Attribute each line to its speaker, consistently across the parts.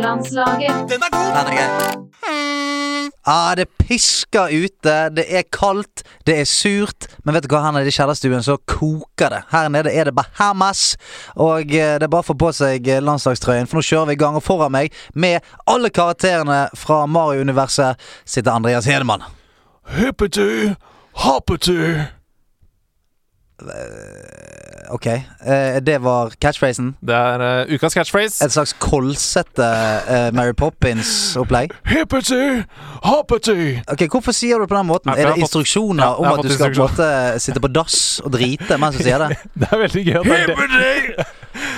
Speaker 1: Landslaget.
Speaker 2: Den er god!
Speaker 3: Ja, den er gøy. Ah, det pisker ute, det er kaldt, det er surt. Men vet du hva, her nede i kjellerstuen så koker det. Her nede er det Bahamas. Og eh, det er bare å få på seg eh, landslagstrøyen, for nå kjører vi i gang. Og foran meg, med alle karakterene fra Mario-universet, sitter Andreas Hedemann.
Speaker 2: Hippety, hoppety.
Speaker 3: Ok, eh, det var catchphrasen.
Speaker 4: Det er eh, ukas catchphrase.
Speaker 3: Et slags kolsete eh, Mary Poppins-opplegg.
Speaker 2: Hippety, hoppety.
Speaker 3: Ok, Hvorfor sier du det på den måten?
Speaker 4: Nei, for jeg
Speaker 3: Er
Speaker 4: har
Speaker 3: det
Speaker 4: fått-
Speaker 3: instruksjoner
Speaker 4: Ja, jeg
Speaker 3: om
Speaker 4: har
Speaker 3: at du
Speaker 4: fått
Speaker 3: skal på en måte sitte på dass og drite mens du sier det?
Speaker 4: Det er veldig gøy at det er det,
Speaker 2: Hippety,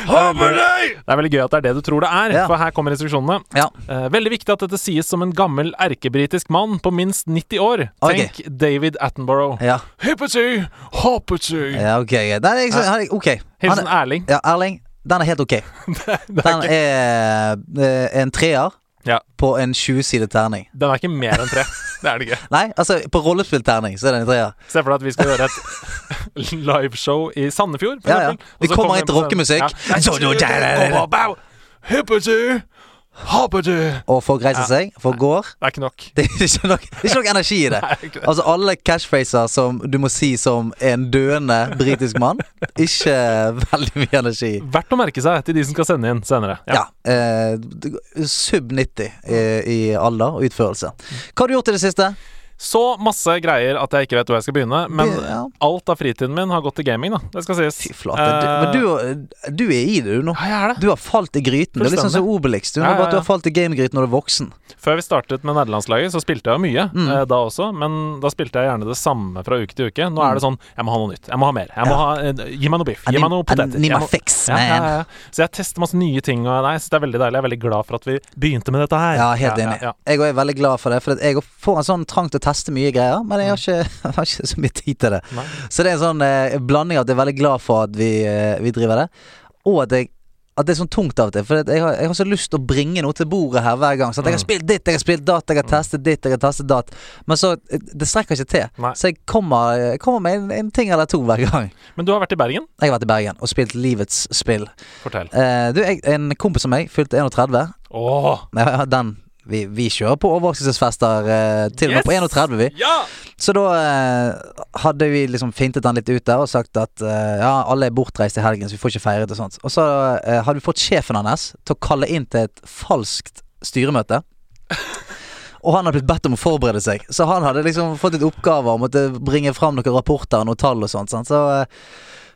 Speaker 2: hoppety.
Speaker 4: det, er veldig gøy at det er det du tror det er,
Speaker 3: Ja.
Speaker 4: for her kommer instruksjonene.
Speaker 3: Ja.
Speaker 4: Eh, veldig viktig at dette sies som en gammel erkebritisk mann på minst 90 år.
Speaker 3: Ok.
Speaker 4: Tenk David Attenborough.
Speaker 3: Ja,
Speaker 2: Hippety, hoppety.
Speaker 3: ja ok. greit. Den er, ikke så- han er- ok. Han
Speaker 4: Hilsen
Speaker 3: er,
Speaker 4: Erling.
Speaker 3: ja, Erling, den er helt ok.
Speaker 4: Det er
Speaker 3: Den er eh, en treer
Speaker 4: Ja.
Speaker 3: på en 20-side terning.
Speaker 4: Den er ikke mer enn tre. Det er det ikke.
Speaker 3: Nei, altså på rollespillterning så er den en treer.
Speaker 4: Se for deg at vi skal gjøre et liveshow i Sandefjord. for
Speaker 3: Ja, ja.
Speaker 4: eksempel. Og
Speaker 3: Vi
Speaker 4: så
Speaker 3: kommer inn til
Speaker 4: på scenen-
Speaker 3: rockemusikk.
Speaker 4: Ja.
Speaker 3: Så- så-
Speaker 4: Bow,
Speaker 3: der-
Speaker 4: bow.
Speaker 2: Hippety, hoppety.
Speaker 3: Og folk reiser seg, folk går.
Speaker 4: Det er ikke nok.
Speaker 3: Det er ikke nok, det er ikke nok energi i det.
Speaker 4: Nei, ikke det.
Speaker 3: Altså alle catchphraser som du må si som en døende britisk mann. Ikke veldig mye energi.
Speaker 4: Verdt å merke seg til de som skal sende inn senere.
Speaker 3: Ja. eh, d- sub 90 i, i alder og utførelse. Hva har du gjort i det siste?
Speaker 4: Så masse greier at jeg ikke vet hvor jeg skal begynne. Men
Speaker 3: Det- ja.
Speaker 4: alt av fritiden min har gått til gaming, da. Det skal sies. Eh,
Speaker 3: Fy flate. du, men du, du er i det, du nå.
Speaker 4: Ja, jeg er det.
Speaker 3: Du har falt i gryten. Det er litt sånn som
Speaker 4: Fullstendig.
Speaker 3: Obelix. Du,
Speaker 4: Ja, ja,
Speaker 3: bare at du
Speaker 4: ja.
Speaker 3: har falt i gamegryten når du er voksen.
Speaker 4: Før vi startet med nederlandslaget, så spilte jeg jo mye
Speaker 3: Mm.
Speaker 4: eh, da også. Men da spilte jeg gjerne det samme fra uke til uke. Nå er det
Speaker 3: Mm.
Speaker 4: sånn Jeg må ha noe nytt. Jeg må ha mer. Jeg må ha, eh, gi meg noe biff.
Speaker 3: I
Speaker 4: Gi
Speaker 3: need-
Speaker 4: meg noe poteter.
Speaker 3: I need
Speaker 4: jeg
Speaker 3: my
Speaker 4: må-
Speaker 3: fix,
Speaker 4: ja, ja,
Speaker 3: man.
Speaker 4: ja. Så jeg tester masse nye ting. Og nei, så det er veldig deilig. Jeg er veldig glad for at vi begynte med dette her.
Speaker 3: Ja, helt enig.
Speaker 4: Ja, ja.
Speaker 3: Jeg òg er veldig glad for det. For at jeg får en sånn trang til å teste mye greier, men jeg har ikke, jeg har ikke så mye tid til det.
Speaker 4: Nei.
Speaker 3: Så det er en sånn eh, blanding av at jeg er veldig glad for at vi, eh, vi driver det, og at jeg at det er sånn tungt av og til. For at jeg har, jeg har så lyst til å bringe noe til bordet her hver gang. Sånn at jeg har
Speaker 4: Mm.
Speaker 3: spilt ditt, jeg har spilt datt, jeg har testet ditt, jeg har testet datt. Men så eh, Det strekker ikke til.
Speaker 4: Nei.
Speaker 3: Så jeg kommer, jeg kommer med en, en ting eller to hver gang.
Speaker 4: Men du har vært i Bergen?
Speaker 3: Jeg har vært i Bergen og spilt Livets spill.
Speaker 4: Fortell.
Speaker 3: Eh, du, jeg, en kompis av meg fylte 31.
Speaker 4: Åh,
Speaker 3: Ja, ja, den vi, vi kjører på overraskelsesfester eh, til og med på
Speaker 4: Yes!
Speaker 3: 31, vi.
Speaker 4: Ja!
Speaker 3: Så da eh, hadde vi liksom fintet han litt ut der og sagt at eh, ja, alle er bortreist i helgen, så vi får ikke feiret og sånt. Og så eh, hadde vi fått sjefen hans til å kalle inn til et falskt styremøte. Og han hadde blitt bedt om å forberede seg. Så han hadde liksom fått litt oppgaver om å bringe fram noen rapporter og noen tall og sånt. Sant? Så eh,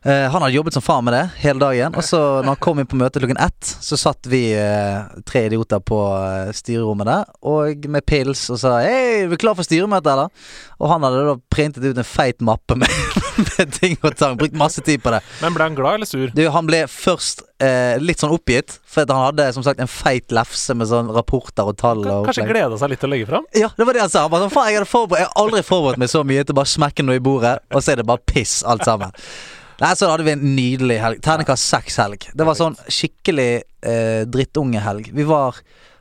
Speaker 3: eh, han hadde jobbet som faen med det hele dagen. Og så når han kom inn på møtet klokken ett, så satt vi eh, tre idioter på eh, styrerommet der og med pils og sa Hei, er vi klar for styremøte, eller? Og han hadde da printet ut en feit mappe med, med ting og tang. Brukt masse tid på det.
Speaker 4: Men ble han glad eller sur?
Speaker 3: Du, han ble først eh, litt sånn oppgitt, for at han hadde som sagt en feit lefse med sånn rapporter og tall.
Speaker 4: K-
Speaker 3: og
Speaker 4: Kanskje
Speaker 3: opplegg.
Speaker 4: gleda seg litt til å legge fram?
Speaker 3: Ja, det var det han sa. Han bare sånn, faen, jeg, hadde forberedt, jeg har aldri forberedt meg så mye til å bare smekke noe i bordet, og så er det bare piss alt sammen. Nei, Så hadde vi en nydelig helg. Terningkast seks-helg. Det var sånn skikkelig eh, drittungehelg. Vi var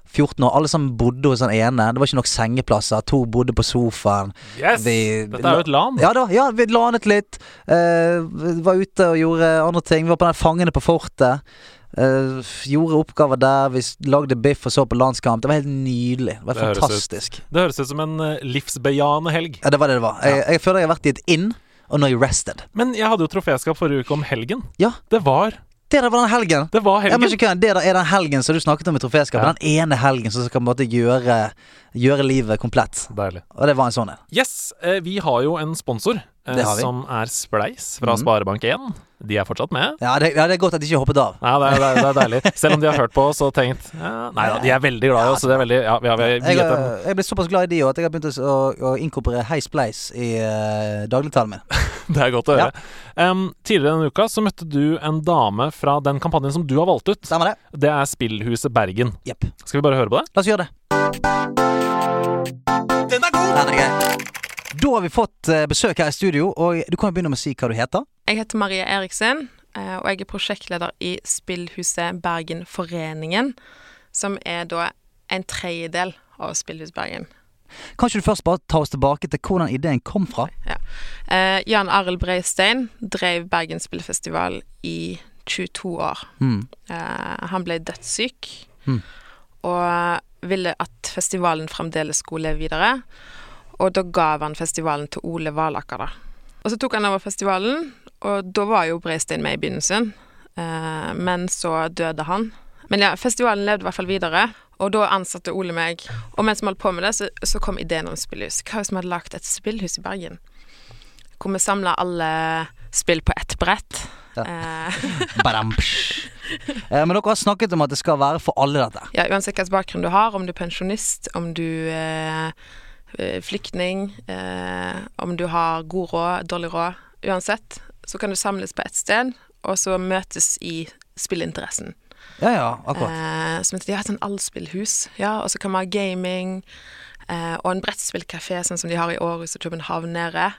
Speaker 3: 14 år, alle sammen bodde hos den ene. Det var ikke nok sengeplasser. To bodde på sofaen.
Speaker 4: Yes!
Speaker 3: Vi-
Speaker 4: Dette er jo et LAN.
Speaker 3: Ja, det var, ja vi lanet litt. eh, vi var ute og gjorde andre ting. Vi var på den Fangene på fortet. eh, gjorde oppgaver der. Vi s- lagde biff og så på landskamp. Det var helt nydelig. Det var
Speaker 4: Det høres ut.
Speaker 3: fantastisk.
Speaker 4: Det høres ut som en eh, livsbejaende helg.
Speaker 3: Ja, det var det det var. Jeg, jeg føler jeg har vært i et inn, og nå er jeg rested.
Speaker 4: Men jeg hadde jo troféskap forrige uke om helgen.
Speaker 3: Ja.
Speaker 4: Det var,
Speaker 3: Det der var den helgen.
Speaker 4: det var
Speaker 3: Ja, men
Speaker 4: helgen.
Speaker 3: ikke kødd. Det der er den helgen som du snakket om i troféskapet.
Speaker 4: Ja.
Speaker 3: Den ene helgen som skal på en måte gjøre, gjøre livet komplett.
Speaker 4: Deilig.
Speaker 3: Og det var en sånn en.
Speaker 4: Yes, eh, vi har jo en sponsor eh,
Speaker 3: Det har vi. Mm.
Speaker 4: som er Spleis fra Sparebank1. De er fortsatt med.
Speaker 3: Ja, det, ja, det er godt at de ikke hoppet av.
Speaker 4: Ja, det er, det, er, det er deilig. Selv om de har hørt på oss og tenkt ja, Nei da, de er veldig glad i oss. så Det er veldig, ja, vi har, vi har,
Speaker 3: Jeg,
Speaker 4: viet dem.
Speaker 3: har- jeg ble såpass glad i de også at jeg har begynt å, s- å, å inkorporere Hei Spleis i uh, dagligtalen min.
Speaker 4: Det er godt å høre. Em, tidligere denne uka så møtte du en dame fra den kampanjen som du har valgt ut.
Speaker 3: Stemmer det?
Speaker 4: Det er Spillhuset Bergen.
Speaker 3: Jepp.
Speaker 4: Skal vi bare høre på det?
Speaker 3: La oss gjøre det.
Speaker 2: Den er god!
Speaker 3: Den er grei. Da har vi fått eh, besøk her i studio, og du kan jo begynne med å si hva du heter.
Speaker 5: Jeg heter Marie Eriksen, eh, og jeg er prosjektleder i Spillhuset Bergen Foreningen, som er da en tredjedel av Spillhus Bergen.
Speaker 3: Kan ikke du først bare ta oss tilbake til hvordan ideen kom fra?
Speaker 5: Eh, Jan Arild Breistein drev Bergen Spillfestival i 22 år.
Speaker 3: Mm.
Speaker 5: Eh, han ble dødssyk,
Speaker 3: Mm.
Speaker 5: og ville at festivalen fremdeles skulle leve videre. Og da gav han festivalen til Ole Valaker, da. Og så tok han over festivalen, og da var jo Breistein med i begynnelsen. Eh, men så døde han. Men ja, festivalen levde i hvert fall videre, og da ansatte Ole meg. Og mens vi holdt på med det, så, så kom ideen om spillhus. Hva hvis vi hadde lagd et spillhus i Bergen? Hvor vi samla alle spill på ett brett.
Speaker 3: Ja.
Speaker 5: Eh,
Speaker 3: Badam, psh. Eh, Men dere har snakket om at det skal være for alle dette.
Speaker 5: Ja, uansett hvilken bakgrunn du har, om du er pensjonist, om du er eh, flyktning, eh, om du har god råd, dårlig råd, uansett, så kan du samles på ett sted, og så møtes i spillinteressen.
Speaker 3: Ja, ja, akkurat.
Speaker 5: Eh, som heter, de har et sånn allspillhus, ja, og så kan man ha gaming, eh, og en brettspillkafé, sånn som de har i Århus og København nede,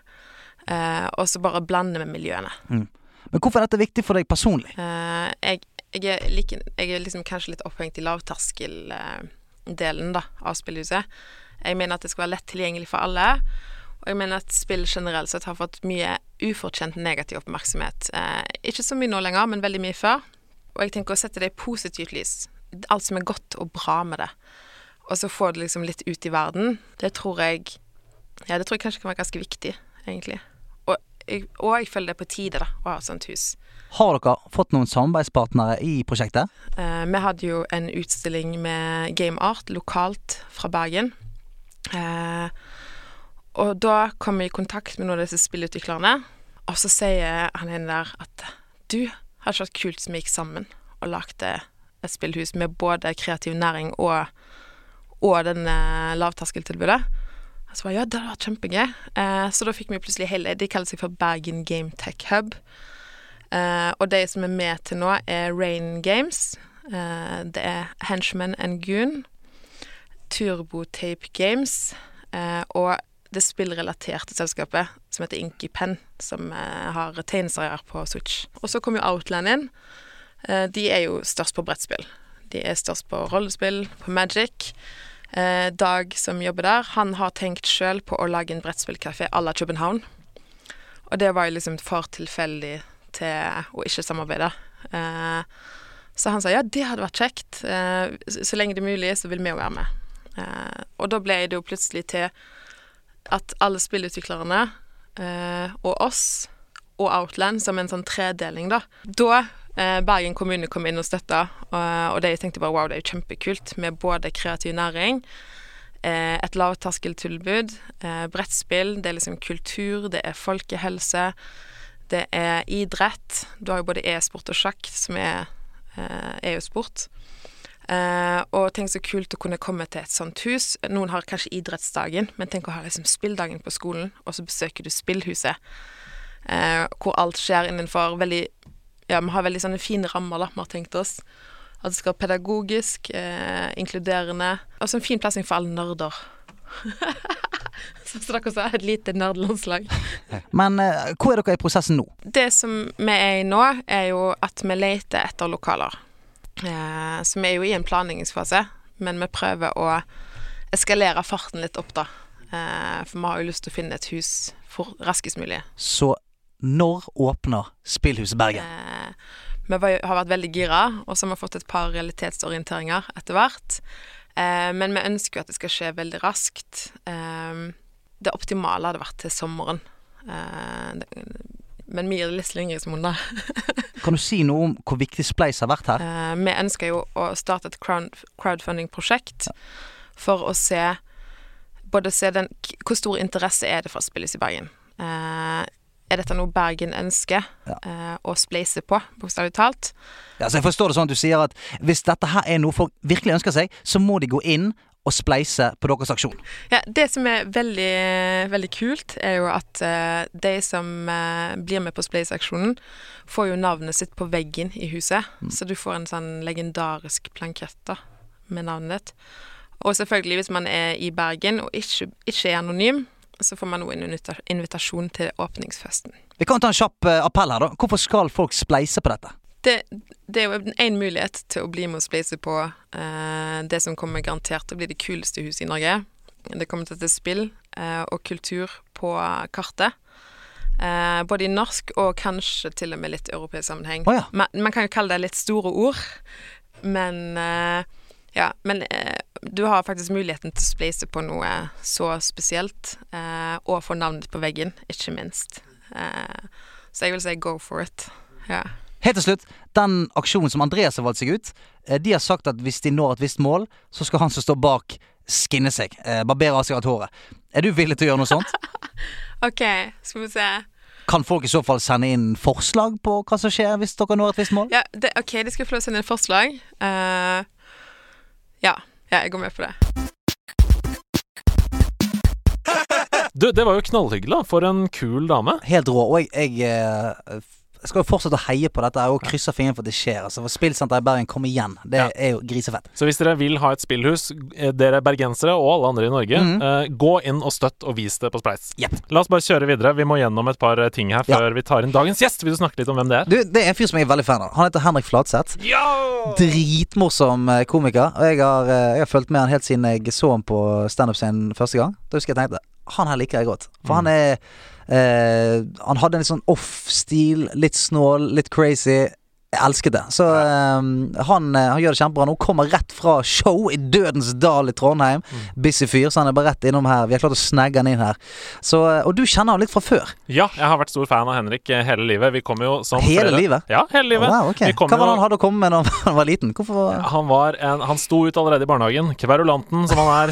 Speaker 5: eh, og så bare blande med miljøene.
Speaker 3: Eh, Men hvorfor er dette viktig for deg personlig?
Speaker 5: Eh, jeg, jeg, er like, jeg er liksom kanskje litt opphengt i lavterskeldelen da, av spillhuset. Jeg mener at det skal være lett tilgjengelig for alle. Og jeg mener at spill generelt sett har fått mye ufortjent negativ oppmerksomhet. Eh, ikke så mye nå lenger, men veldig mye før. Og jeg tenker å sette det i positivt lys. Alt som er godt og bra med det. Og så få det liksom litt ut i verden. Det tror jeg Ja, det tror jeg kanskje kan være ganske viktig, egentlig. Og jeg, og jeg føler det er på tide, da, å ha et sånt hus.
Speaker 3: Har dere fått noen samarbeidspartnere i prosjektet?
Speaker 5: Eh, vi hadde jo en utstilling med game art lokalt fra Bergen. Eh, og da kom vi i kontakt med noen av disse spillutviklerne. Og så sier han ene der at du, hadde ikke vært kult hvis vi gikk sammen og lagde et spillhus med både kreativ næring og, og denne lavterskeltilbudet? Og så bare, ja, det hadde vært kjempegøy. Eh, så da fikk vi plutselig hele De kaller seg for Bergen Game Tech Hub. Eh, og de som er med til nå, er Rain Games. Eh, det er Henchman and Goon. Turbotape Games. Eh, og det spillrelaterte selskapet som heter InkyPen, som eh, har tegneserier på Switch. Og så kom jo Outland inn. Eh, de er jo størst på brettspill. De er størst på rollespill, på Magic. Eh, Dag som jobber der, han har tenkt sjøl på å lage en brettspillkafé à la København. Og det var jo liksom for tilfeldig til å ikke samarbeide. Eh, så han sa ja, det hadde vært kjekt. Eh, så, så lenge det er mulig, så vil vi jo være med. Eh, og da ble det jo plutselig til at alle spillutviklerne eh, og oss og Outland som en sånn tredeling, da. Da eh, Bergen kommune kom inn og støtta, og, og de tenkte bare wow, det er jo kjempekult med både kreativ næring, eh, et lavterskeltilbud, eh, brettspill, det er liksom kultur, det er folkehelse. Det er idrett. Du har jo både e-sport og sjakk, som er eh, er jo sport. Eh, og tenk så kult å kunne komme til et sånt hus. Noen har kanskje idrettsdagen, men tenk å ha liksom spilldagen på skolen, og så besøker du spillhuset, eh, hvor alt skjer innenfor veldig Ja, vi har veldig sånne fine rammer, da, vi har tenkt oss. At det skal være pedagogisk, eh, inkluderende. Og så en fin plassing for alle nerder. Som dere sa, et lite nerdelandslag.
Speaker 3: Men eh, hvor er dere i prosessen nå?
Speaker 5: Det som vi er i nå, er jo at vi leter etter lokaler. Eh, så vi er jo i en planleggingsfase, men vi prøver å eskalere farten litt opp, da. Eh, for vi har jo lyst til å finne et hus for raskest mulig.
Speaker 3: Så når åpner Spillhuset Bergen?
Speaker 5: Eh, vi var, jo- har vært veldig gira, og så har vi fått et par realitetsorienteringer etter hvert. Eh, men vi ønsker jo at det skal skje veldig raskt. Eh, det optimale hadde vært til sommeren. Eh, det, men vi gir det litt slingringsmonn, da.
Speaker 3: Kan du si noe om hvor viktig Spleis har vært her?
Speaker 5: Eh, vi ønsker jo å starte et crowd- crowdfunding-prosjekt for å se både se den, k- hvor stor interesse er det for å spilles i Bergen. Eh, er dette noe Bergen ønsker eh, å spleise på, bokstavelig talt?
Speaker 3: Ja, så jeg forstår det sånn at du sier at hvis dette her er noe folk virkelig ønsker seg, så må de gå inn og spleise på deres aksjon.
Speaker 5: Ja, det som er veldig, veldig kult, er jo at eh, de som eh, blir med på Spleis-aksjonen, får jo navnet sitt på veggen i huset. Så du får en sånn legendarisk plankett da, med navnet ditt. Og selvfølgelig, hvis man er i Bergen og ikke, ikke er anonym, så får man også en invita- invitasjon til åpningsfesten.
Speaker 3: Vi kan ta en kjapp eh, appell her, da. Hvorfor skal folk spleise på dette?
Speaker 5: det, det er jo én mulighet til å bli med og spleise på eh, det som kommer garantert til å bli det kuleste huset i Norge. Det kommer til å hete spill eh, og kultur på kartet. Eh, både i norsk og kanskje til og med litt europeisk sammenheng.
Speaker 3: Å ja.
Speaker 5: man, man kan jo kalle det litt store ord, men eh, Ja, men eh, du har faktisk muligheten til å spleise på noe så spesielt, eh, og få navnet ditt på veggen, ikke minst. Eh, så jeg vil si go for it. Ja.
Speaker 3: Helt til slutt, den aksjonen som Andreas har valgt seg ut eh, De har sagt at hvis de når et visst mål, så skal han som står bak, skinne seg. eh, Barbere av seg alt håret. Er du villig til å gjøre noe sånt?
Speaker 5: OK, skal vi se.
Speaker 3: Kan folk i så fall sende inn forslag på hva som skjer hvis dere når et visst mål?
Speaker 5: Ja, det, OK, de skal få lov å sende inn forslag. Eh, ja. ja, jeg går med på det.
Speaker 4: Du, det var jo knallhyggelig, da. For en kul dame.
Speaker 3: Helt rå. Og jeg, jeg eh, f- skal jo fortsette å heie på dette her, og krysse fingrene for at det skjer. Altså, for Spillsenter i Bergen, kom igjen. Det
Speaker 4: Ja.
Speaker 3: er jo grisefett.
Speaker 4: Så hvis dere vil ha et spillhus, eh, dere bergensere og alle andre i Norge,
Speaker 3: Mhm.
Speaker 4: eh, gå inn og støtt og vis det på Spleis.
Speaker 3: Jepp.
Speaker 4: La oss bare kjøre videre. Vi må gjennom et par eh, ting her
Speaker 3: Ja.
Speaker 4: før vi tar inn dagens gjest. Vil du snakke litt om hvem det er?
Speaker 3: Du, det er en fyr som jeg er veldig fan av. Han heter Henrik Fladseth. Dritmorsom eh, komiker. Og jeg har, eh, jeg har fulgt med han helt siden jeg så han på standup-scenen første gang. Da husker jeg tenkte han her liker jeg godt. For han er eh, Han hadde en litt sånn off-stil. Litt snål, litt crazy. Jeg elsket det. Så eh, han, eh, han gjør det kjempebra. Nå kommer rett fra show i Dødens Dal i Trondheim.
Speaker 4: Mm.
Speaker 3: Busy fyr, så han er bare rett innom her. Vi har klart å snagge han inn her. Så, eh, og du kjenner han litt fra før.
Speaker 4: Ja, jeg har vært stor fan av Henrik eh, hele livet. Vi kom jo som
Speaker 3: Hele
Speaker 4: flere-
Speaker 3: livet?
Speaker 4: Ja, hele livet.
Speaker 3: Wow, ok.
Speaker 4: Vi kom
Speaker 3: Hva var det
Speaker 4: jo-
Speaker 3: han hadde å komme med da han var liten? Hvorfor
Speaker 4: Han var en Han sto ut allerede i barnehagen. Kverulanten som han er.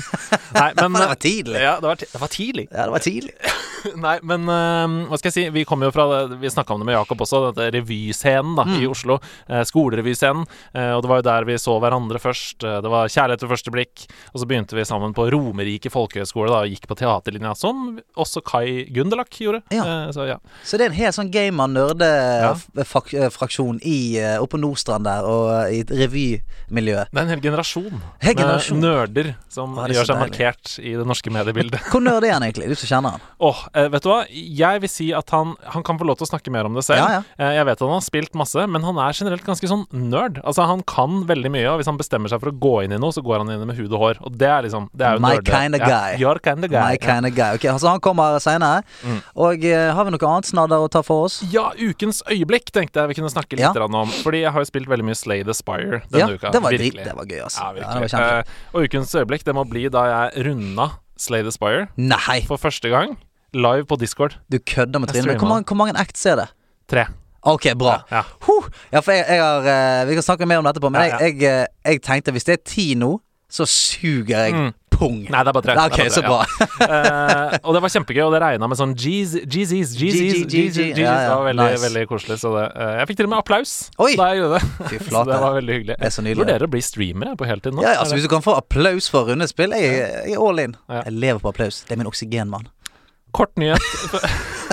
Speaker 4: Nei, men eh,
Speaker 3: Det var tidlig.
Speaker 4: Ja, det var, ti- det var tidlig.
Speaker 3: Ja, det var tidlig.
Speaker 4: Nei, men eh, hva skal jeg si Vi kom jo fra det- Vi snakka om det med Jakob også, dette revyscenen da
Speaker 3: Mm.
Speaker 4: i Oslo. eh, skolerevyscenen. eh, og det var jo der vi så hverandre først. eh, det var kjærlighet ved første blikk. Og så begynte vi sammen på Romerike folkehøgskole da, og gikk på teaterlinja, som også Kai Gunderlach gjorde.
Speaker 3: Ja.
Speaker 4: Eh, så ja.
Speaker 3: Så det er en helt sånn eh, gamer-nerde-fraksjon eh, oppe på Nordstrand der, og eh, i et revymiljø.
Speaker 4: Det er en hel generasjon
Speaker 3: Hel generasjon.
Speaker 4: med nerder som
Speaker 3: Å, det er
Speaker 4: gjør
Speaker 3: så
Speaker 4: seg
Speaker 3: deilig.
Speaker 4: markert i det norske mediebildet.
Speaker 3: Hvor nerd er han egentlig, du som kjenner han?
Speaker 4: Åh, eh, vet du hva? Jeg vil si at han, han kan få lov til å snakke mer om det selv.
Speaker 3: Ja, ja.
Speaker 4: Eh, jeg vet at han har spilt masse, men han er generelt ganske sånn nerd. Altså, han kan veldig mye, og hvis han bestemmer seg for å gå inn i noe, så går han inn i det med hud og hår. Og det er liksom det er jo
Speaker 3: My
Speaker 4: nerde.
Speaker 3: kinda guy.
Speaker 4: Ja, Mm. your kinda guy.
Speaker 3: My kind of guy. Ok, altså Han kommer seinere. Og eh, har vi noe annet snadder å ta for oss?
Speaker 4: Ja, ukens øyeblikk tenkte jeg vi kunne snakke litt
Speaker 3: Ja.
Speaker 4: grann om. Fordi jeg har jo spilt veldig mye Slay the Spire denne
Speaker 3: Ja,
Speaker 4: uka.
Speaker 3: det var drit-
Speaker 4: virkelig.
Speaker 3: det var gøy, altså.
Speaker 4: Ja,
Speaker 3: Ja, det
Speaker 4: virkelig.
Speaker 3: var kjempefett.
Speaker 4: Eh, og ukens øyeblikk, det må bli da jeg runda Slay the Spire
Speaker 3: Nei,
Speaker 4: for første gang live på Discord.
Speaker 3: du kødder med
Speaker 4: Jeg
Speaker 3: trynet. Men Hvor,
Speaker 4: streamer.
Speaker 3: mange- hvor mange acts er det?
Speaker 4: Tre.
Speaker 3: Ok, bra.
Speaker 4: Ja.
Speaker 3: Huh. Ja, for jeg, jeg har eh, Vi kan snakke mer om dette på, men
Speaker 4: Ja, ja.
Speaker 3: Jeg, jeg, eh, jeg tenkte hvis det er ti nå, så suger jeg
Speaker 4: Mm.
Speaker 3: pung.
Speaker 4: Nei, det er bare tre.
Speaker 3: Ok,
Speaker 4: Det er bare tre,
Speaker 3: så
Speaker 4: ja.
Speaker 3: bra.
Speaker 4: Eh, og det var kjempegøy, og det regna med sånn G's, GZs, GZs,
Speaker 3: GG,
Speaker 4: GZs. Det
Speaker 3: Ja, ja.
Speaker 4: var veldig,
Speaker 3: Nice.
Speaker 4: veldig koselig. Så det, eh, jeg fikk til og med applaus
Speaker 3: Oi.
Speaker 4: da jeg gjorde det.
Speaker 3: Fy
Speaker 4: Så det
Speaker 3: flate.
Speaker 4: var veldig hyggelig.
Speaker 3: Det er så nydelig.
Speaker 4: Jeg vurderer å bli streamer jeg, på heltid nå.
Speaker 3: Ja, ja, altså Hvis du kan få applaus for rundespill, jeg, jeg er all in.
Speaker 4: Ja.
Speaker 3: Jeg lever på applaus. Det er min oksygenmann.
Speaker 4: Kort nyhet.
Speaker 3: Det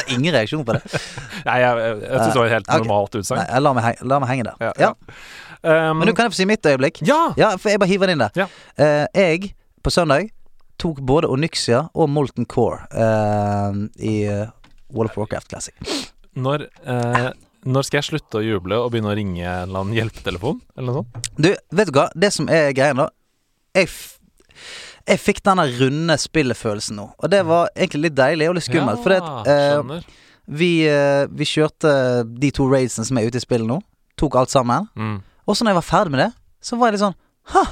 Speaker 3: er Ingen reaksjon på det.
Speaker 4: Nei, jeg, jeg, jeg syns det var et helt
Speaker 3: Ok.
Speaker 4: normalt
Speaker 3: Nei,
Speaker 4: utsagn.
Speaker 3: jeg lar meg, henge, la meg henge der.
Speaker 4: Ja,
Speaker 3: Ja.
Speaker 4: Um,
Speaker 3: Men du kan jeg få si mitt øyeblikk?
Speaker 4: ja!
Speaker 3: Ja, for jeg bare hiver det inn der.
Speaker 4: Ja.
Speaker 3: Eh, jeg, på søndag, tok både Onyxia og Molten Core eh, i eh, World of Warcraft Classic.
Speaker 4: Når, eh, når skal jeg slutte å juble og begynne å ringe en eller annen hjelpetelefon? Eller noe sånt?
Speaker 3: Du, vet du hva? Det som er greia nå Jeg, f jeg fikk denne runde spillefølelsen nå, og det var egentlig litt deilig og litt skummelt. fordi at eh,
Speaker 4: Mm. skjønner.
Speaker 3: Vi, eh, vi kjørte de to raidsene som er ute i spillet nå. Tok alt sammen.
Speaker 4: Mm.
Speaker 3: Og så når jeg var ferdig med det, så var jeg litt sånn Hæ?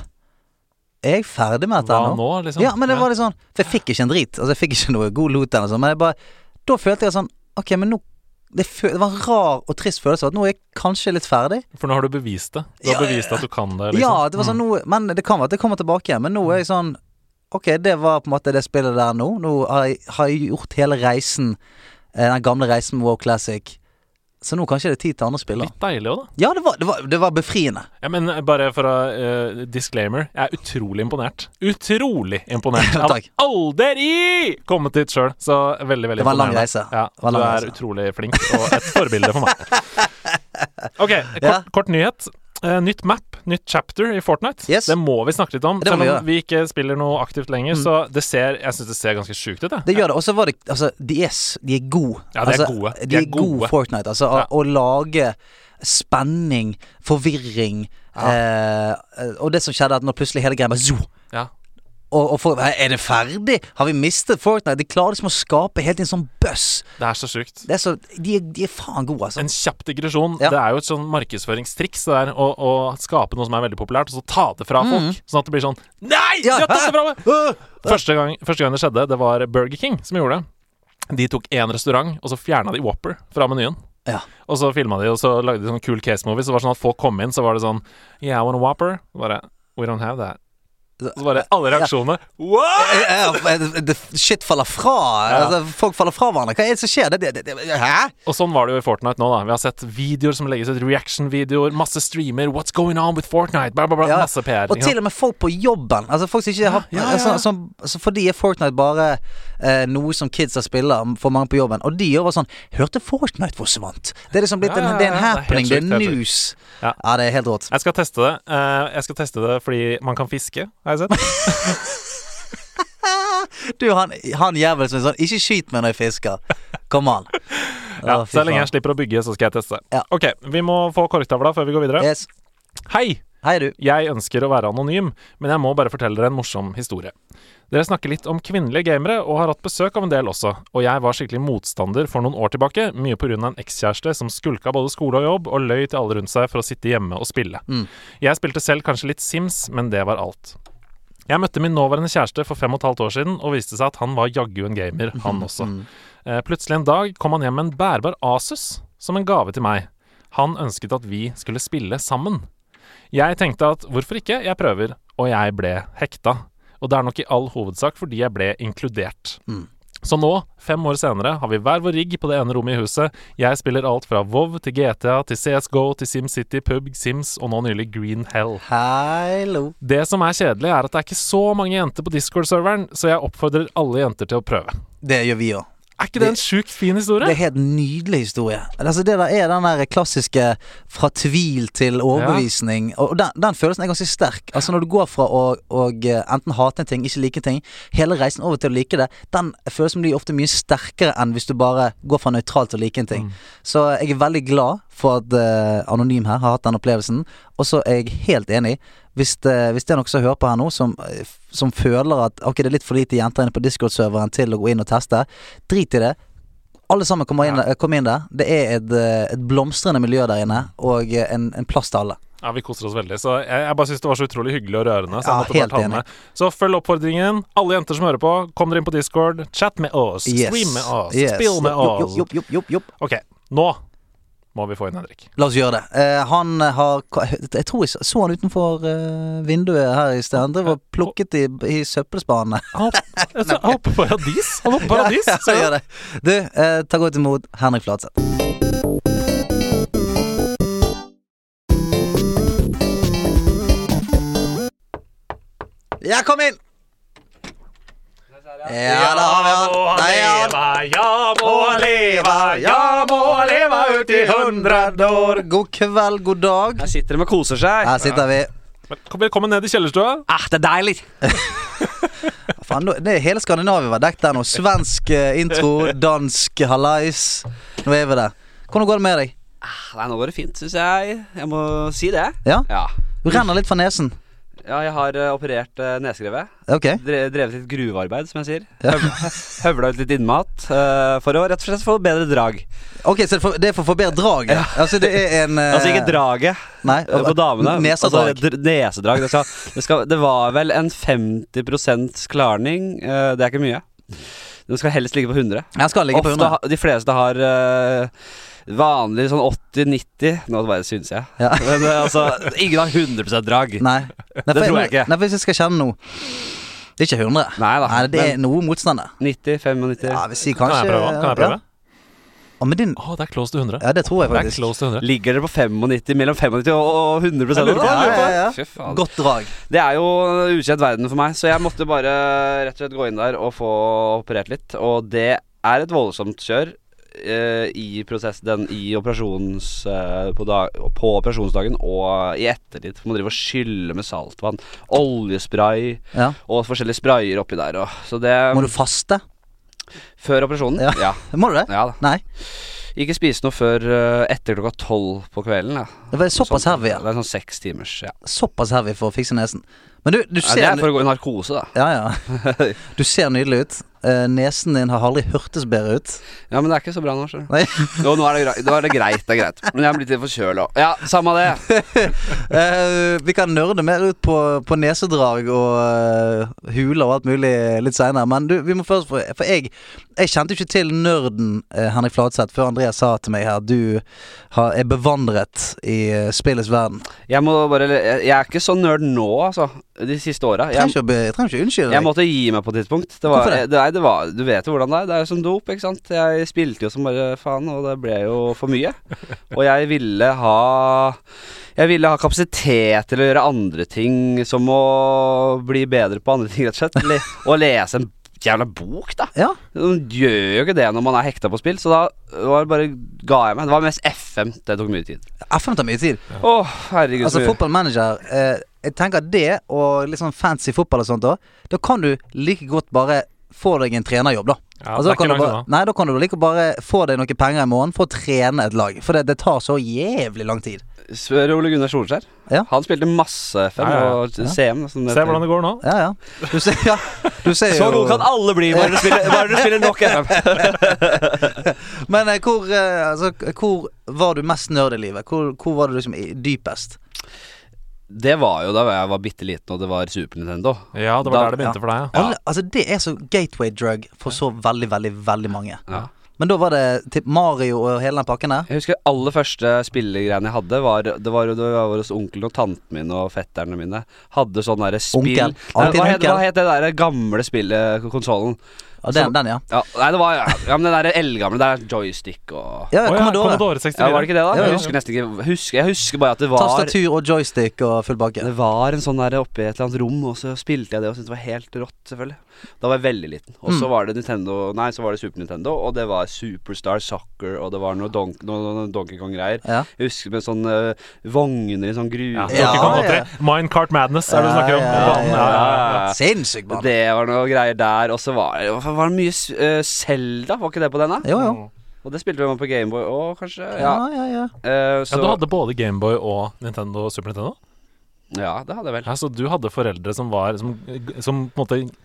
Speaker 3: Er jeg ferdig med dette
Speaker 4: Hva
Speaker 3: her nå?
Speaker 4: nå, liksom?
Speaker 3: Ja, men det var litt sånn For jeg fikk ikke en drit. Altså, jeg fikk ikke noe god loot eller sånn, men jeg bare Da følte jeg sånn Ok, men nå det, fø- det var en rar og trist følelse av at nå er jeg kanskje litt ferdig.
Speaker 4: For nå har du bevist det. Du har
Speaker 3: Ja,
Speaker 4: bevist at du kan det. Liksom.
Speaker 3: Ja, det var sånn nå Men det kan være at det kommer tilbake igjen. Men nå er jeg sånn Ok, det var på en måte det spillet der nå. Nå har jeg, har jeg gjort hele reisen, eh, den gamle reisen med Wow Classic. Så nå kanskje det er tid til andre spill, da.
Speaker 4: Litt deilig òg, da.
Speaker 3: Ja, det var, det var, det var befriende.
Speaker 4: Ja, men bare for å eh, disclaimer, jeg er utrolig imponert. Utrolig imponert. Jeg hadde
Speaker 3: Takk.
Speaker 4: aldri kommet dit sjøl, så veldig, veldig
Speaker 3: Det var en lang
Speaker 4: imponerende.
Speaker 3: reise.
Speaker 4: Ja,
Speaker 3: Det var en
Speaker 4: du
Speaker 3: lang
Speaker 4: er
Speaker 3: reise.
Speaker 4: utrolig flink, og et forbilde for meg. OK, kort,
Speaker 3: Ja.
Speaker 4: kort nyhet. Eh, nytt map, nytt chapter i Fortnite.
Speaker 3: Yes.
Speaker 4: Det må vi snakke litt om.
Speaker 3: Det må
Speaker 4: Selv
Speaker 3: vi
Speaker 4: om
Speaker 3: gjøre. Mm.
Speaker 4: vi ikke spiller noe aktivt lenger, så det ser Jeg syns det ser ganske sjukt ut, jeg.
Speaker 3: Det gjør det. Og så var det Altså, de er, s- de er gode.
Speaker 4: Ja, de er
Speaker 3: altså,
Speaker 4: gode.
Speaker 3: De er gode Fortnite. Altså, å,
Speaker 4: Ja.
Speaker 3: å lage spenning, eh, forvirring eh, Og det som skjedde, at når plutselig hele greia bare zoo,
Speaker 4: Ja.
Speaker 3: og, og folk "Nei, Er det ferdig? Har vi mistet Fortnite? De klarer liksom å skape helt en sånn buzz.
Speaker 4: Det er så sjukt.
Speaker 3: Det er så, de, er- de er faen gode, altså.
Speaker 4: En kjapp digresjon.
Speaker 3: Ja.
Speaker 4: Det er jo et sånn markedsføringstriks det der, å, å skape noe som er veldig populært, og så ta det fra folk. Sånn at det blir sånn Nei!
Speaker 3: Mm. Ja,
Speaker 4: de har tatt
Speaker 3: hæ?
Speaker 4: det fra meg!
Speaker 3: Øh!
Speaker 4: Første gang, første gang det skjedde, det var Burger King som gjorde det. De tok én restaurant, og så fjerna de Whopper fra menyen.
Speaker 3: Ja.
Speaker 4: Og så filma de, og så lagde de sånn cool case movie. Så det var sånn at folk kom inn, så var det sånn Yeah, I want a Whopper. Og Bare We don't have that. Og så bare alle reaksjonene. What?!
Speaker 3: Ja, ja, eh, det- det- Shit faller fra. Altså, folk faller fra hverandre. Hva er det som skjer? Det, det, det, det, hæ?
Speaker 4: Og sånn var det jo i Fortnite nå, da. Vi har sett videoer som legges ut, reaction-videoer, masse streamer, what's going on with Fortnite, bla, bla, bla.
Speaker 3: Ja.
Speaker 4: Masse PR.
Speaker 3: Og
Speaker 4: ikke sant?
Speaker 3: til og med folk på jobben. Altså folk som ikke har
Speaker 4: ja, ja.
Speaker 3: Altså, som, altså, For de er Fortnite bare eh, noe som kidsa spiller for mange på jobben. Og de gjør bare sånn Hørte Fortnite forsvant? Det er liksom blitt
Speaker 4: Ja, ja,
Speaker 3: en, det er en
Speaker 4: ja, ja. Det er helt
Speaker 3: happening. Det er,
Speaker 4: sjukt, helt
Speaker 3: news. Ja.
Speaker 4: Ja.
Speaker 3: det er helt rått.
Speaker 4: Jeg skal teste det. Eh, jeg skal teste det fordi man kan fiske, har jeg sett.
Speaker 3: Du, han, han jævelen som er sånn Ikke skyt meg når jeg fisker. Kom an.
Speaker 4: Ja,
Speaker 3: Å, fy
Speaker 4: så lenge jeg
Speaker 3: faen.
Speaker 4: slipper å bygge, så skal jeg teste.
Speaker 3: Ja. Eh.
Speaker 4: Ok, vi må få korktavla før vi går videre.
Speaker 3: Yes.
Speaker 4: Hei!
Speaker 3: Hei, du.
Speaker 4: Jeg ønsker å være anonym, men jeg må bare fortelle dere en morsom historie. Dere snakker litt om kvinnelige gamere, og har hatt besøk av en del også. Og jeg var skikkelig motstander for noen år tilbake, mye pga. en ekskjæreste som skulka både skole og jobb, og løy til alle rundt seg for å sitte hjemme og spille. Jeg spilte selv kanskje litt Sims, men det var alt. Jeg møtte min nåværende kjæreste for fem og et halvt år siden, og viste seg at han var jaggu en gamer, han også. Eh, Plutselig en dag kom han hjem med en bærbar Asus som en gave til meg. Han ønsket at vi skulle spille sammen. Jeg tenkte at hvorfor ikke, jeg prøver, og jeg ble hekta. Og det er nok i all hovedsak fordi jeg ble inkludert. Så nå, fem år senere, har vi hver vår rigg på det ene rommet i huset. Jeg spiller alt fra Vov til GTA til CSGO til SimCity, Pub, Sims og nå nylig Green Hell.
Speaker 3: Hallo.
Speaker 4: Det som er kjedelig, er at det er ikke så mange jenter på Discord-serveren, så jeg oppfordrer alle jenter til å prøve.
Speaker 3: Det gjør vi òg.
Speaker 4: Er ikke det en sjukt fin historie?
Speaker 3: Det er helt nydelig historie. Altså, det der er den der klassiske fra tvil til overbevisning. Og den, den følelsen er ganske sterk. Altså Når du går fra å, å eh, enten hate en ting, ikke like en ting, hele reisen over til å like det, den følelsen blir ofte mye sterkere enn hvis du bare går fra nøytralt til å like en ting. Så jeg er veldig glad for at eh, Anonym her har hatt den opplevelsen. Og så er jeg helt enig. Hvis det, hvis det er noen som hører på her nå, som, eh, f- som føler at ok, det er litt for lite jenter inne på Discord-serveren til å gå inn og teste, drit i det. Alle sammen kommer inn, kom inn der. Det er et, eh, et blomstrende miljø der inne, og eh, en, en plass til alle.
Speaker 4: Ja, vi koser oss veldig. Så jeg, jeg bare syns det var så utrolig hyggelig og rørende. Så, jeg
Speaker 3: Ja,
Speaker 4: måtte bare
Speaker 3: helt
Speaker 4: ta den
Speaker 3: enig.
Speaker 4: med. så følg oppfordringen. Alle jenter som hører på, kom dere inn på Discord. Chat med oss. Stream med oss.
Speaker 3: Yes.
Speaker 4: Spill med
Speaker 3: Jopp, jopp,
Speaker 4: oss.
Speaker 3: jopp, jopp, jopp, jopp.
Speaker 4: Ok, nå må vi få inn Henrik.
Speaker 3: La oss gjøre det. Eh, han har Jeg tror jeg så han utenfor eh, vinduet her i sted. Han drev og plukket i, i søppelspanene.
Speaker 4: Han hopper paradis. Han hopper paradis.
Speaker 3: Ja,
Speaker 4: Så
Speaker 3: gjør det. Du, eh, ta godt imot Henrik Fladseth. Ja, kom inn! Ja, da har vi han. Der er han.
Speaker 4: jeg må
Speaker 3: år. God kveld, god dag.
Speaker 1: Her sitter de og koser seg.
Speaker 3: Her sitter vi.
Speaker 4: Velkommen ned i kjellerstua.
Speaker 1: Ah, det er deilig!
Speaker 3: Faen, nå- det er hele Skandinavia var dekket der nå. Svensk eh, intro, dansk hallais. Nå er vi der. Hvordan går det med deg?
Speaker 1: Ah, Nei, nå går det fint, syns jeg. Jeg må si det.
Speaker 3: Ja?
Speaker 1: Ja,
Speaker 3: Du renner litt fra nesen.
Speaker 1: ja jeg har eh, operert uh, nesegrevet.
Speaker 3: Ok.
Speaker 1: Dre drevet litt gruvearbeid, som jeg sier. Høv- Høvla ut litt innmat eh, for å rett og slett få bedre drag.
Speaker 3: Ok, så det er for, det er for å forbedre draget? Altså, det er en eh, altså,
Speaker 1: Altså ikke draget
Speaker 3: Nei,
Speaker 1: eh, på damene.
Speaker 3: Nesedrag.
Speaker 1: Altså, dr- nesedrag. Det, skal, det, skal, det var vel en 50 klarning. eh, det er ikke mye. Den skal helst ligge på 100.
Speaker 3: Jeg skal ligge på
Speaker 1: Ofte
Speaker 3: 100.
Speaker 1: ha- de fleste har eh, vanlig sånn 80-90 Nå bare syns jeg.
Speaker 3: Ja.
Speaker 1: Men eh, altså, ingen har 100 drag.
Speaker 3: Nei. Nei, for
Speaker 1: tror jeg
Speaker 3: nå-
Speaker 1: ikke.
Speaker 3: Nei, hvis jeg skal kjenne noe Det er ikke 100.
Speaker 1: Nei da,
Speaker 3: Nei det er
Speaker 1: men-
Speaker 3: noe motstander.
Speaker 1: 90, 95
Speaker 3: Ja, vi sier
Speaker 4: Kan
Speaker 3: kanskje
Speaker 4: jeg prøve? Kan jeg prøve?
Speaker 3: Ja. Ja, men din
Speaker 4: Å, det er close til 100.
Speaker 3: Ja, det tror jeg
Speaker 4: Det er
Speaker 3: faktisk.
Speaker 4: close til 100.
Speaker 1: Ligger dere på 95, mellom 95 og og 100
Speaker 4: Jeg lurer på,
Speaker 3: Ja, ja, ja.
Speaker 1: Fy faen.
Speaker 3: Godt drag.
Speaker 1: Det er jo ukjent verden for meg, så jeg måtte bare rett og slett gå inn der og få operert litt. Og det er et voldsomt kjør eh, i prosess, den i operasjons... eh, på, dag, på operasjonsdagen og i ettertid. Man driver og skyller med saltvann, oljespray
Speaker 3: Ja.
Speaker 1: og forskjellige sprayer oppi der. Og, så det
Speaker 3: Må du faste?
Speaker 1: Før operasjonen?
Speaker 3: Ja.
Speaker 1: Ja.
Speaker 3: Må du det?
Speaker 1: Ja da.
Speaker 3: Nei.
Speaker 1: Ikke spise noe før eh, etter klokka tolv på kvelden. Ja.
Speaker 3: Det var såpass
Speaker 1: Sånn-
Speaker 3: heavy, ja.
Speaker 1: Det er sånn seks timers, ja.
Speaker 3: Såpass heavy for å fikse nesen. Men du, du
Speaker 1: ja det
Speaker 3: ser
Speaker 1: er for å gå i narkose, da.
Speaker 3: Ja, ja. Du ser nydelig ut. Eh, Nesen din har aldri hørtes bedre ut.
Speaker 1: Ja, men det er ikke så bra nå, skjønner du.
Speaker 3: Nei.
Speaker 1: Nå, nå, er det grei- nå er det greit, det er greit. Men jeg er blitt litt forkjøla òg. Ja, samme det.
Speaker 3: Eh, vi kan nerde mer ut på, på nesedrag og eh, huler og alt mulig litt seinere, men du, vi må først få For jeg, jeg kjente jo ikke til nerden eh, Henrik Fladseth før Andreas sa til meg her du har, er bevandret i eh, spillets verden.
Speaker 1: Jeg må bare Jeg jeg er ikke så nerd nå, altså. De siste åra.
Speaker 3: Jeg trenger
Speaker 1: Jeg,
Speaker 3: ikke, å be- jeg trenger ikke å unnskylde
Speaker 1: jeg
Speaker 3: deg.
Speaker 1: måtte gi meg på et tidspunkt. Det
Speaker 3: Hvorfor
Speaker 1: var,
Speaker 3: det?
Speaker 1: det, nei, det var, du vet jo hvordan det er. Det er jo som dop, ikke sant. Jeg spilte jo som bare faen, og det ble jo for mye. Og jeg ville ha Jeg ville ha kapasitet til å gjøre andre ting, som å bli bedre på andre ting, rett og slett. Eller å lese en jævla bok, da.
Speaker 3: Ja.
Speaker 1: Man gjør jo ikke det når man er hekta på spill, så da var det bare ga jeg meg. Det var mest FM. Det tok mye tid.
Speaker 3: FM Ah, tar mye tid.
Speaker 1: Å, herregud.
Speaker 3: Altså
Speaker 1: så mye.
Speaker 3: fotballmanager eh, Jeg tenker det og litt sånn fancy fotball og sånt da Da kan du like godt bare få deg en trenerjobb da
Speaker 4: Ja,
Speaker 3: Altså,
Speaker 4: det
Speaker 3: da
Speaker 4: er
Speaker 3: kan
Speaker 4: ikke
Speaker 3: du
Speaker 4: langt
Speaker 3: bare,
Speaker 4: unna.
Speaker 3: nei, da kan du like bare få deg noen penger i måneden for å trene et lag. For det, det tar så jævlig lang tid.
Speaker 1: Spør Ole Gunnar Solskjær.
Speaker 3: Ja.
Speaker 1: Han spilte masse FM
Speaker 4: Ja, ja, ja.
Speaker 1: og CM. Som det
Speaker 4: Se
Speaker 1: heter.
Speaker 4: hvordan det går nå.
Speaker 3: Ja, ja. Du ser, ja, du ser
Speaker 1: så
Speaker 3: jo
Speaker 1: god kan alle bli bare du spiller, bare du spiller nok FM.
Speaker 3: Men eh, hvor, eh, altså, hvor var du mest nerd i livet? Hvor, hvor var du liksom i- dypest?
Speaker 1: Det var jo da jeg var bitte liten og det var Super Nintendo.
Speaker 4: Ja, det
Speaker 1: Da-
Speaker 4: var der det begynte for deg, ja.
Speaker 1: Ja.
Speaker 3: Alle, altså, det er så gateway drug for så veldig, veldig, veldig mange.
Speaker 1: Ja.
Speaker 3: Men da var det typ Mario og hele den pakken der?
Speaker 1: Jeg husker aller første spillegreiene jeg hadde, var, det var jo da jeg var hos onkelen og tanten min og fetterne mine. Hadde sånn derre spill
Speaker 3: Onkel.
Speaker 1: Nei,
Speaker 3: Alltid
Speaker 1: hva, het,
Speaker 3: onkel.
Speaker 1: hva het det derre gamle spillet, konsollen?
Speaker 3: Ja, den, den, ja.
Speaker 1: Ja, nei, det var ja, ja, men det derre eldgamle, det er joystick og
Speaker 3: Ja,
Speaker 4: Å
Speaker 3: ja,
Speaker 4: ja,
Speaker 3: Commodore.
Speaker 4: Commodore 64.
Speaker 1: ja, Var det ikke det, da?
Speaker 4: Ja, ja.
Speaker 1: Jeg husker nesten ikke husker, Jeg husker bare at det var
Speaker 3: Tastatur og joystick og full bakke.
Speaker 1: Det var en sånn der oppe i et eller annet rom, og så spilte jeg det og syntes det var helt rått, selvfølgelig. Da var jeg veldig liten. Og så
Speaker 3: Mm.
Speaker 1: var det Nintendo Nei, så var det Super Nintendo, og det var Superstar Soccer, og det var noe, don noe, noe Donkey Kong-greier.
Speaker 3: Ja.
Speaker 1: Jeg husker med sånne eh, vogner i sånn gruve
Speaker 4: Ja,
Speaker 3: Ja,
Speaker 4: Donkey Kong
Speaker 3: ja.
Speaker 4: 83. Minecart Madness er det du snakker om.
Speaker 3: Ja, ja,
Speaker 4: Banen, ja, ja, ja.
Speaker 1: ja.
Speaker 3: Sinnssyk bane.
Speaker 1: Det var noe greier der, og så var det hva faen var det mye uh, Zelda, var ikke det på denne?
Speaker 3: Jo, jo.
Speaker 1: Og det spilte vi med på Gameboy òg, kanskje. Ja.
Speaker 3: Ja, ja, ja.
Speaker 1: Eh,
Speaker 4: Ja,
Speaker 1: så,
Speaker 4: du hadde både Gameboy og Nintendo Super Nintendo?
Speaker 1: ja, det hadde jeg vel.
Speaker 4: Ja, så du hadde foreldre som var Som, som på en måte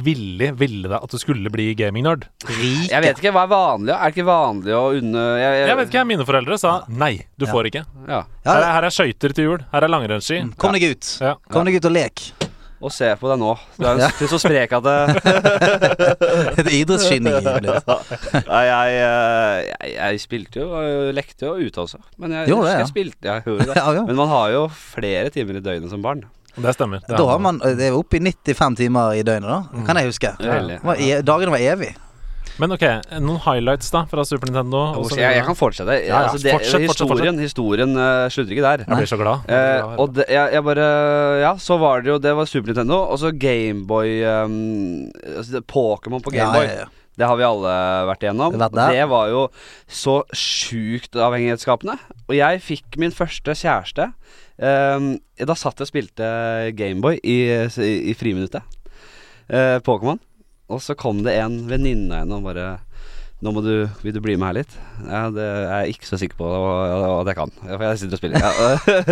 Speaker 4: ville, ville deg at du skulle bli gaming-nerd?
Speaker 3: Rike.
Speaker 1: Jeg vet ikke, hva er vanlig? Er det ikke vanlig å unne jeg,
Speaker 4: Jeg vet ikke, mine foreldre sa nei, du
Speaker 3: Ja.
Speaker 4: får ikke.
Speaker 1: Ja.
Speaker 3: Ja, Mm.
Speaker 4: Her er, her er skøyter til jul, her er langrennsski.
Speaker 3: Kom deg ut.
Speaker 4: Ja.
Speaker 3: Kom deg ut og lek.
Speaker 1: Og se på deg nå. Du er,
Speaker 3: Ja.
Speaker 1: jo- du er så sprek at det
Speaker 3: Et idrettsgeni. Blitt.
Speaker 1: Nei, jeg, eh, jeg, jeg spilte jo, eh, lekte jo ute også. Men jeg,
Speaker 3: Gjorde det, ja.
Speaker 1: jeg spilte, jeg gjorde det.
Speaker 3: Ja, ja.
Speaker 1: Men man har jo flere timer i døgnet som barn.
Speaker 4: Det stemmer. Det
Speaker 3: Da har man Det er oppe i 95 timer i døgnet,
Speaker 4: Mm.
Speaker 3: da. Kan jeg huske.
Speaker 1: Det er heldig.
Speaker 3: Det var e dagene var evig.
Speaker 4: Men ok, noen highlights da fra Super Nintendo? og så
Speaker 1: Jeg, jeg kan
Speaker 4: videre.
Speaker 1: fortsette.
Speaker 4: ja.
Speaker 1: Altså, det,
Speaker 4: Fortsett, fortsett,
Speaker 1: historien historien eh, slutter ikke der.
Speaker 4: jeg blir så glad.
Speaker 1: Eh, og det, jeg, jeg bare Ja, så var det jo Det var Super Nintendo, og så Gameboy um, altså det- Pokémon på Gameboy.
Speaker 3: Ja, ja, ja.
Speaker 1: Det har vi alle vært igjennom.
Speaker 3: Vært der.
Speaker 1: Det var jo så sjukt avhengighetsskapende. Og jeg fikk min første kjæreste ehm, Da satt jeg og spilte Gameboy i, i, i friminuttet. Eh, Pokémon. Og så kom det en venninne av henne og bare nå må du, Vil du bli med her litt? Ja, det er jeg ikke så sikker på at jeg kan. For jeg sitter og spiller. Ja,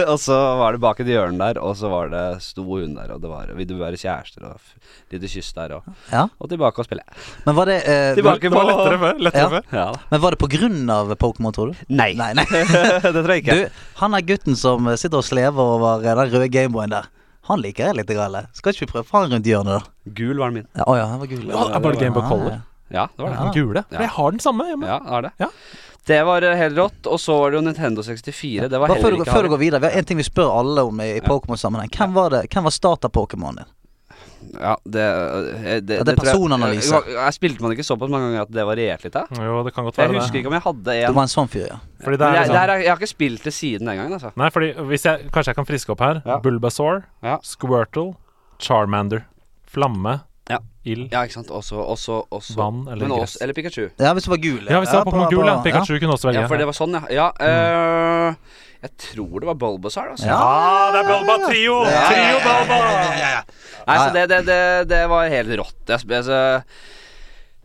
Speaker 1: og, og så var det bak et hjørne der, og så var det sto hun der, og det var Vil du være kjærester? Og f- lite kyss der, og,
Speaker 3: Ja.
Speaker 1: og tilbake og spille.
Speaker 3: Men var det eh,
Speaker 1: Tilbake.
Speaker 4: det var lettere før. Lettere
Speaker 3: Ja.
Speaker 4: før.
Speaker 1: Ja da.
Speaker 3: Men var det på grunn av Pokémon, tror du?
Speaker 1: Nei.
Speaker 3: Nei, nei.
Speaker 1: det tror jeg
Speaker 3: Du,
Speaker 1: ikke.
Speaker 3: han er gutten som sitter og slever over eh, den røde Gameboyen der. Han liker jeg litt, eller? Skal ikke vi prøve han rundt hjørnet, da?
Speaker 1: Gul var den min.
Speaker 3: Ja, Å ja, han var gul.
Speaker 4: Ja, det var det Game Boy
Speaker 3: Ah,
Speaker 4: Color.
Speaker 3: ja.
Speaker 1: Ja, det var det.
Speaker 4: Den gule.
Speaker 1: Ja.
Speaker 4: For jeg har den samme hjemme.
Speaker 1: Ja, det var det.
Speaker 4: Ja.
Speaker 1: Det var eh, helt rått. Og så var det jo Nintendo 64. Det var
Speaker 3: Bare før,
Speaker 1: heller
Speaker 3: du,
Speaker 1: ikke
Speaker 3: før du går videre, vi har en ting vi spør alle om i, i Pokémon-sammenheng. Hvem var det, hvem var starter-Pokémonen din?
Speaker 1: Ja, det, eh,
Speaker 3: Ja, det er
Speaker 1: tror jeg-
Speaker 3: personanalyse.
Speaker 1: Jeg, jeg spilte man ikke såpass mange ganger at det varierte litt. Jeg,
Speaker 4: Jo, det kan godt
Speaker 1: jeg
Speaker 4: være det.
Speaker 1: husker ikke om jeg hadde
Speaker 3: Du
Speaker 1: en
Speaker 3: var en sånn fyr, ja.
Speaker 4: Fordi det
Speaker 1: Men
Speaker 4: er
Speaker 1: jeg,
Speaker 4: liksom-
Speaker 1: der, er- jeg har ikke spilt det siden den gangen, altså.
Speaker 4: Nei, fordi hvis jeg, Kanskje jeg kan friske opp her.
Speaker 1: Ja.
Speaker 4: Bulbasaur,
Speaker 1: Ja.
Speaker 4: Squirtle, Charmander. Flamme,
Speaker 1: Ja.
Speaker 4: ild,
Speaker 1: Ja, ikke sant. Også, også, også.
Speaker 4: vann eller
Speaker 1: Men
Speaker 4: gress.
Speaker 1: også, eller Pikachu.
Speaker 3: Ja, hvis du var gul.
Speaker 4: ja, hvis det var Pokémon Gul, ja. Pikachu kunne også velge.
Speaker 1: Ja, for det var sånn, ja. ja eh, jeg tror det var Bulbasaur, altså.
Speaker 3: Ja.
Speaker 4: Ah, det er Bulba Trio!
Speaker 1: ja,
Speaker 4: Trio
Speaker 1: ja,
Speaker 4: Bulba!
Speaker 1: Nei,
Speaker 3: Ja,
Speaker 1: så det, det, det, det var helt rått. Jeg, sp- altså,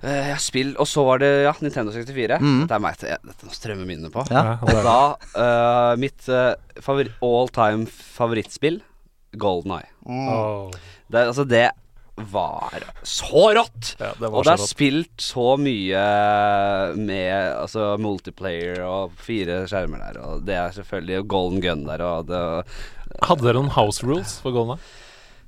Speaker 1: Eh, ja, spill. Og så var det ja, Nintendo 64.
Speaker 3: Mm.
Speaker 1: Dette er meg til Dette nå strømmer minnene på.
Speaker 3: Ja.
Speaker 4: Ja,
Speaker 1: Og
Speaker 4: det er-
Speaker 1: da eh, Mitt eh, favori all time favorittspill, Golden Eye.
Speaker 4: Åh.
Speaker 1: Det, altså, det var så rått!
Speaker 4: Ja, det var
Speaker 1: Og
Speaker 4: så
Speaker 1: det er
Speaker 4: rått.
Speaker 1: spilt så mye med altså, multiplayer og fire skjermer der, og det er selvfølgelig og golden gun der, og det
Speaker 4: Hadde dere noen house rules for Golden Eye?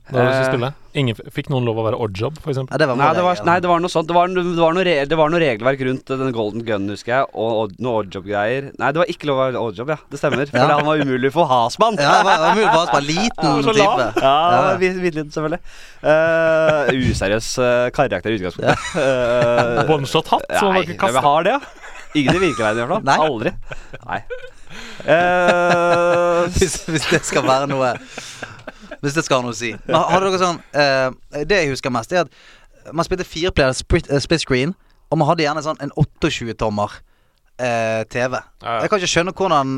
Speaker 4: Da dere skulle
Speaker 1: Eh.
Speaker 4: spille? Ingen, fikk noen lov å være oddjob, for eksempel?
Speaker 3: Ja, det var
Speaker 1: Nei,
Speaker 3: vår
Speaker 1: det var,
Speaker 3: regel.
Speaker 1: nei, det var noe sånt. Det var, det var, noe, re det var noe regelverk rundt den golden gun, husker jeg, og odd- noe oddjob-greier. Nei, det var ikke lov å være oddjob, ja. Det stemmer. For
Speaker 3: Ja.
Speaker 1: han var umulig for hasmann.
Speaker 3: Ja, det var, det var mulig bare en liten type.
Speaker 1: Ja, ja. Hvitliten, selvfølgelig. Eh, useriøs uh, karakter i utgangspunktet. Eh,
Speaker 4: Oneshot-hatt? som man
Speaker 1: Nei,
Speaker 4: ikke
Speaker 1: hvem
Speaker 4: kastet.
Speaker 1: har det, ja? Ingen i virkeligheten, i hvert fall.
Speaker 3: Nei.
Speaker 1: Aldri. Nei. Eh,
Speaker 3: Hvis, hvis det skal være noe Hvis det skal ha noe å si. Men har- hadde dere sånn eh, Det jeg husker mest, er at man spilte fireplayer split, eh, split screen, og man hadde gjerne sånn en 28-tommer eh, TV.
Speaker 4: Ja, ja.
Speaker 3: Jeg kan ikke skjønne hvordan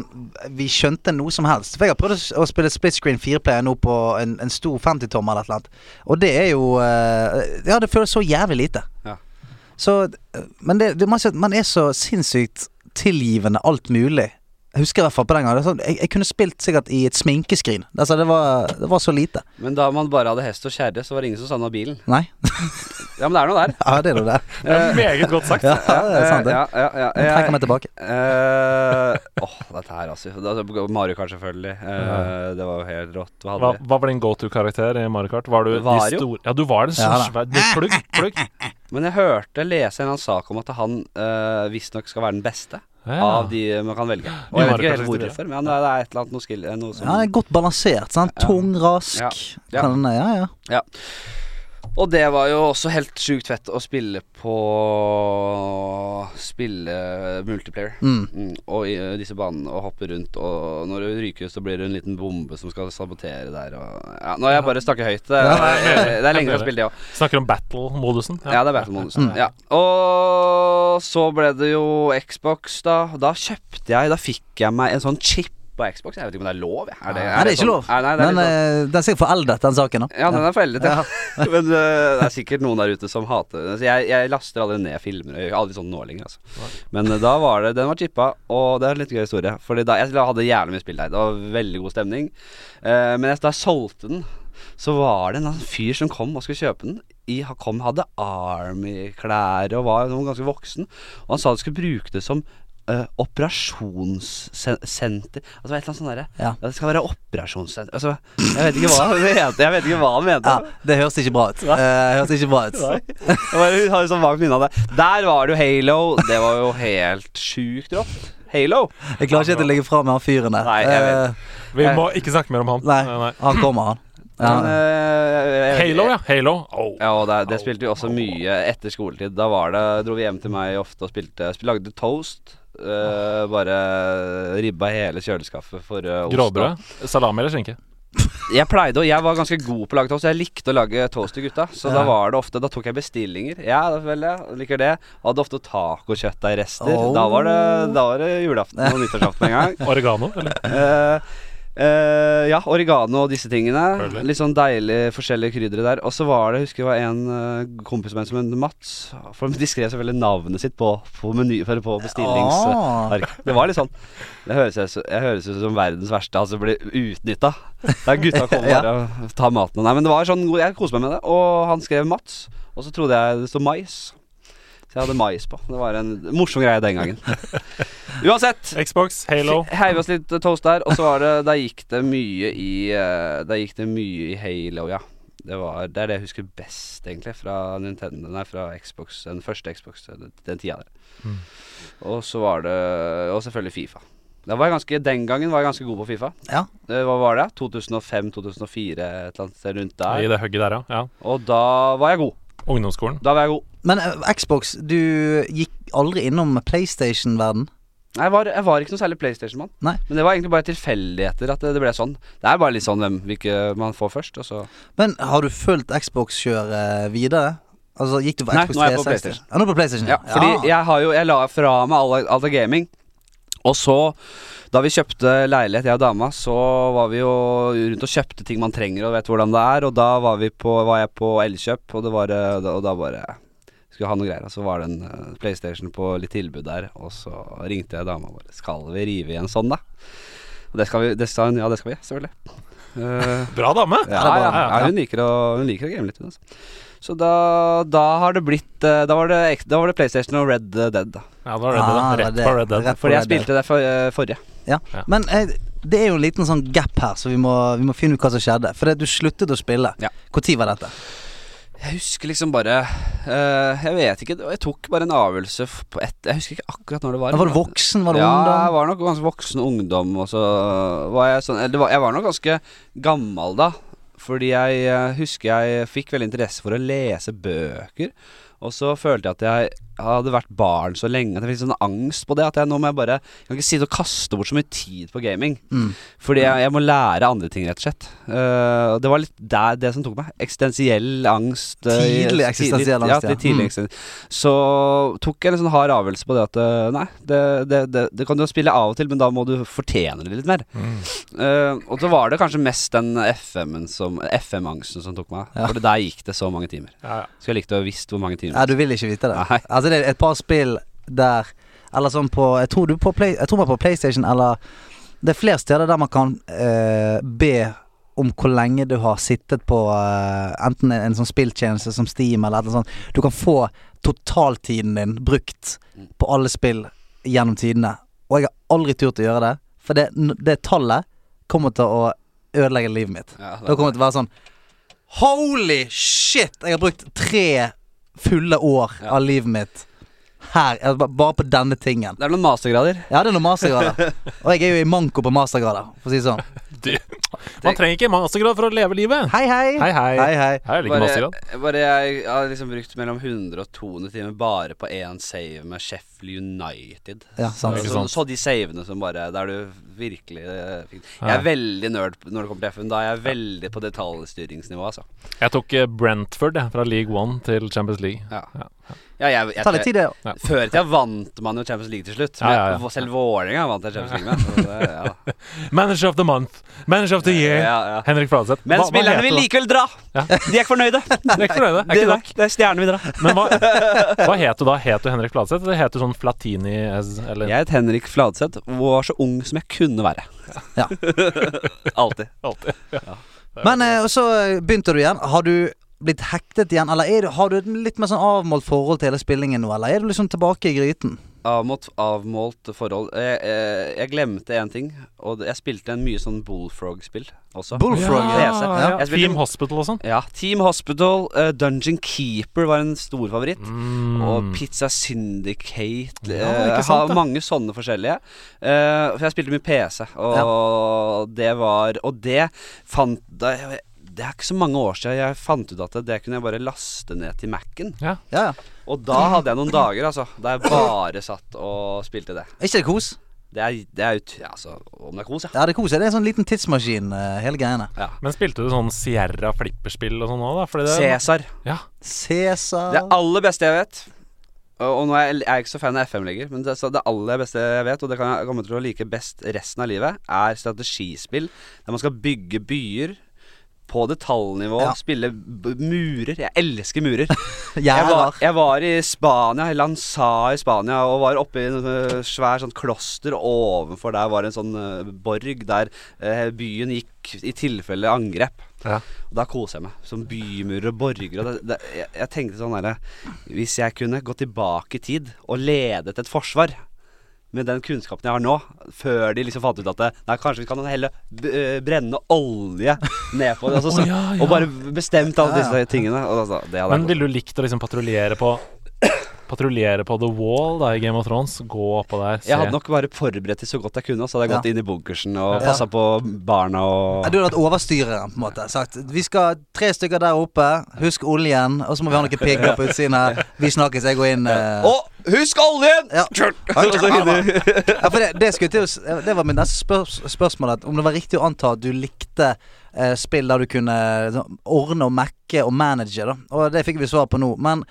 Speaker 3: vi skjønte noe som helst. For jeg har prøvd å s- å spille split screen fireplayer nå på en, en stor 50-tommer eller et eller annet, og det er jo eh, Ja, det føles så jævlig lite.
Speaker 1: Ja.
Speaker 3: Så eh, Men det, det, man, sier at man er så sinnssykt tilgivende alt mulig. Jeg husker i hvert fall på den gangen. det var Sånn, jeg, jeg kunne spilt sikkert i et sminkeskrin. Altså, det, var, det var så lite.
Speaker 1: men da man bare hadde hest og kjerre, så var det ingen som savna bilen.
Speaker 3: Nei.
Speaker 1: Ja, men det er noe der.
Speaker 3: Ja, det er det der.
Speaker 4: Det er Meget godt sagt.
Speaker 3: Ja, det er sant, det.
Speaker 1: Ja, ja, ja,
Speaker 3: Jeg trekker meg tilbake.
Speaker 1: Eh, Åh, dette her, altså. Da- Mario Kart, selvfølgelig. Eh, det var jo helt rått. Hva
Speaker 4: Hva,
Speaker 1: hadde vi?
Speaker 4: hva var din go to-karakter i Mario Kart? Var du de
Speaker 1: Wario.
Speaker 4: store- Ja, du var en
Speaker 3: Ja,
Speaker 4: sånn
Speaker 3: da.
Speaker 4: svær du- Plugg, plugg.
Speaker 1: Men jeg hørte lese en eller annen sak om at han eh, visstnok skal være den beste
Speaker 4: Ja.
Speaker 1: av de man kan velge.
Speaker 4: I
Speaker 1: Og jeg vet
Speaker 4: Mario
Speaker 1: ikke
Speaker 4: Kart
Speaker 1: helt
Speaker 4: 64.
Speaker 1: hvorfor, men det er et eller annet noe skill... Noe som
Speaker 3: Ja, det er godt balansert. Sant? Tung, rask.
Speaker 1: Ja. Ja.
Speaker 3: Kan, ja, ja.
Speaker 1: Og det var jo også helt sjukt fett å spille på Spille multiplayer.
Speaker 3: Mm.
Speaker 1: Mm, og i ø, disse banene og hoppe rundt, og når du ryker ut, så blir det en liten bombe som skal sabotere der og ja, Nå har jeg bare snakket høyt. Det, det, er lenge siden jeg har spilt det òg.
Speaker 4: Snakker om battle-modusen.
Speaker 1: Ja, det er Battle Modusen.
Speaker 3: Mm.
Speaker 1: Ja. Og så ble det jo Xbox, da. Da kjøpte jeg Da fikk jeg meg en sånn chip på Xbox. Jeg vet ikke om det er lov? jeg. Er det,
Speaker 3: Nei, det er ikke
Speaker 1: sånn-
Speaker 3: lov.
Speaker 1: Nei, nei, det er
Speaker 3: Men
Speaker 1: litt sånn-
Speaker 3: eh, den er sikkert foreldet, den saken. da.
Speaker 1: ja, den er foreldet, ja.
Speaker 3: Ja.
Speaker 1: Men øh, det er sikkert noen der ute som hater den. Så jeg, jeg laster aldri ned filmer. Jeg gjør aldri sånn nå lenger, altså. Men øh, da var det Den var chippa, og det er en litt gøy historie. Fordi da jeg hadde jævlig mye spill der. Det var veldig god stemning. Eh, men jeg, da jeg solgte den, så var det en annen fyr som kom og skulle kjøpe den. I, han kom, hadde Army-klær og var noen ganske voksen. Og han sa de skulle bruke det som øh, operasjonssenter Altså et eller annet sånt derre
Speaker 3: Ja.
Speaker 1: Det skal være operasjonssenter Altså, jeg vet ikke hva han mente. Jeg vet ikke hva han mente.
Speaker 3: Ja, det høres ikke bra ut. Eh, det høres ikke bra ut.
Speaker 1: Jeg bare har sånn vagt minne av det. Der var det jo Halo. Det var jo helt sjukt rått. Halo.
Speaker 3: Jeg klarer ikke helt å ligge fra med han fyren der.
Speaker 1: Nei, jeg vet.
Speaker 3: Eh,
Speaker 4: Vi må ikke snakke mer om han.
Speaker 3: nei,
Speaker 4: Nei, nei.
Speaker 3: han kommer, han.
Speaker 1: Men,
Speaker 3: Ja.
Speaker 1: eh, jeg vet
Speaker 4: Halo,
Speaker 1: ikke.
Speaker 4: ja. Halo. Au.
Speaker 1: Ja, og det, det spilte vi også mye etter skoletid. Da var det, dro vi hjem til meg ofte og spilte spil- Lagde toast. eh, bare ribba hele kjøleskapet for eh, ost.
Speaker 4: Gråbrød. Salami eller skinke?
Speaker 1: Jeg pleide å Jeg var ganske god på å lage toast. Jeg likte å lage toast til gutta. Så da var det ofte Da tok jeg bestillinger. Ja, da vel, jeg liker det. Hadde ofte tacokjøttdeigrester.
Speaker 3: Oh.
Speaker 1: Da var det Da var det julaften og nyttårsaften en gang.
Speaker 4: Oregano? Eller?
Speaker 1: Eh, eh, ja, oregano og disse tingene.
Speaker 4: Selvfølgelig.
Speaker 1: Litt sånn deilig forskjellige kryddere der. Og så var det, husker jeg var en eh, kompis med som het Mats. For de skrev selvfølgelig navnet sitt på, på, meny, eller på bestillings...
Speaker 3: Ah.
Speaker 1: Ark. Det var litt sånn Det høres ut, jeg høres ut som verdens verste, altså blir utnytta. Der gutta kommer
Speaker 3: Ja.
Speaker 1: bare og tar maten. Nei, men det var sånn god- Jeg koste meg med det. Og han skrev Mats, og så trodde jeg det stod mais. Så jeg hadde mais på. Det var en morsom greie den gangen. Uansett,
Speaker 4: Xbox, Halo.
Speaker 1: Fi- Heiv oss litt toast der, og så var det Da gikk det mye i eh, Da gikk det mye i Halo, ja. Det, var, det er det jeg husker best, egentlig, fra Nintendo Nei, fra Xbox, den første Xbox, den den tida der.
Speaker 3: Mm.
Speaker 1: Og så var det Og selvfølgelig Fifa. Da var jeg ganske, den gangen var jeg ganske god på Fifa.
Speaker 3: Ja.
Speaker 1: Det, hva var det? 2005-2004, et eller annet sted rundt
Speaker 4: I
Speaker 1: der.
Speaker 4: det hugget der, ja. ja.
Speaker 1: Og da var jeg god.
Speaker 4: Ungdomsskolen.
Speaker 1: Da var jeg god.
Speaker 3: Men eh, Xbox, du gikk aldri innom PlayStation-verden?
Speaker 1: Nei, Jeg var, jeg var ikke noe særlig PlayStation-mann.
Speaker 3: Nei.
Speaker 1: Men det var egentlig bare tilfeldigheter at det, det ble sånn. Det er bare litt sånn hvem hvilke man får først, og så
Speaker 3: Men har du fulgt Xbox-kjøret videre? Altså, gikk du for
Speaker 1: Nei,
Speaker 3: Xbox
Speaker 1: nå er jeg på
Speaker 3: 360? Ja, nå er du på PlayStation.
Speaker 1: Ja, fordi jeg har jo Jeg la fra meg alle, alle gaming. Og så, da vi kjøpte leilighet, jeg og dama, så var vi jo rundt og kjøpte ting man trenger og vet hvordan det er, og da var vi på Var jeg på Elkjøp, og det var eh, da- Og da bare skulle ha noe greier, og så var det en eh, PlayStation på litt tilbud der, og så ringte jeg dama vår. Skal vi rive i en sånn, da? Og det skal vi, det sa hun. Ja, det skal vi, selvfølgelig. Eh,
Speaker 4: Bra dame!
Speaker 1: ja, ja, ja, hun liker å, hun liker å game litt, hun, altså. Så da, da har det blitt eh, da var det, ek- da var det PlayStation og Red Dead, da.
Speaker 4: Ja, det var Red Dead.
Speaker 3: Ah, det var
Speaker 4: Rett
Speaker 3: det.
Speaker 4: på Red Dead.
Speaker 3: Rett på
Speaker 1: Fordi jeg
Speaker 3: Red Dead.
Speaker 1: spilte det for, eh, forrige.
Speaker 3: Ja.
Speaker 4: Ja.
Speaker 3: Men eh, det er jo en liten sånn gap her, så vi må, vi må finne ut hva som skjedde. For det, du sluttet å spille.
Speaker 1: Ja.
Speaker 3: Hvor tid var dette?
Speaker 1: Jeg husker liksom bare eh, Jeg vet ikke, det var- jeg tok bare en avgjørelse f- på ett Jeg husker ikke akkurat når det var.
Speaker 3: Var, var du
Speaker 1: men-
Speaker 3: voksen? Var du
Speaker 1: ja, jeg
Speaker 3: ungdom?
Speaker 1: var nok ganske voksen ungdom, og så var jeg sånn eller det var, Jeg var nok ganske gammel da, fordi jeg eh, husker jeg fikk veldig interesse for å lese bøker. Og så følte jeg at jeg hadde vært barn så lenge at jeg fikk sånn angst på det. At jeg nå må jeg bare Jeg kan ikke sitte og kaste bort så mye tid på gaming.
Speaker 3: Mm.
Speaker 1: Fordi jeg, jeg må lære andre ting, rett og slett. Eh, og det var litt der, det som tok meg. Eksistensiell angst. eh, i-
Speaker 3: Tidlig eksistensiell angst,
Speaker 1: ja.
Speaker 3: ja.
Speaker 1: litt Tidlig
Speaker 3: Mm.
Speaker 1: eksisten- Så tok jeg en sånn hard avgjørelse på det at eh, nei, det, det, det, det kan du jo spille av og til, men da må du fortjene det litt mer. Eh, og så var det kanskje mest den FM-en som FM-angsten som tok meg.
Speaker 3: Ja.
Speaker 1: For der gikk det så mange timer.
Speaker 4: Ja, ja.
Speaker 1: Skulle jeg likt å ha visst hvor mange timer.
Speaker 3: Ja, du vil ikke vite det?
Speaker 1: Nei.
Speaker 3: Altså, det er et par spill der Eller sånn på Jeg tror du på, Play, jeg tror man på PlayStation eller Det er flere steder der man kan eh, be om hvor lenge du har sittet på eh, enten en, en sånn spilltjeneste som Steam eller noe sånt. Du kan få totaltiden din brukt på alle spill gjennom tidene. Og jeg har aldri turt å gjøre det, for det, det tallet kommer til å ødelegge livet mitt.
Speaker 1: Ja,
Speaker 3: Da kommer det til å være sånn Holy shit! Jeg har brukt tre fulle år
Speaker 1: Ja.
Speaker 3: av livet mitt her. eh, ba- Bare på denne tingen.
Speaker 1: det er noen mastergrader.
Speaker 3: Jeg hadde noen mastergrader. Og jeg er jo i manko på mastergrader, for å si det sånn.
Speaker 4: Man trenger ikke mastergrad for å leve livet.
Speaker 3: Hei, hei.
Speaker 4: Hei,
Speaker 3: hei,
Speaker 4: hei.
Speaker 3: hei.
Speaker 4: Hei, jeg liker
Speaker 1: Bare,
Speaker 4: mastergrad.
Speaker 1: bare jeg, jeg har liksom brukt mellom 100 og 200 timer bare på én save med Sheffield United.
Speaker 3: Ja, sant.
Speaker 4: Ikke
Speaker 1: Så,
Speaker 4: sant.
Speaker 1: så de savene som bare Der du virkelig eh, fikk Jeg
Speaker 4: Ja.
Speaker 1: er veldig nerd når det kommer til FN. Da er jeg veldig på detaljstyringsnivå, altså.
Speaker 4: Jeg tok eh, Brentford jeg, fra League One til Champions League.
Speaker 1: Ja.
Speaker 4: Ja.
Speaker 1: Ja, jeg, jeg,
Speaker 3: Ta litt tid, det.
Speaker 1: Før i tida vant man jo Champions League til slutt.
Speaker 4: Ja, ja, ja.
Speaker 1: Men Selv Vålerenga vant jeg Champions League med. Så det, ja.
Speaker 4: Manager of the month. Manager of the year.
Speaker 1: Ja, ja.
Speaker 4: Henrik Fladseth.
Speaker 1: Men
Speaker 4: Hva- hva
Speaker 1: spillerne
Speaker 4: heter
Speaker 1: vil
Speaker 4: det?
Speaker 1: likevel dra!
Speaker 4: Ja.
Speaker 1: De er ikke fornøyde. Det
Speaker 4: Dere er ikke fornøyde? Er ikke nok.
Speaker 1: det er stjernene vil dra.
Speaker 4: Men hva, hva het du da? Het du Henrik Fladseth, eller het du sånn Flatini eh, eller
Speaker 1: Jeg het Henrik Fladseth og var så ung som jeg kunne være.
Speaker 3: Ja.
Speaker 1: Alltid.
Speaker 4: alltid?
Speaker 3: Men eh, og så begynte du igjen. Har du blitt hektet igjen, eller er du, har du et litt mer sånn avmålt forhold til hele spillingen nå, eller er du liksom tilbake i gryten?
Speaker 1: Avmålt, avmålt forhold. Jeg, jeg, jeg glemte én ting. Og jeg spilte en mye sånn Bullfrog-spill også.
Speaker 3: Bullfrog,
Speaker 1: Ja, PC.
Speaker 4: ja.
Speaker 1: Jeg spilte-
Speaker 4: Team Hospital og sånn.
Speaker 1: Ja, Team Hospital, eh, Dungeon Keeper var en stor favoritt.
Speaker 4: Mm.
Speaker 1: Og Pizza Syndicate.
Speaker 4: Ja,
Speaker 1: eh,
Speaker 4: ikke
Speaker 1: jeg
Speaker 4: sant,
Speaker 1: har
Speaker 4: da.
Speaker 1: mange sånne forskjellige. Eh, for jeg spilte mye PC, og det var Og det fant da, Det er ikke så mange år siden jeg fant ut at det, det kunne jeg bare laste ned til Mac-en.
Speaker 3: Ja, ja.
Speaker 1: Og da hadde jeg noen dager altså der jeg bare satt og spilte det.
Speaker 3: Er ikke det kos?
Speaker 1: Det er, det er ut, ja, altså, om det er kos, ja.
Speaker 3: Ja, det er kos. Det er en sånn liten tidsmaskin, eh, hele greiene.
Speaker 4: Men spilte du sånn Sierra flipperspill og sånn òg, da? Fordi det,
Speaker 1: Cæsar.
Speaker 4: ja.
Speaker 3: Cæsar
Speaker 1: Det aller beste jeg vet Og og nå er jeg, jeg er ikke så fan av FM lenger Men det, så det aller beste jeg vet Og det kan jeg komme til å like best resten av livet Er strategispill Der man skal bygge byer På detaljnivå
Speaker 3: Ja.
Speaker 1: Spille b- murer Jeg elsker murer jeg
Speaker 3: Gjerder.
Speaker 1: var, jeg var i Spania, i Lanza i Spania, og var oppe i en øh, svær sånn kloster. og Ovenfor der var en sånn øh, borg der eh, byen gikk i tilfelle angrep.
Speaker 4: Ja.
Speaker 1: Og da koser jeg meg. Som bymurer og borger. Og det, det, jeg, jeg tenkte sånn derre Hvis jeg kunne gå tilbake i tid og ledet et forsvar med den kunnskapen jeg har nå, før de liksom fant ut at det, Nei, kanskje vi kan heller b- øh, brenne olje ned på det. Altså,
Speaker 4: Å,
Speaker 1: så,
Speaker 4: ja, ja.
Speaker 1: Og bare bestemt alle
Speaker 3: Ja, ja.
Speaker 1: disse tingene. Og altså, det hadde jeg
Speaker 4: Men ville du likt å liksom patruljere på Patruljere på The Wall da i Game of Thrones? Gå oppå der, se
Speaker 1: Jeg hadde nok bare forberedt det så godt jeg kunne, og så hadde jeg
Speaker 3: Ja.
Speaker 1: gått inn i bunkersen og
Speaker 3: Ja.
Speaker 1: passa på barna
Speaker 3: Ja,
Speaker 1: og
Speaker 3: Du hadde vært overstyreren, på en måte. Sagt vi skal tre stykker der oppe, husk oljen, og så må vi ha noen pigger på utsiden her. Vi snakkes, jeg går inn. eh,
Speaker 1: Og husk oljen!
Speaker 3: Ja.
Speaker 1: Og så hinner-
Speaker 3: ja, for det, det, skulle til, å s- det var mitt neste spørs, spørsmål. At om det var riktig å anta at du likte eh, spill der du kunne sånn, ordne og mekke og manage, da. Og det fikk vi svar på nå. Men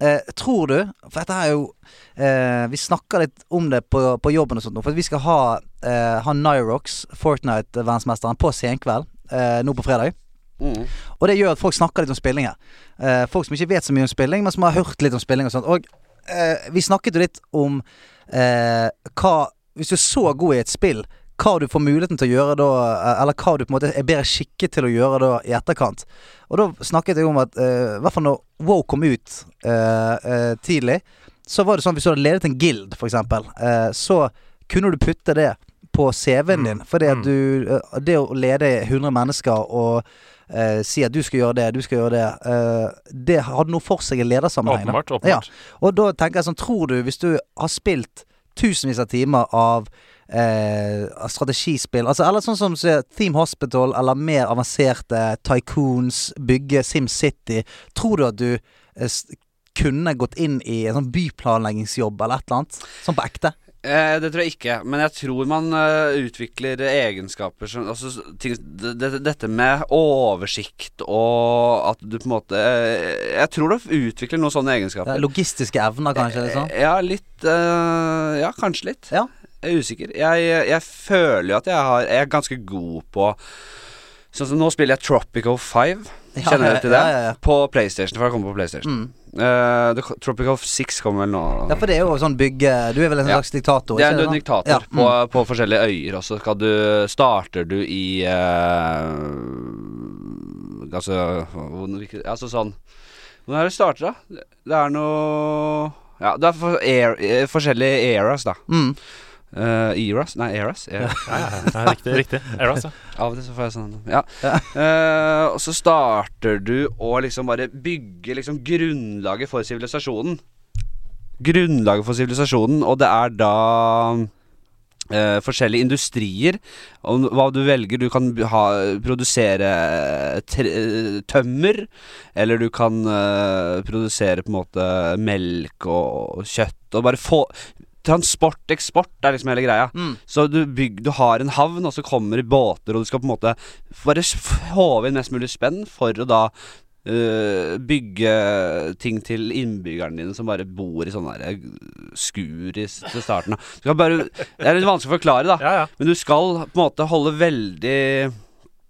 Speaker 3: eh, tror du For dette her er jo eh, Vi snakker litt om det på, på jobben og sånt nå. For vi skal ha, eh, ha Nyrox, Fortnite-verdensmesteren, på senkveld eh, nå på fredag.
Speaker 1: Mm.
Speaker 3: Og det gjør at folk snakker litt om spilling her. Eh, folk som ikke vet så mye om spilling, men som har hørt litt om spilling og sånt. Og eh, vi snakket jo litt om eh, hva Hvis du er så god i et spill, hva du får muligheten til å gjøre da, eh, eller hva du på en måte er bedre skikket til å gjøre da i etterkant. Og da snakket jeg om at eh, i hvert fall når Wow kom ut eh, eh, tidlig, så var det sånn at hvis du hadde ledet en guild, f.eks., eh, så kunne du putte det på CV-en din. Fordi at
Speaker 4: Mm.
Speaker 3: du eh, Det å lede 100 mennesker og eh, si at du skal gjøre det, du skal gjøre det, eh, det hadde noe for seg i ledersammenheng. da.
Speaker 4: Åpenbart. åpenbart.
Speaker 3: Og da tenker jeg sånn, tror du hvis du har spilt tusenvis av timer av eh, av strategispill altså, Eller sånn som så, Theme Hospital eller mer avanserte Tycoons, bygge SimCity Tror du at du eh, s- kunne gått inn i en sånn byplanleggingsjobb eller et eller annet? Sånn på ekte?
Speaker 1: Eh, det tror jeg ikke, men jeg tror man eh, utvikler egenskaper som altså, s- ting, det, det- Dette med oversikt og at du på en måte eh, Jeg tror du utvikler noen sånne
Speaker 3: Ja,
Speaker 1: egenskaper.
Speaker 3: Eh, Logistiske evner, kanskje? Liksom.
Speaker 1: Eh, Ja, litt eh, Ja, kanskje litt.
Speaker 3: Ja.
Speaker 1: Jeg er usikker. Jeg, jeg føler jo at jeg, har, jeg er ganske god på Sånn som nå spiller jeg Tropico 5.
Speaker 3: Ja,
Speaker 1: Kjenner dere til det?
Speaker 3: ja, ja, ja.
Speaker 1: På PlayStation, for det kommer på PlayStation.
Speaker 3: Mm.
Speaker 1: Eh, det, Tropico 6 kommer vel nå.
Speaker 3: ja, for det er jo sånn bygge Du er vel en
Speaker 1: Ja.
Speaker 3: slags diktator?
Speaker 1: Det er
Speaker 3: ikke
Speaker 1: en
Speaker 3: sant?
Speaker 1: diktator
Speaker 3: Ja, mm.
Speaker 1: på, på forskjellige øyer, og så skal du Starter du i eh, Altså hvor- hvilke- Altså sånn Hvordan er det det starter, da? Det er noe Ja, det er for, er, eh, forskjellige eras, da.
Speaker 3: Mm. Mm.
Speaker 1: Eh, eras? Nei, eras. eras.
Speaker 4: Ja, ja, ja, riktig. riktig. Eros, ja.
Speaker 1: Av og til så får jeg sånn Ja. Eh, og så starter du å liksom bare bygge liksom grunnlaget for sivilisasjonen. Grunnlaget for sivilisasjonen, og det er da eh, forskjellige industrier. Og hva du velger. Du kan ha, produsere tre, tømmer, eller du kan eh, produsere på en måte melk og, og kjøtt og bare få Transport, eksport er liksom hele greia.
Speaker 3: Mm.
Speaker 1: Så du, bygg, du har en havn, og så kommer det båter, og du skal på en måte bare s- håve inn mest mulig spenn for å da øh, bygge ting til innbyggerne dine som bare bor i sånne der skur i s- til starten. av. Du skal bare, det er litt vanskelig å forklare, da.
Speaker 4: ja, ja.
Speaker 1: Men du skal på en måte holde veldig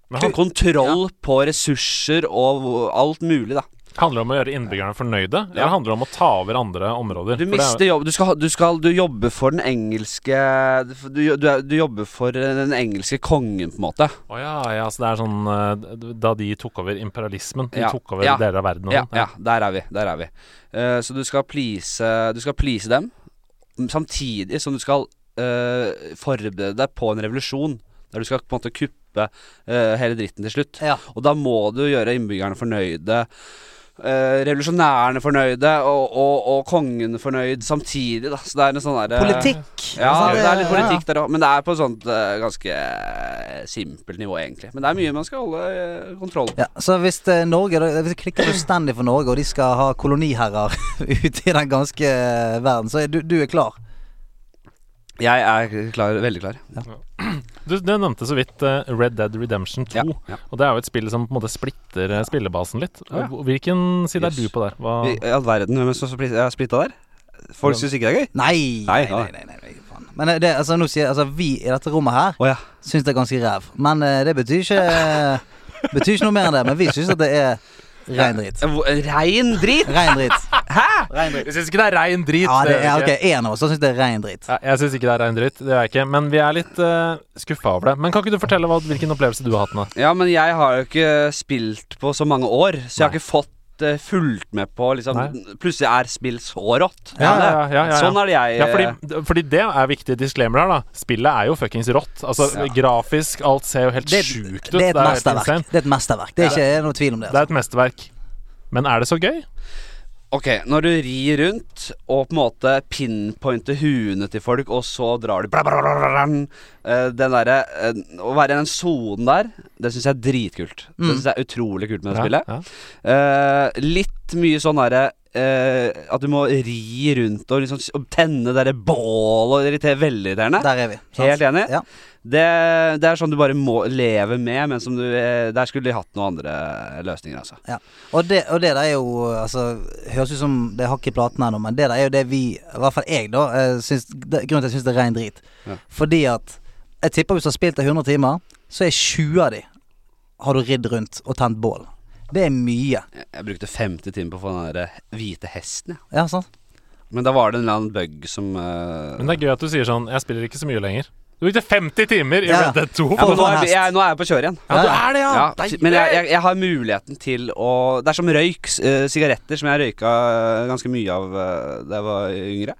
Speaker 4: Men han,
Speaker 1: kontroll på ressurser og hvor- alt mulig, da.
Speaker 4: handler det om å gjøre innbyggerne fornøyde,
Speaker 1: Ja.
Speaker 4: eller handler det om å ta over andre områder? For
Speaker 1: Du
Speaker 4: det er-
Speaker 1: mister jobb. Du, skal, ha- du, skal, du jobber for den engelske du, du, er- du jobber for den engelske kongen, på en måte.
Speaker 4: Å ja, ja, så det er sånn eh, Da de tok over imperialismen, de
Speaker 1: Ja,
Speaker 4: tok over
Speaker 1: ja,
Speaker 4: deler av verden og
Speaker 1: Ja,
Speaker 4: sånn.
Speaker 1: ja, der er vi. Der er vi. Eh, så du skal please Du skal please dem, samtidig som du skal eh, forberede deg på en revolusjon. Der du skal på en måte kuppe eh, hele dritten til slutt.
Speaker 3: Ja.
Speaker 1: Og da må du gjøre innbyggerne fornøyde. eh, revolusjonærene fornøyde, og, og, og kongen fornøyd samtidig, da. Så det er en sånn derre
Speaker 3: Politikk!
Speaker 1: Ja,
Speaker 3: Altså,
Speaker 1: det er litt
Speaker 3: ja, ja.
Speaker 1: politikk der òg, men det er på et sånt eh, ganske eh, simpelt nivå, egentlig. Men det er mye man skal holde eh, kontroll på.
Speaker 3: Ja, så hvis det er Norge da, Hvis det klikker fullstendig for Norge, og de skal ha koloniherrer ute i den ganske eh, verden, så er du, du er klar?
Speaker 1: Jeg er klar, veldig klar.
Speaker 4: Du, du nevnte så vidt eh, Red Dead Redemption 2.
Speaker 1: ja.
Speaker 4: Og det er jo et spill som på en måte splitter eh, spillebasen litt.
Speaker 1: Å ja.
Speaker 4: Hvor- Hvilken side
Speaker 1: Yes.
Speaker 4: er du på der? Hva,
Speaker 1: I all verden, hvem er det som split- er splitta der? Folk syns ikke det er gøy?
Speaker 3: Nei!
Speaker 1: Nei,
Speaker 3: nei, nei, nei, nei, faen. Men det, altså, nå sier jeg, altså, vi i dette rommet her
Speaker 1: Å ja.
Speaker 3: syns det er ganske ræv. Men eh, det betyr ikke Betyr ikke noe mer enn det. Men vi syns at det er rein dritt.
Speaker 1: Rein drit!
Speaker 3: Rein dritt. Rein dritt.
Speaker 4: Jeg syns ikke det er rein drit.
Speaker 3: Ja, det
Speaker 4: det
Speaker 3: er
Speaker 4: gjør
Speaker 3: ok.
Speaker 4: jeg ikke.
Speaker 3: En av oss syns det er rein dritt.
Speaker 4: Nei, Jeg syns ikke det er rein dritt, det er jeg ikke. Men vi er litt uh, skuffa over det. Men kan ikke du fortelle hva, hvilken opplevelse du har hatt nå?
Speaker 1: Ja, men jeg har jo ikke spilt på så mange år, så jeg har ikke fått eh, fulgt med på liksom
Speaker 4: Nei.
Speaker 1: Plutselig er spill så rått.
Speaker 4: Ja, ja, ja, ja, ja.
Speaker 1: Sånn er det jeg
Speaker 4: Ja, fordi,
Speaker 3: Eh.
Speaker 4: fordi det er viktig disclaimer her, da. Spillet er jo fuckings rått. Altså,
Speaker 1: Ja.
Speaker 4: grafisk, alt ser jo helt
Speaker 3: Det,
Speaker 4: sjukt ut.
Speaker 3: det er et
Speaker 4: jo helt
Speaker 3: mesterverk.
Speaker 4: insane.
Speaker 3: Det er et mesterverk. Det er ikke noe tvil om det.
Speaker 4: Det
Speaker 3: Altså.
Speaker 4: er et mesterverk. Men er det så gøy?
Speaker 1: Ok, når du rir rundt og på en måte pinpointer huene til folk, og så drar du bla, bla, bla, bla, bla, eh, Den derre eh, Å være i den sonen der, det syns jeg er dritkult. Det syns jeg er utrolig kult med det spillet.
Speaker 4: Mm. Ja, ja.
Speaker 1: Eh, litt mye sånn derre eh, At du må ri rundt og liksom s- og tenne derre bål og irritere veldig irriterende.
Speaker 3: Der er vi. sant?
Speaker 1: Helt enig.
Speaker 3: Ja.
Speaker 1: Det, det er sånn du bare må leve med, men som du eh, Der skulle de hatt noen andre løsninger, altså.
Speaker 3: Ja. Og, det, og det der er jo altså, Høres ut som det er hakk i platen her nå, men det der er jo det vi, i hvert fall jeg, da eh, syns, det, Grunnen til at jeg syns det er rein drit.
Speaker 1: Ja.
Speaker 3: Fordi at jeg tipper hvis du har spilt det 100 timer, så er 20 av de har du ridd rundt og tent bål. Det er mye.
Speaker 1: Jeg, jeg brukte 50 timer på å få den der eh, hvite hesten, jeg.
Speaker 3: Ja, sant?
Speaker 1: Men da var det en eller annen bug som eh,
Speaker 4: Men det er gøy at du sier sånn Jeg spiller ikke så mye lenger. Du brukte 50 timer i
Speaker 3: Ja.
Speaker 4: Red Dead 2.
Speaker 1: ja, men
Speaker 3: få
Speaker 1: nå,
Speaker 3: en
Speaker 1: er,
Speaker 3: hest.
Speaker 1: jeg, nå er jeg på kjøret igjen.
Speaker 4: Ja, du er det, ja!
Speaker 1: Ja,
Speaker 4: Deilig.
Speaker 1: men jeg, jeg, jeg har muligheten til å Det er som røyk, s- eh, sigaretter, som jeg røyka eh, ganske mye av eh, da jeg var yngre.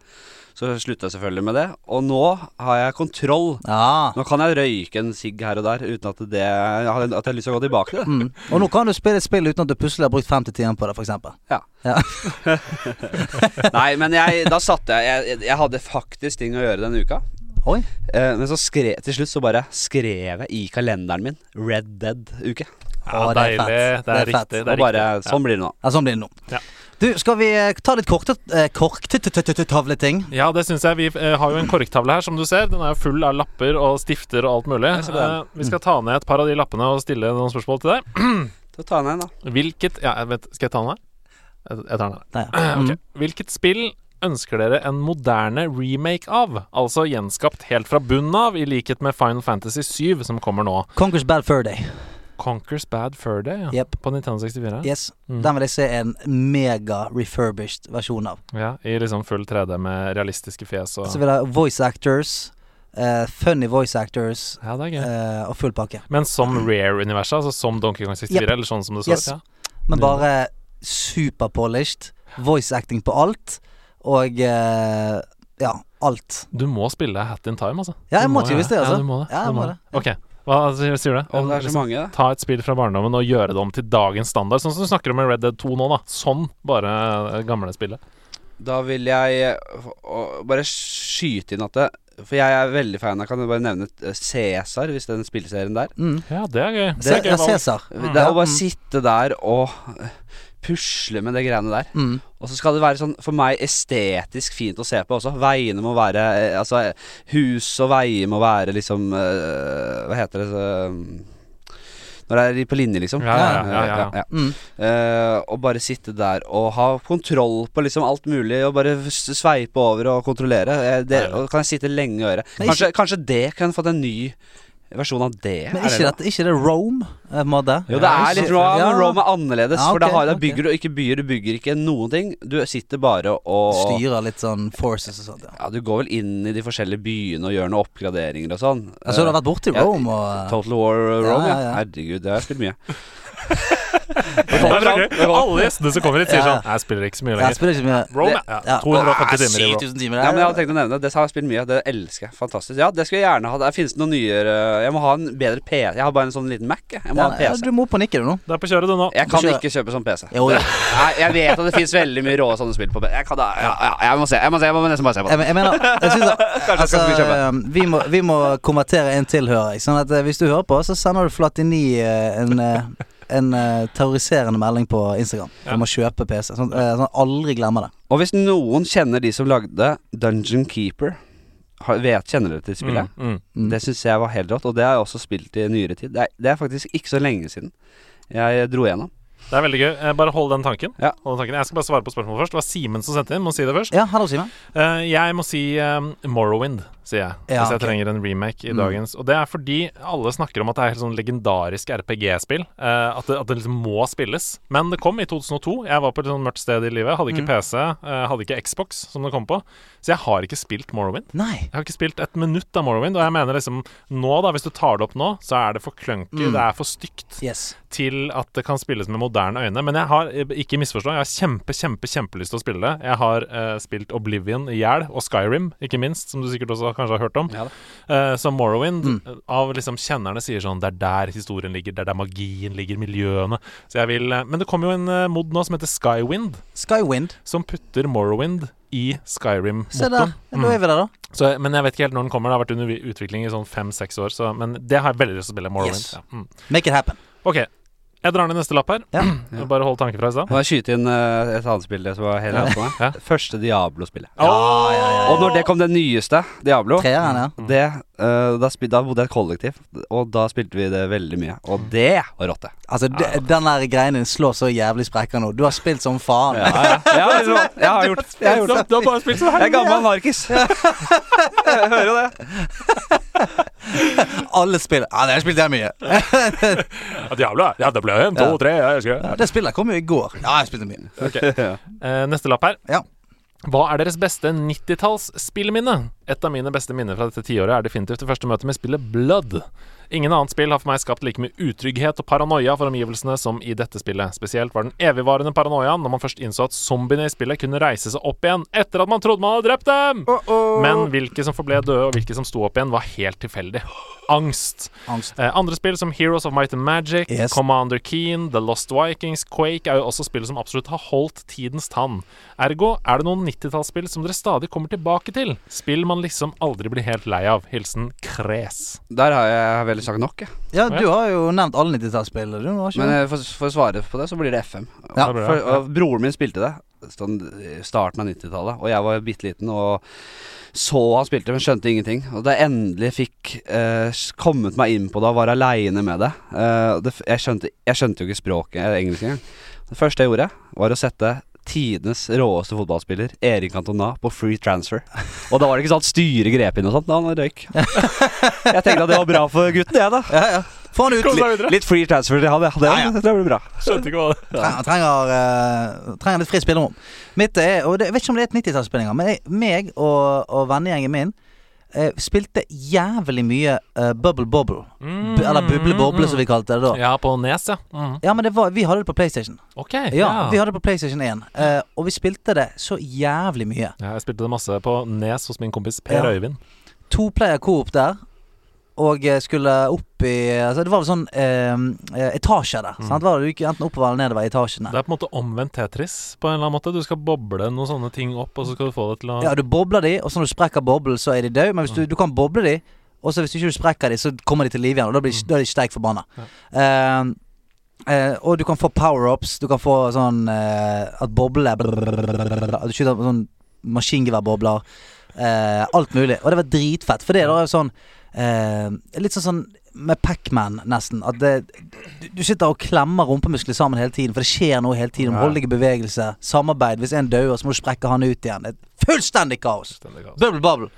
Speaker 1: Så slutta jeg selvfølgelig med det. Og nå har jeg kontroll.
Speaker 3: Ja.
Speaker 1: Nå kan jeg røyke en sigg her og der uten at, det, at jeg har lyst til å gå tilbake til det.
Speaker 3: Mm. Og nå kan du spille et spill uten at du plutselig har brukt 50 timer på det, f.eks.
Speaker 1: Nei, men jeg, da satte jeg, jeg Jeg hadde faktisk ting å gjøre denne uka.
Speaker 3: Oi.
Speaker 1: Eh, men så skre, til slutt så bare skrev jeg i kalenderen min Red Dead-uke.
Speaker 4: Ja,
Speaker 3: Å, det er
Speaker 4: deilig.
Speaker 3: fett.
Speaker 4: Det er,
Speaker 3: Det er fett.
Speaker 4: riktig. Det
Speaker 1: Og
Speaker 4: er
Speaker 1: bare
Speaker 4: riktig.
Speaker 1: Sånn blir det nå.
Speaker 3: Ja, sånn blir det nå.
Speaker 4: Ja.
Speaker 3: Du, skal vi eh, ta litt korktavletting?
Speaker 4: Ja, det syns jeg. Vi eh, har jo en korktavle her, som du ser. Den er jo full av lapper og stifter og alt mulig.
Speaker 1: ser den.
Speaker 4: Eh, vi skal ta ned et par av de lappene og stille noen spørsmål til deg.
Speaker 1: Så ta den igjen, da.
Speaker 4: Hvilket Ja, jeg vet, skal jeg ta den her? Jeg jeg tar den her. Eh,
Speaker 3: Der.
Speaker 4: Ok.
Speaker 3: Mm.
Speaker 4: Hvilket spill ønsker dere en moderne remake av? Altså gjenskapt helt fra bunnen av, i likhet med Final Fantasy 7, som kommer nå.
Speaker 3: Conquers Bad Fur Day.
Speaker 4: Conkers Bad Fur Day, ja.
Speaker 3: Jep.
Speaker 4: På Nintendo 64?
Speaker 3: Yes.
Speaker 4: Mm.
Speaker 3: Den vil jeg se en mega refurbished versjon av.
Speaker 4: Ja, I liksom full 3D med realistiske fjes og
Speaker 3: Så vil jeg ha voice actors, eh, funny voice actors
Speaker 4: Ja, det er gøy.
Speaker 3: eh, og full pakke.
Speaker 4: Men som Rare-universet, altså som Donkey Kong 64, eller sånn som det så ut?
Speaker 3: Yes.
Speaker 4: Ja.
Speaker 3: Men bare superpolished. Voice acting på alt. Og eh, ja, alt.
Speaker 4: Du må spille Hat in Time, altså.
Speaker 3: Ja, jeg
Speaker 4: Du
Speaker 3: må tydeligvis det, altså.
Speaker 4: Ja, du må det.
Speaker 3: Ja, jeg
Speaker 4: Du
Speaker 3: må
Speaker 4: Ok, hva sier sier du?
Speaker 1: Å, det er så
Speaker 4: Liksom,
Speaker 1: mange, da.
Speaker 4: Ta et spill fra barndommen og gjøre det om til dagens standard, sånn som du snakker om i Red Dead 2 nå, da. Sånn, bare eh, gamle spillet.
Speaker 1: Da vil jeg eh, f- å- bare skyte inn at det For jeg er veldig fan av Kan jeg bare nevne eh, Cæsar, hvis den spilleserien der.
Speaker 3: Mm.
Speaker 4: Ja, det er gøy.
Speaker 3: Se,
Speaker 4: Det er gøy
Speaker 3: ja,
Speaker 4: valg.
Speaker 3: Cæsar.
Speaker 1: Det er
Speaker 3: Ja,
Speaker 1: å bare
Speaker 4: Mhm.
Speaker 3: mm.
Speaker 1: sitte der og eh, pusle med det greiene der.
Speaker 3: Mm.
Speaker 1: Og så skal det være sånn for meg estetisk fint å se på også. Veiene må være eh, Altså, eh, hus og veier må være liksom eh, Hva heter det så, um, Når det er i- på linje, liksom.
Speaker 4: Ja, ja, ja, ja, ja.
Speaker 1: Eh,
Speaker 3: Mm.
Speaker 1: Eh, og bare sitte der og ha kontroll på liksom alt mulig, og bare s- sveipe over og kontrollere. Eh, det
Speaker 4: Ja.
Speaker 1: og kan jeg sitte lenge og gjøre.
Speaker 3: Nei,
Speaker 1: Kanskje, kanskje det kan fått en ny versjon av det?
Speaker 3: Men
Speaker 1: er det
Speaker 3: ikke,
Speaker 1: lov?
Speaker 3: dette, ikke det Rome, eh, på en måte?
Speaker 1: Jo, det
Speaker 4: Ja,
Speaker 1: er litt
Speaker 3: ikke-
Speaker 1: Rome,
Speaker 3: ja.
Speaker 1: men Rome er annerledes.
Speaker 3: Ja,
Speaker 1: For da,
Speaker 3: ok,
Speaker 1: har, da
Speaker 3: ok.
Speaker 1: bygger du ikke byer, du bygger ikke noen ting. Du sitter bare og
Speaker 3: Styrer litt sånn forces og sånt. Ja.
Speaker 1: Ja, du går vel inn i de forskjellige byene og gjør noen oppgraderinger og sånn.
Speaker 3: Jeg så du har vært borti
Speaker 1: ja,
Speaker 3: Rome og
Speaker 1: Eh, Total War eh, Rome,
Speaker 3: Ja,
Speaker 1: ja.
Speaker 3: ja, ja.
Speaker 1: Herregud, det har jeg spilt mye.
Speaker 4: Det er så gøy. Alle gjestene som kommer hit, sier
Speaker 3: Ja.
Speaker 4: sånn Jeg spiller ikke så mye
Speaker 3: eh, Jeg
Speaker 4: lenger.
Speaker 3: spiller ikke så mye
Speaker 4: Rome,
Speaker 3: det-
Speaker 4: ja.
Speaker 3: ja.
Speaker 4: 250 timer i
Speaker 3: Ah,
Speaker 4: Rome.
Speaker 3: 7000 timer.
Speaker 1: Ja, men jeg hadde tenkt å nevne det. Det har jeg spilt mye av. Det elsker jeg. Fantastisk. Ja, det skulle jeg gjerne ha. Der finnes det noen nyere Jeg må ha en bedre PC. Jeg har bare en sånn liten Mac. Jeg, jeg må
Speaker 3: ja,
Speaker 1: ha en
Speaker 3: ja,
Speaker 1: PC.
Speaker 3: du må opp og nikke, du nå.
Speaker 4: Det er på kjøret, du nå.
Speaker 1: Jeg kan
Speaker 3: kjøre.
Speaker 1: ikke kjøpe sånn PC.
Speaker 3: Jo, jo.
Speaker 1: Nei, jeg vet at det finnes veldig mye rå sånne spill på PC. Jeg, kan da, ja, ja, jeg må se. Jeg må se, jeg må nesten bare se på det.
Speaker 3: Jeg, men- jeg mener jeg synes at,
Speaker 1: jeg skal
Speaker 3: altså,
Speaker 1: bli kjøpet.
Speaker 3: eh, vi, må, vi må konvertere en til, hører jeg. Sånn at eh, hvis du hører på, så sender du Flatini eh, en, eh, en eh, terroriserende melding på Instagram
Speaker 4: Ja.
Speaker 3: om å kjøpe PC. Sånn eh, sånn at aldri glemmer det.
Speaker 1: Og hvis noen kjenner de som lagde Dungeon Keeper har- Vet, kjenner dere til spillet?
Speaker 4: Mm, mm.
Speaker 3: Mm.
Speaker 1: Det syns jeg var helt rått, og det har jeg også spilt i nyere tid. Det er, det er faktisk ikke så lenge siden jeg dro gjennom.
Speaker 4: Det er veldig gøy. Eh, Bare hold den tanken.
Speaker 1: Ja.
Speaker 4: Hold den tanken. Jeg skal bare svare på spørsmålet først. Det var Simen som sendte inn. Må si det først.
Speaker 3: Ja, hallo, Simen.
Speaker 4: Eh, jeg må si eh, Morrowind, sier jeg.
Speaker 3: Ja,
Speaker 4: hvis jeg
Speaker 3: ok.
Speaker 4: trenger en remake i
Speaker 3: Mm.
Speaker 4: dagens. Og det er fordi alle snakker om at det er et sånn legendarisk RPG-spill. eh, at, det, at det liksom må spilles. Men det kom i 2002. Jeg var på et sånn mørkt sted i livet.
Speaker 3: Mm.
Speaker 4: Hadde ikke PC, eh, hadde ikke Xbox, som det kom på. Så jeg har ikke spilt Morrowind.
Speaker 3: Nei.
Speaker 4: Jeg har ikke spilt et minutt av Morrowind, og jeg mener liksom nå, da, hvis du tar det opp nå, så er det for clunky,
Speaker 3: Mm.
Speaker 4: det er for stygt
Speaker 3: Yes.
Speaker 4: til at det kan spilles med moderne øyne. Men jeg har, eh, ikke misforstå, jeg har kjempe, kjempe, kjempelyst til å spille det. Jeg har eh, spilt Oblivion i hjel, og Skyrim, ikke minst, som du sikkert også kanskje har hørt om.
Speaker 1: Ja da.
Speaker 4: Eh, så Morrowind,
Speaker 3: Mm.
Speaker 4: eh, av liksom kjennerne sier sånn Det er der historien ligger, det er der magien ligger, miljøene. Så jeg vil eh, Men det kom jo en eh, mod nå som heter Skywind,
Speaker 3: Skywind.
Speaker 4: som putter Morrowind i
Speaker 3: Se der.
Speaker 4: Skyrim-motoren. Mm.
Speaker 3: Da er vi der, da.
Speaker 4: Så, men jeg vet ikke helt når den kommer. Det har vært under utvikling i sånn fem-seks år. Så, men det har jeg veldig lyst til å spille. Morrowind.
Speaker 3: Yes.
Speaker 4: Ja. Mm.
Speaker 3: Make it happen.
Speaker 4: Ok, jeg drar ned neste lapp her.
Speaker 3: Ja.
Speaker 4: Bare hold tanken fra i stad.
Speaker 1: Må jeg skyte inn eh, et annet spill som var helt rett på meg?
Speaker 4: Ja.
Speaker 1: Første Diablo-spillet.
Speaker 4: Åh!
Speaker 1: Og når det kom det nyeste, Diablo
Speaker 3: Treeren, ja.
Speaker 1: det, eh, da, spil, da bodde jeg i et kollektiv, og da spilte vi det veldig mye. Og det var rått, det.
Speaker 3: Altså, de- den der greien din slår så jævlig sprekker nå. Du har spilt som faen.
Speaker 1: Ja, ja. ja liksom, jeg har gjort jeg har gjort det.
Speaker 4: Du har bare spilt sånn
Speaker 1: Jeg er gammel narkis. Jeg hører jo det.
Speaker 3: Alle spiller Ja, det har jeg spilt det mye.
Speaker 4: Diablo, ja, det ble en,
Speaker 3: to,
Speaker 4: tre, jeg husker
Speaker 3: Ja, det spillet kom jo i går. Ja, jeg spilte mye.
Speaker 1: Ja.
Speaker 4: Eh, neste lapp her.
Speaker 3: Ja.
Speaker 4: Hva er deres beste 90-talls-spillminne? Et av mine beste minner fra dette tiåret er definitivt det første møtet med spillet Blood. Ingen annet spill har for meg skapt like mye utrygghet og paranoia for omgivelsene som i dette spillet. Spesielt var den evigvarende paranoiaen når man først innså at zombiene i spillet kunne reise seg opp igjen etter at man trodde man hadde drept dem! Men hvilke som forble døde, og hvilke som sto opp igjen, var helt tilfeldig. Angst.
Speaker 3: Angst.
Speaker 4: Eh, andre spill som Heroes of Might and Magic,
Speaker 3: Yes.
Speaker 4: Commander Keen, The Lost Vikings, Quake er jo også spill som absolutt har holdt tidens tann. Ergo er det noen 90-tallsspill som dere stadig kommer tilbake til. Spill man liksom aldri blir helt lei av. Hilsen Kres.
Speaker 1: Der har jeg vel sagt nok, jeg.
Speaker 3: Ja, du har jo nevnt alle 90-tallsspillene, du. Har ikke
Speaker 1: Men
Speaker 3: det?
Speaker 1: eh, for, for å svare på det, så blir det FM.
Speaker 3: Ja,
Speaker 4: det blir det.
Speaker 1: for, og broren min spilte det sånn i starten av 90-tallet, og jeg var bitte liten og så han spilte, men skjønte ingenting. Og da jeg endelig fikk eh, s- kommet meg inn på det og var aleine med det, eh, det f- jeg, skjønte, jeg skjønte jo ikke språket eller engelsk engang. Det første jeg gjorde, var å sette tidenes råeste fotballspiller, Erik Cantona, på free transfer. Og da var det ikke sånn at styret grep inn og sånt, da han røyk. Jeg tenkte at det var bra for gutten, jeg, da.
Speaker 3: Ja, ja. Få han ut.
Speaker 4: Kom deg
Speaker 3: Litt-
Speaker 4: videre.
Speaker 1: Litt free transfer til han, ja. Det,
Speaker 3: Ja, ja.
Speaker 1: det blir bra.
Speaker 4: Skjønte ikke hva det
Speaker 3: Trenger, trenger, eh, trenger litt fritt spillerom. Mitt er Og det, jeg vet ikke om det er et 90-tallsspill engang, men jeg, meg og, og vennegjengen min eh, spilte jævlig mye eh, Bubble Bobble.
Speaker 4: mm,
Speaker 3: Bu- Eller Buble Boble, som vi kalte det da.
Speaker 4: Ja, på Nes, ja. Mm.
Speaker 3: Ja, men det var, vi hadde det på PlayStation.
Speaker 4: OK. Ja,
Speaker 3: Ja, vi hadde det på PlayStation 1. eh, og vi spilte det så jævlig mye.
Speaker 4: Ja, jeg spilte det masse på Nes hos min kompis Per
Speaker 3: Ja.
Speaker 4: Øyvind.
Speaker 3: To player co-op der. Og eh, skulle opp i altså Det var vel sånn eh, eh, etasjer
Speaker 4: Mm.
Speaker 3: der. Sant? Det var, jo ikke enten oppover eller nedover i etasjene.
Speaker 4: Det er på en måte omvendt Tetris. På en eller annen måte Du skal boble noen sånne ting opp, og så skal du få det til å
Speaker 3: Ja, du bobler de, og så når du sprekker boblen, så er de døde. Men hvis du, du kan boble de, og så hvis ikke du sprekker de, så kommer de til live igjen. Og da, blir, de- da er de steik forbanna. Ehm, eh, og du kan få power-ups. Du kan få sånn eh, at boblene At du skyter sånn maskingeværbobler. eh, alt mulig. Og det var dritfett. For det da er jo sånn eh, Litt sånn sånn med Pacman, nesten. At det, du, du sitter og klemmer rumpemuskler sammen hele tiden, for det skjer noe hele tiden. Voldelige bevegelser, samarbeid. Hvis en dauer, så må du sprekke han ut igjen. Det er fullstendig kaos! Bubble Bubble.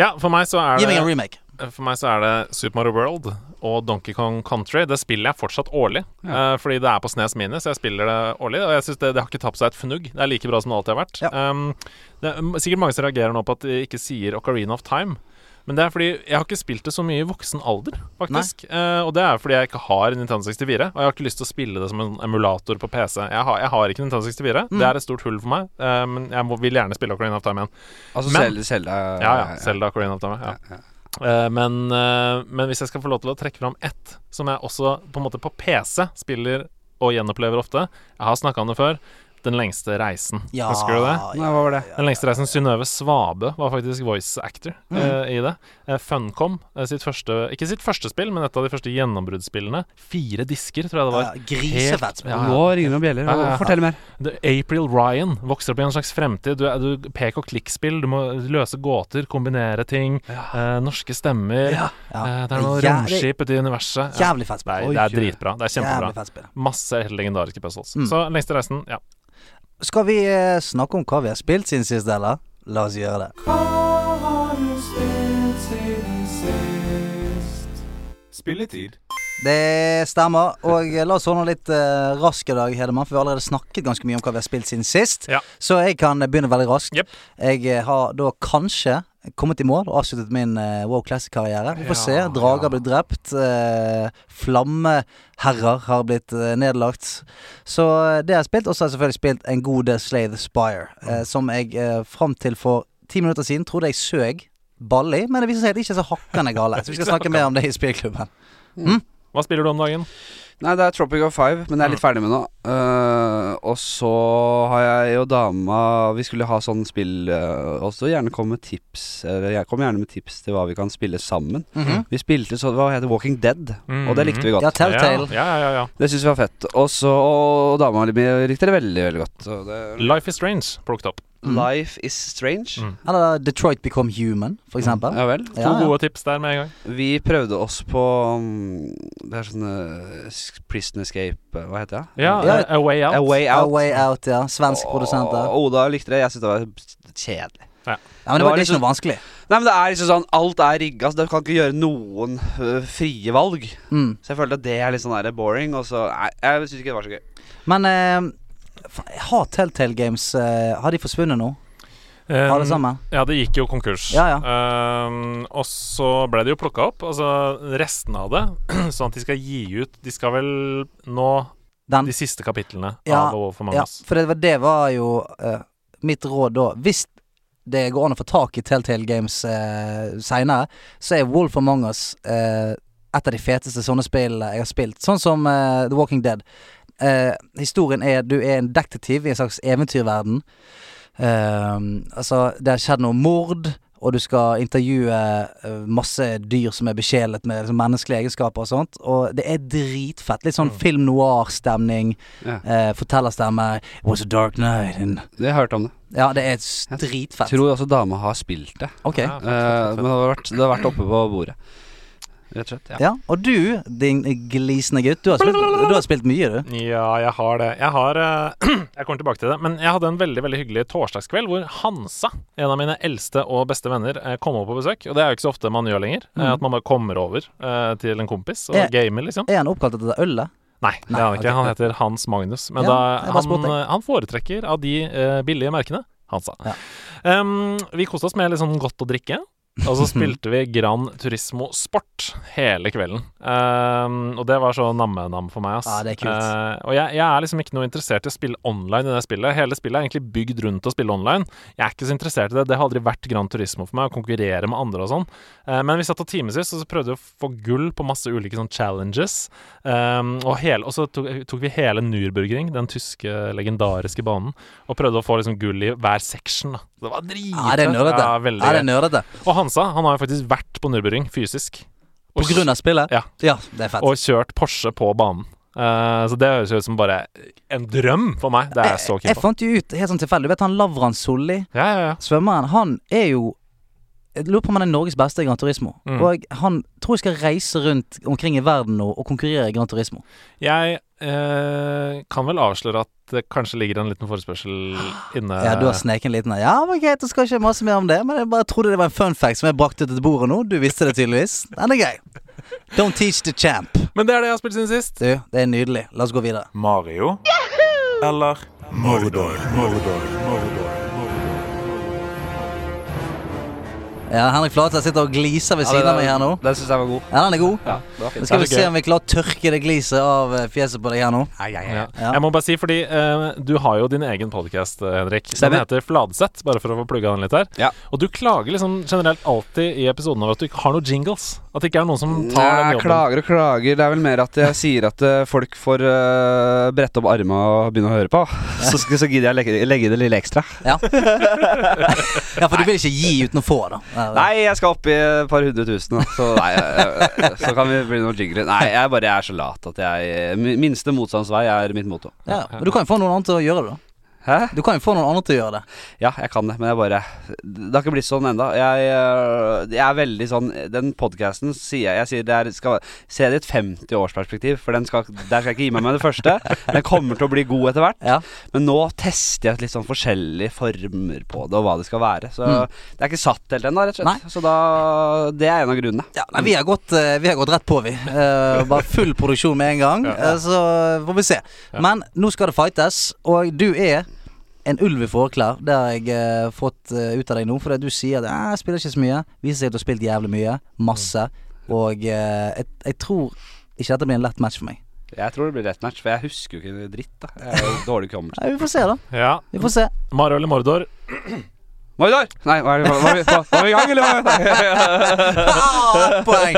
Speaker 4: Ja, for meg så er
Speaker 3: Gi meg
Speaker 4: det
Speaker 3: en remake.
Speaker 4: For meg så er det Super Mario World og Donkey Kong Country. Det spiller jeg fortsatt årlig, eh, fordi det er på Snes Mini, så jeg spiller det årlig. Og jeg synes det, det har ikke tapt seg et fnugg. Det er like bra som det alltid har vært.
Speaker 3: Ja.
Speaker 4: Um, det er m- sikkert mange som reagerer nå på at de ikke sier Ocarina of Time. Men det er fordi jeg har ikke spilt det så mye i voksen alder, faktisk. Eh, og det er fordi jeg ikke har en Nintendo 64, og jeg har ikke lyst til å spille det som en emulator på PC. Jeg har, jeg har ikke Nintendo 64. Det er et stort hull for meg, eh, men jeg må, vil gjerne spille Ocarina of Time igjen.
Speaker 1: Altså
Speaker 4: Men-
Speaker 1: selv, selv eh,
Speaker 4: Ja, ja. Selda Corina of Time. Ja. Eh, men, eh, men hvis jeg skal få lov til å trekke fram ett, som jeg også på en måte på PC spiller og gjenopplever ofte Jeg har snakka om det før. Den lengste reisen.
Speaker 3: Ja,
Speaker 4: Husker du det?
Speaker 1: Nei, hva var det?
Speaker 4: Den lengste reisen Synnøve Svabø var faktisk voice actor
Speaker 3: Mm.
Speaker 4: eh, i det. Eh, Funcom, eh, sitt første Ikke sitt første spill, men et av de første gjennombruddspillene. Fire disker, tror jeg det var.
Speaker 3: Ja, grisefett spill.
Speaker 4: ja, ja.
Speaker 1: Nå ringer det bjeller.
Speaker 4: Ja, ja, ja.
Speaker 1: Fortell mer.
Speaker 4: The April Ryan vokser opp i en slags fremtid. Du, er- du Pek og klikk-spill. Du må løse gåter, kombinere ting. eh, norske stemmer. Eh, det er noen
Speaker 3: Jævlig-
Speaker 4: romskip ute i universet. Ja.
Speaker 3: Jævlig fett
Speaker 4: Nei,
Speaker 3: spill.
Speaker 4: det er dritbra. Det er
Speaker 3: Jævlig
Speaker 4: kjempebra.
Speaker 3: fett spill.
Speaker 4: Masse helt legendariske puzzles.
Speaker 3: Mm.
Speaker 4: Så lengste reisen, ja.
Speaker 3: Skal vi eh, snakke om hva vi har spilt siden sist, eller? La oss gjøre det.
Speaker 2: Spilletid.
Speaker 3: Det stemmer. Og eh, la oss holde litt eh, rask i dag, Hedemann, for vi har allerede snakket ganske mye om hva vi har spilt siden sist.
Speaker 4: Ja.
Speaker 3: Så jeg kan eh, begynne veldig raskt.
Speaker 4: Jep.
Speaker 3: Jeg eh, har da kanskje kommet i mål og avsluttet min eh, Wow Classic-karriere. Vi får se.
Speaker 4: Ja,
Speaker 3: Drager
Speaker 4: ja.
Speaker 3: ble drept. eh, flammeherrer har blitt eh, nedlagt. Så eh, det har jeg spilt. Og så har jeg selvfølgelig spilt en god del Slay the Spire,
Speaker 1: Mm.
Speaker 3: eh, som jeg eh, fram til for ti minutter siden trodde jeg søg ball i, men det viser seg at det ikke er så hakkende gale. Så vi skal snakke mer om det i spillklubben.
Speaker 4: Hva spiller du om dagen?
Speaker 1: Nei, det er Tropic of Five, men jeg er litt ferdig med nå. Eh, og så har jeg og dama Vi skulle ha sånn spill eh, også. Gjerne kom med tips Eller jeg kom gjerne med tips til hva vi kan spille sammen.
Speaker 3: Mhm.
Speaker 1: Vi spilte så Hva heter Walking Dead? Og det likte vi godt.
Speaker 3: Ja, Telltale.
Speaker 4: Mm. Ja, ja, ja, ja.
Speaker 1: Det syns vi var fett. Og så Og dama mi likte det veldig, veldig godt. Så det,
Speaker 4: Life is Strange plukket opp.
Speaker 1: Life is strange.
Speaker 4: Mm.
Speaker 3: Eller eh, Detroit Become Human, for eksempel.
Speaker 1: Ja vel.
Speaker 4: To
Speaker 3: Ja, ja.
Speaker 4: gode tips der med en gang.
Speaker 1: Vi prøvde oss på mm, Det er sånn eh, s- Prison Escape eh, Hva heter det?
Speaker 4: Ja,
Speaker 3: Ja.
Speaker 4: eh, A Way Out.
Speaker 1: A Way
Speaker 3: A
Speaker 1: Out.
Speaker 3: Way Out, ja. Svensk produsent der.
Speaker 1: Og Oda likte det. Jeg syntes det var kjedelig.
Speaker 3: Ja,
Speaker 4: Ja.
Speaker 3: men det
Speaker 1: Det var
Speaker 3: var ikke
Speaker 1: liksom-
Speaker 3: noe vanskelig.
Speaker 1: Nei, men det er liksom sånn Alt er rigga, så du kan ikke gjøre noen øh, frie valg.
Speaker 3: Mm.
Speaker 1: Så jeg følte at det er litt sånn der boring, og så Nei, jeg syns ikke det var så gøy.
Speaker 3: Men eh, faen, har Telltale Games eh, Har de forsvunnet nå? Har
Speaker 1: Um,
Speaker 3: det samme?
Speaker 4: Um, Ja, det gikk jo konkurs.
Speaker 3: Ja, ja.
Speaker 4: Ehm, og så ble det jo plukka opp, altså resten av det, sånn at de skal gi ut De skal vel nå
Speaker 3: Den?
Speaker 4: de siste kapitlene
Speaker 3: Ja,
Speaker 4: av Wolf Among
Speaker 3: Ja,
Speaker 4: Us.
Speaker 3: for det, var- det var jo eh, mitt råd da. Hvis det går an å få tak i Telltale Games uh, seinere, så er Wolf Among Us eh, et av de feteste sånne spill jeg har spilt. Sånn som eh, The Walking Dead. Eh, historien er du er en detektiv i en slags eventyrverden. Ehm, altså, det har skjedd noe mord, og du skal intervjue eh, masse dyr som er besjelet med liksom, menneskelige egenskaper og sånt. Og det er dritfett. Litt sånn film noir-stemning.
Speaker 1: Ja.
Speaker 3: Eh, fortellerstemme. It was a dark night and
Speaker 1: Jeg hørte om det.
Speaker 3: Ja, det er s-
Speaker 1: Jeg
Speaker 3: dritfett.
Speaker 1: Tror også dama har spilt det. Eh,
Speaker 3: Ok.
Speaker 4: Ja,
Speaker 3: Ja.
Speaker 4: fett, fett,
Speaker 1: men det
Speaker 4: fett,
Speaker 1: har, vært, det har vært oppe på bordet. Rett og slett. Ja.
Speaker 3: Og du, din glisende gutt, du har spilt, du har spilt mye, du.
Speaker 4: fett. Ja, jeg har det. Jeg har eh, Jeg kommer tilbake til det. Men jeg hadde en veldig veldig hyggelig torsdagskveld hvor Hansa, en av mine eldste og beste venner, eh, kom over på besøk. Og det er jo ikke så ofte man gjør lenger. eh,
Speaker 3: Mhm.
Speaker 4: At man bare kommer over eh, til en kompis og
Speaker 3: Ja.
Speaker 4: gamer, liksom.
Speaker 3: Er han oppkalt etter det ølet?
Speaker 4: Nei, det er han ikke.
Speaker 3: ok.
Speaker 4: Han heter Hans Magnus. Men
Speaker 3: Ja,
Speaker 4: da,
Speaker 3: jeg bare spurte,
Speaker 4: han, han foretrekker av de eh, billige merkene, han sa.
Speaker 3: Ja.
Speaker 4: Um, vi koste oss med litt sånn godt å drikke. Og så spilte vi Gran Turismo Sport hele kvelden. Um, og det var så namme-nam for meg. Ass.
Speaker 3: Ja, det er kult.
Speaker 4: Eh, og jeg, jeg er liksom ikke noe interessert i å spille online i det spillet. Hele spillet er egentlig bygd rundt å spille online. Jeg er ikke så interessert i det. Det har aldri vært Gran Turismo for meg, å konkurrere med andre og sånn. Eh, men vi satt og timevis, og så prøvde vi å få gull på masse ulike sånn challenges. Ehm, og, hele, og så tok, tok vi hele Nürburgring, den tyske legendariske banen, og prøvde å få liksom gull i hver section. Da. Det var dritfett.
Speaker 3: Ja, det er nerdete.
Speaker 4: Ja, veldig
Speaker 3: Ja, det er nerdete.
Speaker 4: gøy. og Hansa han har jo faktisk vært på Nürburgring fysisk.
Speaker 3: På grunn av spillet?
Speaker 4: Ja.
Speaker 3: Ja, det er fett.
Speaker 4: og kjørt Porsche på banen. Eh, så det høres jo ut som bare en drøm for meg. Det er jeg så
Speaker 3: jeg
Speaker 4: keen på.
Speaker 3: fant jo ut helt sånn tilfeldig. Du vet han Lavran Solli,
Speaker 4: Ja, ja, ja.
Speaker 3: svømmeren, han er jo jeg lurer på om han er Norges beste i Gran Turismo.
Speaker 4: Mm.
Speaker 3: Og han tror jeg skal reise rundt omkring i verden nå og konkurrere i Gran Turismo.
Speaker 4: Jeg eh, kan vel avsløre at det kanskje ligger en liten forespørsel inne.
Speaker 3: Ah, Ja, du har sneket en liten en. Ja, men greit, du skal ikke mase mer om det. Men jeg bare trodde det var en fun fact som jeg brakte til bordet nå. Du visste det tydeligvis. Den er grei. Don't teach the champ.
Speaker 4: Men det er det jeg har spilt siden sist.
Speaker 3: Du, det er nydelig. La oss gå videre.
Speaker 2: Mario eller Mordor. Mordor. Mordor.
Speaker 3: Ja, Henrik Flatseth sitter og gliser ved siden av meg her nå.
Speaker 1: Den syns jeg var god.
Speaker 3: Ja, den er god.
Speaker 1: Ja, det
Speaker 3: Nå
Speaker 1: var fint.
Speaker 3: skal
Speaker 4: Det er
Speaker 3: vi
Speaker 4: så
Speaker 3: se
Speaker 4: gøy.
Speaker 3: om vi klarer å tørke det gliset av eh, fjeset på deg her nå.
Speaker 4: Ja.
Speaker 3: Ja.
Speaker 4: Jeg må bare si, fordi eh, du har jo din egen podkast, Henrik. Den
Speaker 1: Stemmer.
Speaker 4: heter Fladseth, bare for å få plugga den litt her.
Speaker 1: Ja.
Speaker 4: Og du klager liksom generelt alltid i episoden over at du ikke har noen jingles. At det ikke er noen som
Speaker 1: Nei,
Speaker 4: tar den
Speaker 1: jeg
Speaker 4: jobben.
Speaker 1: klager og klager. Det er vel mer at jeg sier at eh, folk får eh, brette opp arma og begynne å høre på. Så, skal- så gidder jeg legge, legge det lille ekstra.
Speaker 3: Ja, for du vil ikke gi uten å få, da. Ja, ja.
Speaker 1: Nei, jeg skal opp i et par hundre tusen, da. så, nei, eh, så kan vi bli noen jingler. Nei, jeg bare er så lat at jeg mi- Minste motstandsvei er mitt motto.
Speaker 3: Ja, men du kan jo få noen andre til å gjøre det, da.
Speaker 1: Hæ?
Speaker 3: Du kan jo få noen andre til å gjøre det.
Speaker 1: Ja, jeg kan det, men jeg bare Det har ikke blitt sånn enda Jeg, øh, jeg er veldig sånn Den podcasten sier jeg Jeg sier det er, skal se det i et 50 årsperspektiv For den skal, der skal jeg ikke gi meg med det første Den kommer til å bli god etter hvert
Speaker 3: Ja.
Speaker 1: Men nå tester jeg litt sånn forskjellige former på det Og hva det skal være Så
Speaker 3: Mm.
Speaker 1: det er ikke satt helt enda, rett og slett
Speaker 3: Nei.
Speaker 1: Så da, det er en av grunnene
Speaker 3: Ja, nei, vi har gått, eh, vi har gått rett på, vi. Eh, bare full produksjon med en gang. eh, så får vi se. Men nå skal det fightes, og du er en ulv i forklær. Det har jeg eh, fått eh, ut av deg nå, fordi du sier at eh, jeg spiller ikke så mye. Viser seg at du har spilt jævlig mye. Masse. Og eh, jeg, jeg tror ikke dette blir en lett match for meg.
Speaker 1: Jeg tror det blir rett match For jeg husker jo ikke dritt da Jeg er jo dårlig kommelse
Speaker 3: Nei, vi får se, da.
Speaker 4: Ja.
Speaker 3: Vi får se.
Speaker 4: Mario eller Mordor?
Speaker 1: Majdar! Nei, var, var, var, vi- var, var vi i gang eller? Nei.
Speaker 3: Ah, ett poeng!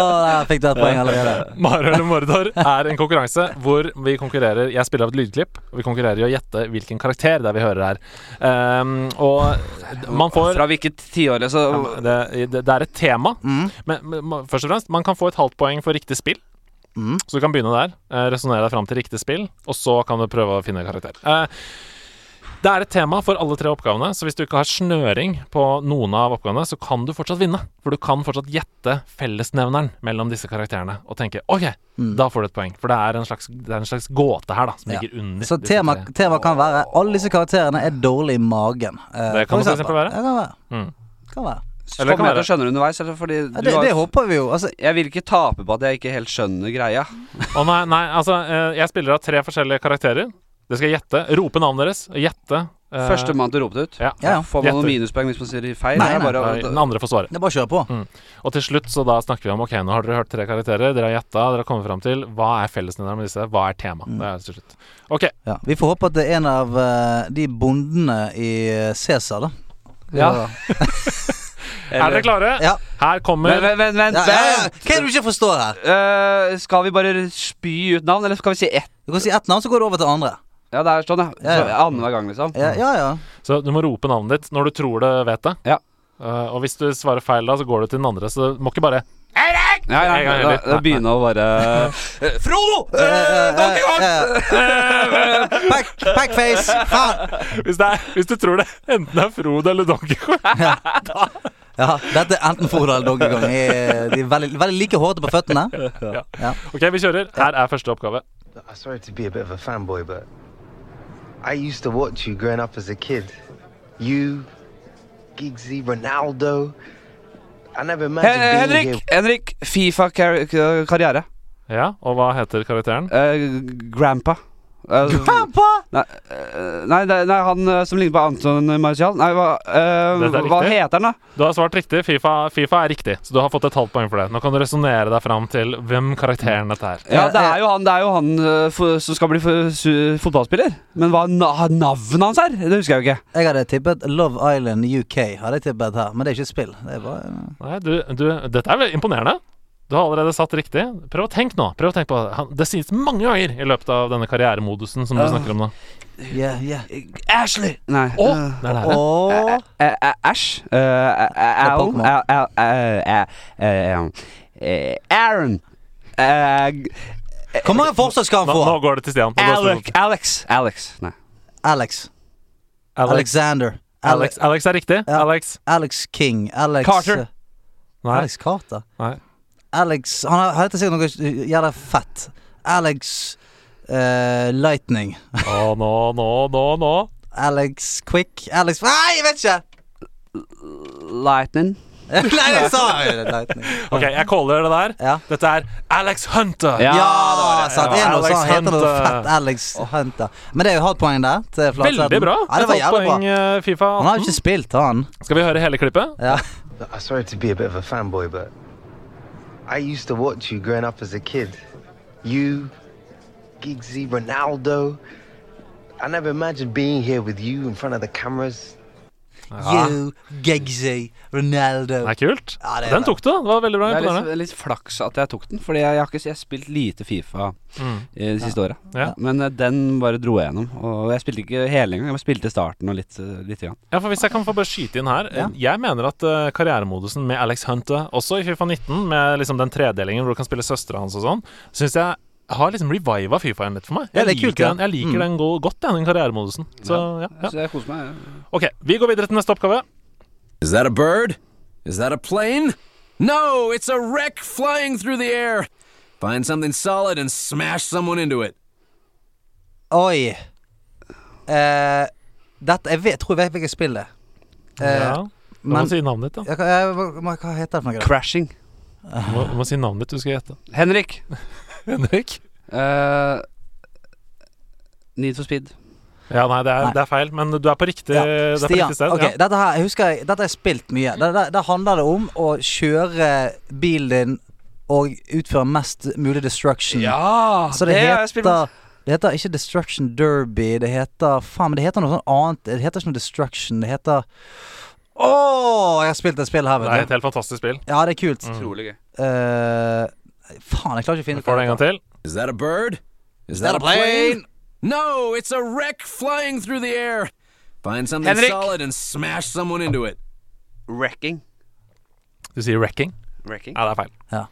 Speaker 3: Å, jeg fikk du et poeng allerede.
Speaker 4: Mario eller Mordor er en konkurranse hvor vi konkurrerer Jeg spiller av et lydklipp, og vi konkurrerer i å gjette hvilken karakter det er vi hører her. Ehm, og man får
Speaker 1: Fra hvilket tiåret så
Speaker 4: ja, men det, det, det er et tema,
Speaker 3: Mm.
Speaker 4: men, men ma- først og fremst Man kan få et halvt poeng for riktig spill.
Speaker 3: Mm.
Speaker 4: Så du kan begynne der. Uh, Resonnere deg fram til riktig spill, og så kan du prøve å finne karakter. Eh, Det er et tema for alle tre oppgavene, så hvis du ikke har snøring på noen av oppgavene, så kan du fortsatt vinne. For du kan fortsatt gjette fellesnevneren mellom disse karakterene og tenke OK,
Speaker 3: mm.
Speaker 4: da får du et poeng. For det er en slags, det er en slags gåte her, da, som
Speaker 3: Ja.
Speaker 4: ligger under.
Speaker 3: Så
Speaker 4: disse
Speaker 3: tema,
Speaker 4: tre.
Speaker 3: tema kan være alle disse karakterene er dårlige i magen. Eh,
Speaker 4: Det kan det for eksempel være.
Speaker 3: Det kan være.
Speaker 4: Mm.
Speaker 3: Kan være.
Speaker 4: Eller det
Speaker 1: Kommer
Speaker 4: kan
Speaker 1: jeg til å skjønne det underveis? Eller fordi
Speaker 3: Ja,
Speaker 1: du
Speaker 3: det,
Speaker 1: har-
Speaker 3: det håper vi jo. Altså,
Speaker 1: Jeg vil ikke tape på at jeg ikke helt skjønner greia.
Speaker 4: Å nei, nei, altså, eh, jeg spiller av tre forskjellige karakterer. Det skal jeg gjette. Rope navnet deres. og Gjette. eh,
Speaker 1: Førstemann til å rope det ut.
Speaker 4: ja.
Speaker 3: ja, ja.
Speaker 1: Får man noen
Speaker 4: Gjetter.
Speaker 1: minuspoeng hvis man sier feil?
Speaker 3: Nei,
Speaker 1: Det er
Speaker 3: nei.
Speaker 1: bare å-
Speaker 4: Eh, Den andre får svare.
Speaker 3: det er bare å kjøre på.
Speaker 4: Og til slutt så da snakker vi om Ok, nå har dere hørt tre karakterer, dere har gjetta, dere har kommet fram til hva er fellesnevneren med disse, hva er tema? Det er til slutt. Ok,
Speaker 3: Ja. Vi får håpe at det er en av eh, de bondene i eh, Cæsar, da.
Speaker 1: Ja.
Speaker 4: er dere klare?
Speaker 3: Ja.
Speaker 4: Her
Speaker 1: Men,
Speaker 4: kommer
Speaker 1: vent, vent, vent.
Speaker 3: Ja, ja, ja. Hva er det du ikke forstår her?
Speaker 1: Eh, skal vi bare spy ut navn, eller skal vi si ett?
Speaker 3: Du kan si ett navn, så går det over til andre.
Speaker 1: Ja, det er sånn, ja.
Speaker 3: Ja,
Speaker 1: Så,
Speaker 3: ja.
Speaker 1: Annenhver gang, liksom.
Speaker 3: Ja, ja. ja.
Speaker 4: Så du må rope navnet ditt når du tror det vet det.
Speaker 1: Ja.
Speaker 4: Eh, og hvis du svarer feil da, så går du til den andre, så du må ikke bare
Speaker 1: Nei, nei,
Speaker 4: En gang
Speaker 1: da,
Speaker 4: heller.
Speaker 1: da begynner å bare Frodo!
Speaker 3: Eh, eh, eh, eh, Back, backface! Faen!
Speaker 4: hvis, det er, hvis du tror det enten det er Frode eller Donkey Kong
Speaker 3: Ja, dette er enten Frodo eller Donkey Kong. De er de er veldig, veldig like hårete på føttene. Ja.
Speaker 4: Ok, vi kjører. Her er første oppgave.
Speaker 6: I sorry to be a bit of a fanboy, but I used to watch you growing up as a kid. You, Giggsy, Ronaldo. I never imagined
Speaker 1: Hen
Speaker 6: being
Speaker 1: Henrik!
Speaker 6: here.
Speaker 1: Henrik, Fifa-karriere.
Speaker 4: Ja, og hva heter karakteren?
Speaker 1: grandpa. Eh, Nei, eh, nei, det- nei, han eh, som ligner på Anton Marcial. Nei, hva, eh,
Speaker 4: Dette er
Speaker 1: hva
Speaker 4: riktig.
Speaker 1: heter han, da?
Speaker 4: Du har svart riktig. FIFA, FIFA er riktig, så du har fått et halvt poeng for det. Nå kan du resonnere deg fram til hvem karakteren dette er.
Speaker 3: Ja,
Speaker 1: Ja, det er
Speaker 3: eh,
Speaker 1: jo han, det er jo han eh, fo- som skal bli fo- su- fotballspiller. Men hva na navnet hans er, det husker jeg jo ikke.
Speaker 3: Jeg hadde tippet Love Island UK, hadde jeg tippet her. Men det er ikke et spill. Det er bare
Speaker 4: Nei, du, du, dette er vel imponerende. Du har allerede satt riktig. Prøv å tenke nå. Prøv å tenke på han, Det sies mange ganger i løpet av denne karrieremodusen som du snakker om nå.
Speaker 3: Yeah, yeah.
Speaker 1: Ashley! Nei.
Speaker 4: Å!
Speaker 1: eh,
Speaker 4: Det er nære.
Speaker 3: Og
Speaker 1: eh, eh, Ash. eh, eh, eh, Alan.
Speaker 3: Pokémon.
Speaker 1: eh, eh, eh, eh, eh, eh, Aaron. eh, g-
Speaker 3: Hvor mange forsøk skal han
Speaker 4: eh, Nå, nå
Speaker 3: få?
Speaker 4: går det til Stian. Nå går det
Speaker 1: Alec,
Speaker 4: til-
Speaker 1: Alex. Alex. Nei.
Speaker 3: Alex.
Speaker 4: Alex.
Speaker 3: Alexander.
Speaker 4: Alex, Alex er riktig.
Speaker 3: Ja.
Speaker 4: Alex.
Speaker 3: Alex King. Alex
Speaker 1: Carter.
Speaker 3: eh,
Speaker 4: Nei.
Speaker 3: Alex Carter?
Speaker 4: Nei.
Speaker 3: Alex Han har- heter sikkert noe jævla fett. Alex eh, Lightning.
Speaker 4: Å, nå, nå, nå, nå.
Speaker 3: Alex Quick. Alex Nei, jeg vet ikke!
Speaker 1: Lightning.
Speaker 3: Nei, jeg sa jo det, Lightning.
Speaker 4: Ok, jeg caller det der.
Speaker 3: Ja.
Speaker 4: Dette er Alex Hunter.
Speaker 1: Ja,
Speaker 3: Ja,
Speaker 1: det var det.
Speaker 3: sant.
Speaker 4: Ja,
Speaker 3: Det er noe
Speaker 4: Alex
Speaker 3: sånn. Heter noe
Speaker 4: Hunt, eh.
Speaker 3: fett Alex Hunter. Men det er jo halvt poeng der. Til Flatseth.
Speaker 4: Veldig bra.
Speaker 3: altså, Ja, det var
Speaker 4: Et halvt
Speaker 3: jævlig
Speaker 4: poeng,
Speaker 3: bra.
Speaker 4: eh, Fifa
Speaker 3: Han har jo
Speaker 4: 18.
Speaker 3: ikke spilt, han.
Speaker 4: Skal vi høre hele klippet?
Speaker 3: Ja.
Speaker 6: I sorry to be a bit of a fanboy, but I used to watch you growing up as a kid. You, Giggsy, Ronaldo. I never imagined being here with you in front of the cameras.
Speaker 3: You, Giggsy, Ronaldo.
Speaker 4: Det er kult.
Speaker 3: Ja, det er
Speaker 4: Den
Speaker 3: bra.
Speaker 4: tok du. Det var veldig bra.
Speaker 1: Det er
Speaker 4: Imponerende.
Speaker 1: litt, litt flaks at jeg tok den, Fordi jeg, jeg har ikke jeg har spilt lite Fifa eh, de siste åra.
Speaker 4: Ja.
Speaker 1: Men eh, den bare dro jeg gjennom. Og jeg spilte ikke hele engang, jeg spilte starten og litt. eh, lite grann.
Speaker 4: Ja, for Hvis jeg kan få bare skyte inn her
Speaker 3: Ja.
Speaker 4: Jeg mener at eh, karrieremodusen med Alex Hunter, også i Fifa 19, med liksom den tredelingen hvor du kan spille søstera hans og sånn, syns jeg har liksom reviva Fifa igjen litt for meg.
Speaker 3: Ja,
Speaker 4: Jeg
Speaker 3: det er
Speaker 4: liker,
Speaker 3: kult, ja. Mm.
Speaker 4: den, jeg liker den go godt, jeg, den karrieremodusen. Så ja, ja.
Speaker 1: Så jeg koser meg. jeg.
Speaker 4: OK, vi går videre til neste oppgave.
Speaker 7: Is that a bird? Is that a plane? No, it's a wreck flying through the air. Find something solid and smash someone into it.
Speaker 3: Oi. Eh, dette Jeg vet, tror jeg vet hvilket spill det er. Eh,
Speaker 4: Ja. Du må
Speaker 3: men-
Speaker 4: si navnet ditt, da.
Speaker 3: Ja, hva- eh, hva- hva- Hva heter det for noe?
Speaker 1: Crashing.
Speaker 4: Du må, du må si navnet ditt, du skal gjette.
Speaker 1: Henrik.
Speaker 4: Henrik?
Speaker 1: eh, Need for speed.
Speaker 4: Ja, nei det, er,
Speaker 3: Nei.
Speaker 4: det er feil, men du er på riktig, det eh, er på
Speaker 3: Stian.
Speaker 4: riktig sted.
Speaker 3: ok,
Speaker 4: Ja.
Speaker 3: dette, her, jeg husker, jeg- dette har jeg spilt mye. Der, der, der handler det om å kjøre bilen din og utføre mest mulig destruction.
Speaker 1: Ja!
Speaker 3: Så det,
Speaker 1: har jeg spilt
Speaker 3: heter Det heter ikke Destruction Derby. Det heter Faen, men det heter noe sånt annet. Det heter ikke noe Destruction. Det heter Å, jeg har spilt et spill her,
Speaker 4: Det er
Speaker 3: vet
Speaker 4: et
Speaker 3: du.
Speaker 4: helt fantastisk spill.
Speaker 3: Ja, det er kult.
Speaker 1: Utrolig gøy.
Speaker 3: Eh, faen, jeg klarer ikke å finne
Speaker 4: Vi Mm. får det en gang til.
Speaker 7: Is that a bird? Is that, a plane? No, it's a wreck flying through the air. Find something
Speaker 1: Henrik.
Speaker 7: solid and smash someone into it.
Speaker 1: Wrecking.
Speaker 4: Du sier wrecking?
Speaker 1: Wrecking.
Speaker 4: Ja, det er feil.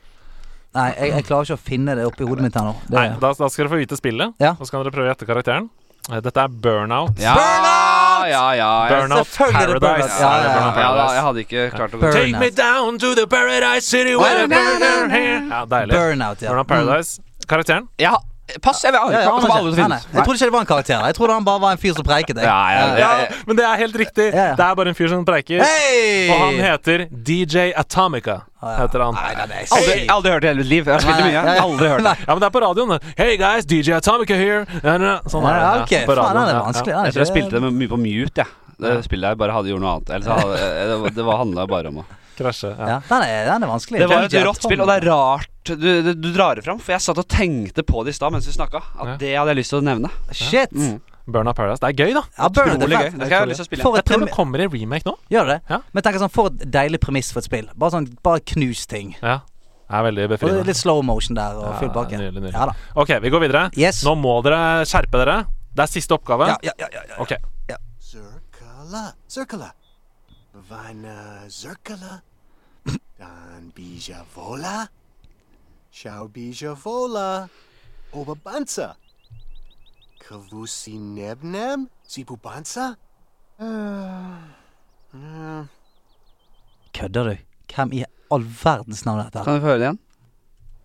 Speaker 3: Nei, jeg, jeg klarer ikke å finne det oppi hodet mitt her nå. Det,
Speaker 4: Nei, da, da skal dere få vite spillet,
Speaker 3: Ja.
Speaker 4: og så kan dere prøve å gjette karakteren. Eh, Dette er Burnout.
Speaker 1: Ja! ja, ja. Jeg,
Speaker 4: Burnout
Speaker 3: Selvfølgelig er det
Speaker 4: Paradise.
Speaker 3: Burnout. Ja,
Speaker 4: Er det
Speaker 3: ja,
Speaker 4: Burnout
Speaker 1: ja da, jeg
Speaker 4: Paradise?
Speaker 1: hadde ikke klart å
Speaker 3: Burn-
Speaker 4: Take me down to the paradise city where the burger here. Ja, deilig.
Speaker 3: Burnout, ja.
Speaker 4: Burnout Paradise. Karakteren?
Speaker 1: ja, Pass, jeg vet
Speaker 3: Ja, ja,
Speaker 1: ikke
Speaker 3: aner
Speaker 1: om
Speaker 3: ikke.
Speaker 1: alle
Speaker 3: Nei,
Speaker 1: som
Speaker 3: nei.
Speaker 1: finnes.
Speaker 3: Jeg trodde ikke det var en karakter. Jeg trodde han bare var en fyr som preiket. Jeg.
Speaker 1: Ja, ja, ja.
Speaker 4: Ja, men det er helt riktig.
Speaker 3: Ja, ja.
Speaker 4: Det er bare en fyr som preiker.
Speaker 3: Hei! Ah,
Speaker 4: Og han heter DJ Atomica. Heter han.
Speaker 3: Nei, nei, nei,
Speaker 1: Aldri,
Speaker 3: shit.
Speaker 1: aldri hørt det i hele mitt liv. Jeg har spilt det
Speaker 3: Nei,
Speaker 1: mye.
Speaker 3: nei, nei.
Speaker 1: Aldri hørt det.
Speaker 4: Ja, men det er på radioen. det. Hey guys, DJ Atomica here. Ja, ja, Sånn er det.
Speaker 3: Ja,
Speaker 4: ja,
Speaker 3: ok,
Speaker 4: på
Speaker 3: faen,
Speaker 4: radioen,
Speaker 3: han er
Speaker 4: ja, ja.
Speaker 3: vanskelig.
Speaker 1: Jeg tror jeg spilte det mye på mute, jeg. Det spillet jeg bare hadde gjort noe annet. Ellers så hadde, eh, det, det handla bare om å
Speaker 4: Krasje. Ja.
Speaker 3: Ja, den er, den er vanskelig.
Speaker 1: Det var et
Speaker 3: DJ
Speaker 1: rått spill, og det er rart du, du, du drar det fram. For jeg satt og tenkte på det i stad mens vi snakka.
Speaker 4: Ja.
Speaker 1: At det hadde jeg lyst til å nevne.
Speaker 3: Shit!
Speaker 1: Mm.
Speaker 4: Burnout Paradise. Det er gøy, da.
Speaker 3: Ja, Burnout er
Speaker 1: Utrolig gøy.
Speaker 3: fett.
Speaker 1: Det skal jeg ha lyst til å spille.
Speaker 3: For
Speaker 4: Jeg
Speaker 3: et
Speaker 4: tror
Speaker 3: premi
Speaker 4: det kommer en remake nå.
Speaker 3: Gjør det?
Speaker 4: Ja.
Speaker 3: Men tenk sånn, for et deilig premiss for et spill. Bare sånn, bare knus ting.
Speaker 4: Ja. Det er veldig
Speaker 3: Og det
Speaker 4: befriende.
Speaker 3: er litt slow motion der, og
Speaker 4: Ja,
Speaker 3: fyll bakken.
Speaker 4: nydelig, nydelig.
Speaker 3: Ja da.
Speaker 4: Ok, vi går videre.
Speaker 3: Yes.
Speaker 4: Nå må dere skjerpe dere. Det er siste oppgave.
Speaker 3: Ja, ja, ja, ja, ja.
Speaker 4: Ok.
Speaker 8: Zirkala, Zirkala. Vana Zirkala. Dan Bija Vola. Shao Bija Vola. Obabansa. Kavusi Nebnem? Zibubansa?
Speaker 3: Kødder du? Hvem i all verdens navn er dette? her?
Speaker 1: Kan vi få høre det igjen?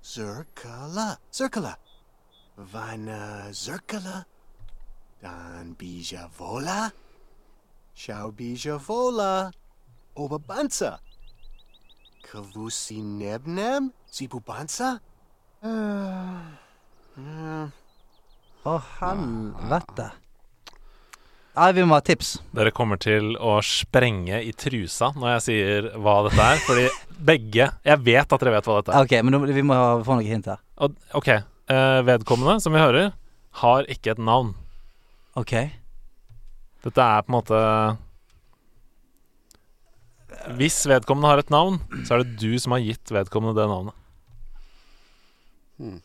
Speaker 8: Zirkala, Zirkala. Vana Zirkala. Dan Bija Vola. Shao Bija Vola. Obabansa. Kavusi Nebnem? Zibubansa?
Speaker 3: Å, helvete. Nei, vi må ha tips.
Speaker 4: Dere kommer til å sprenge i trusa når jeg sier hva dette er. Fordi begge Jeg vet at dere vet hva dette er.
Speaker 3: Ok, men nå- vi må ha- få noen hint her.
Speaker 4: Og, ok, eh, vedkommende, som vi hører, har ikke et navn.
Speaker 3: Ok.
Speaker 4: Dette er på en måte Hvis vedkommende har et navn, så er det du som har gitt vedkommende det navnet.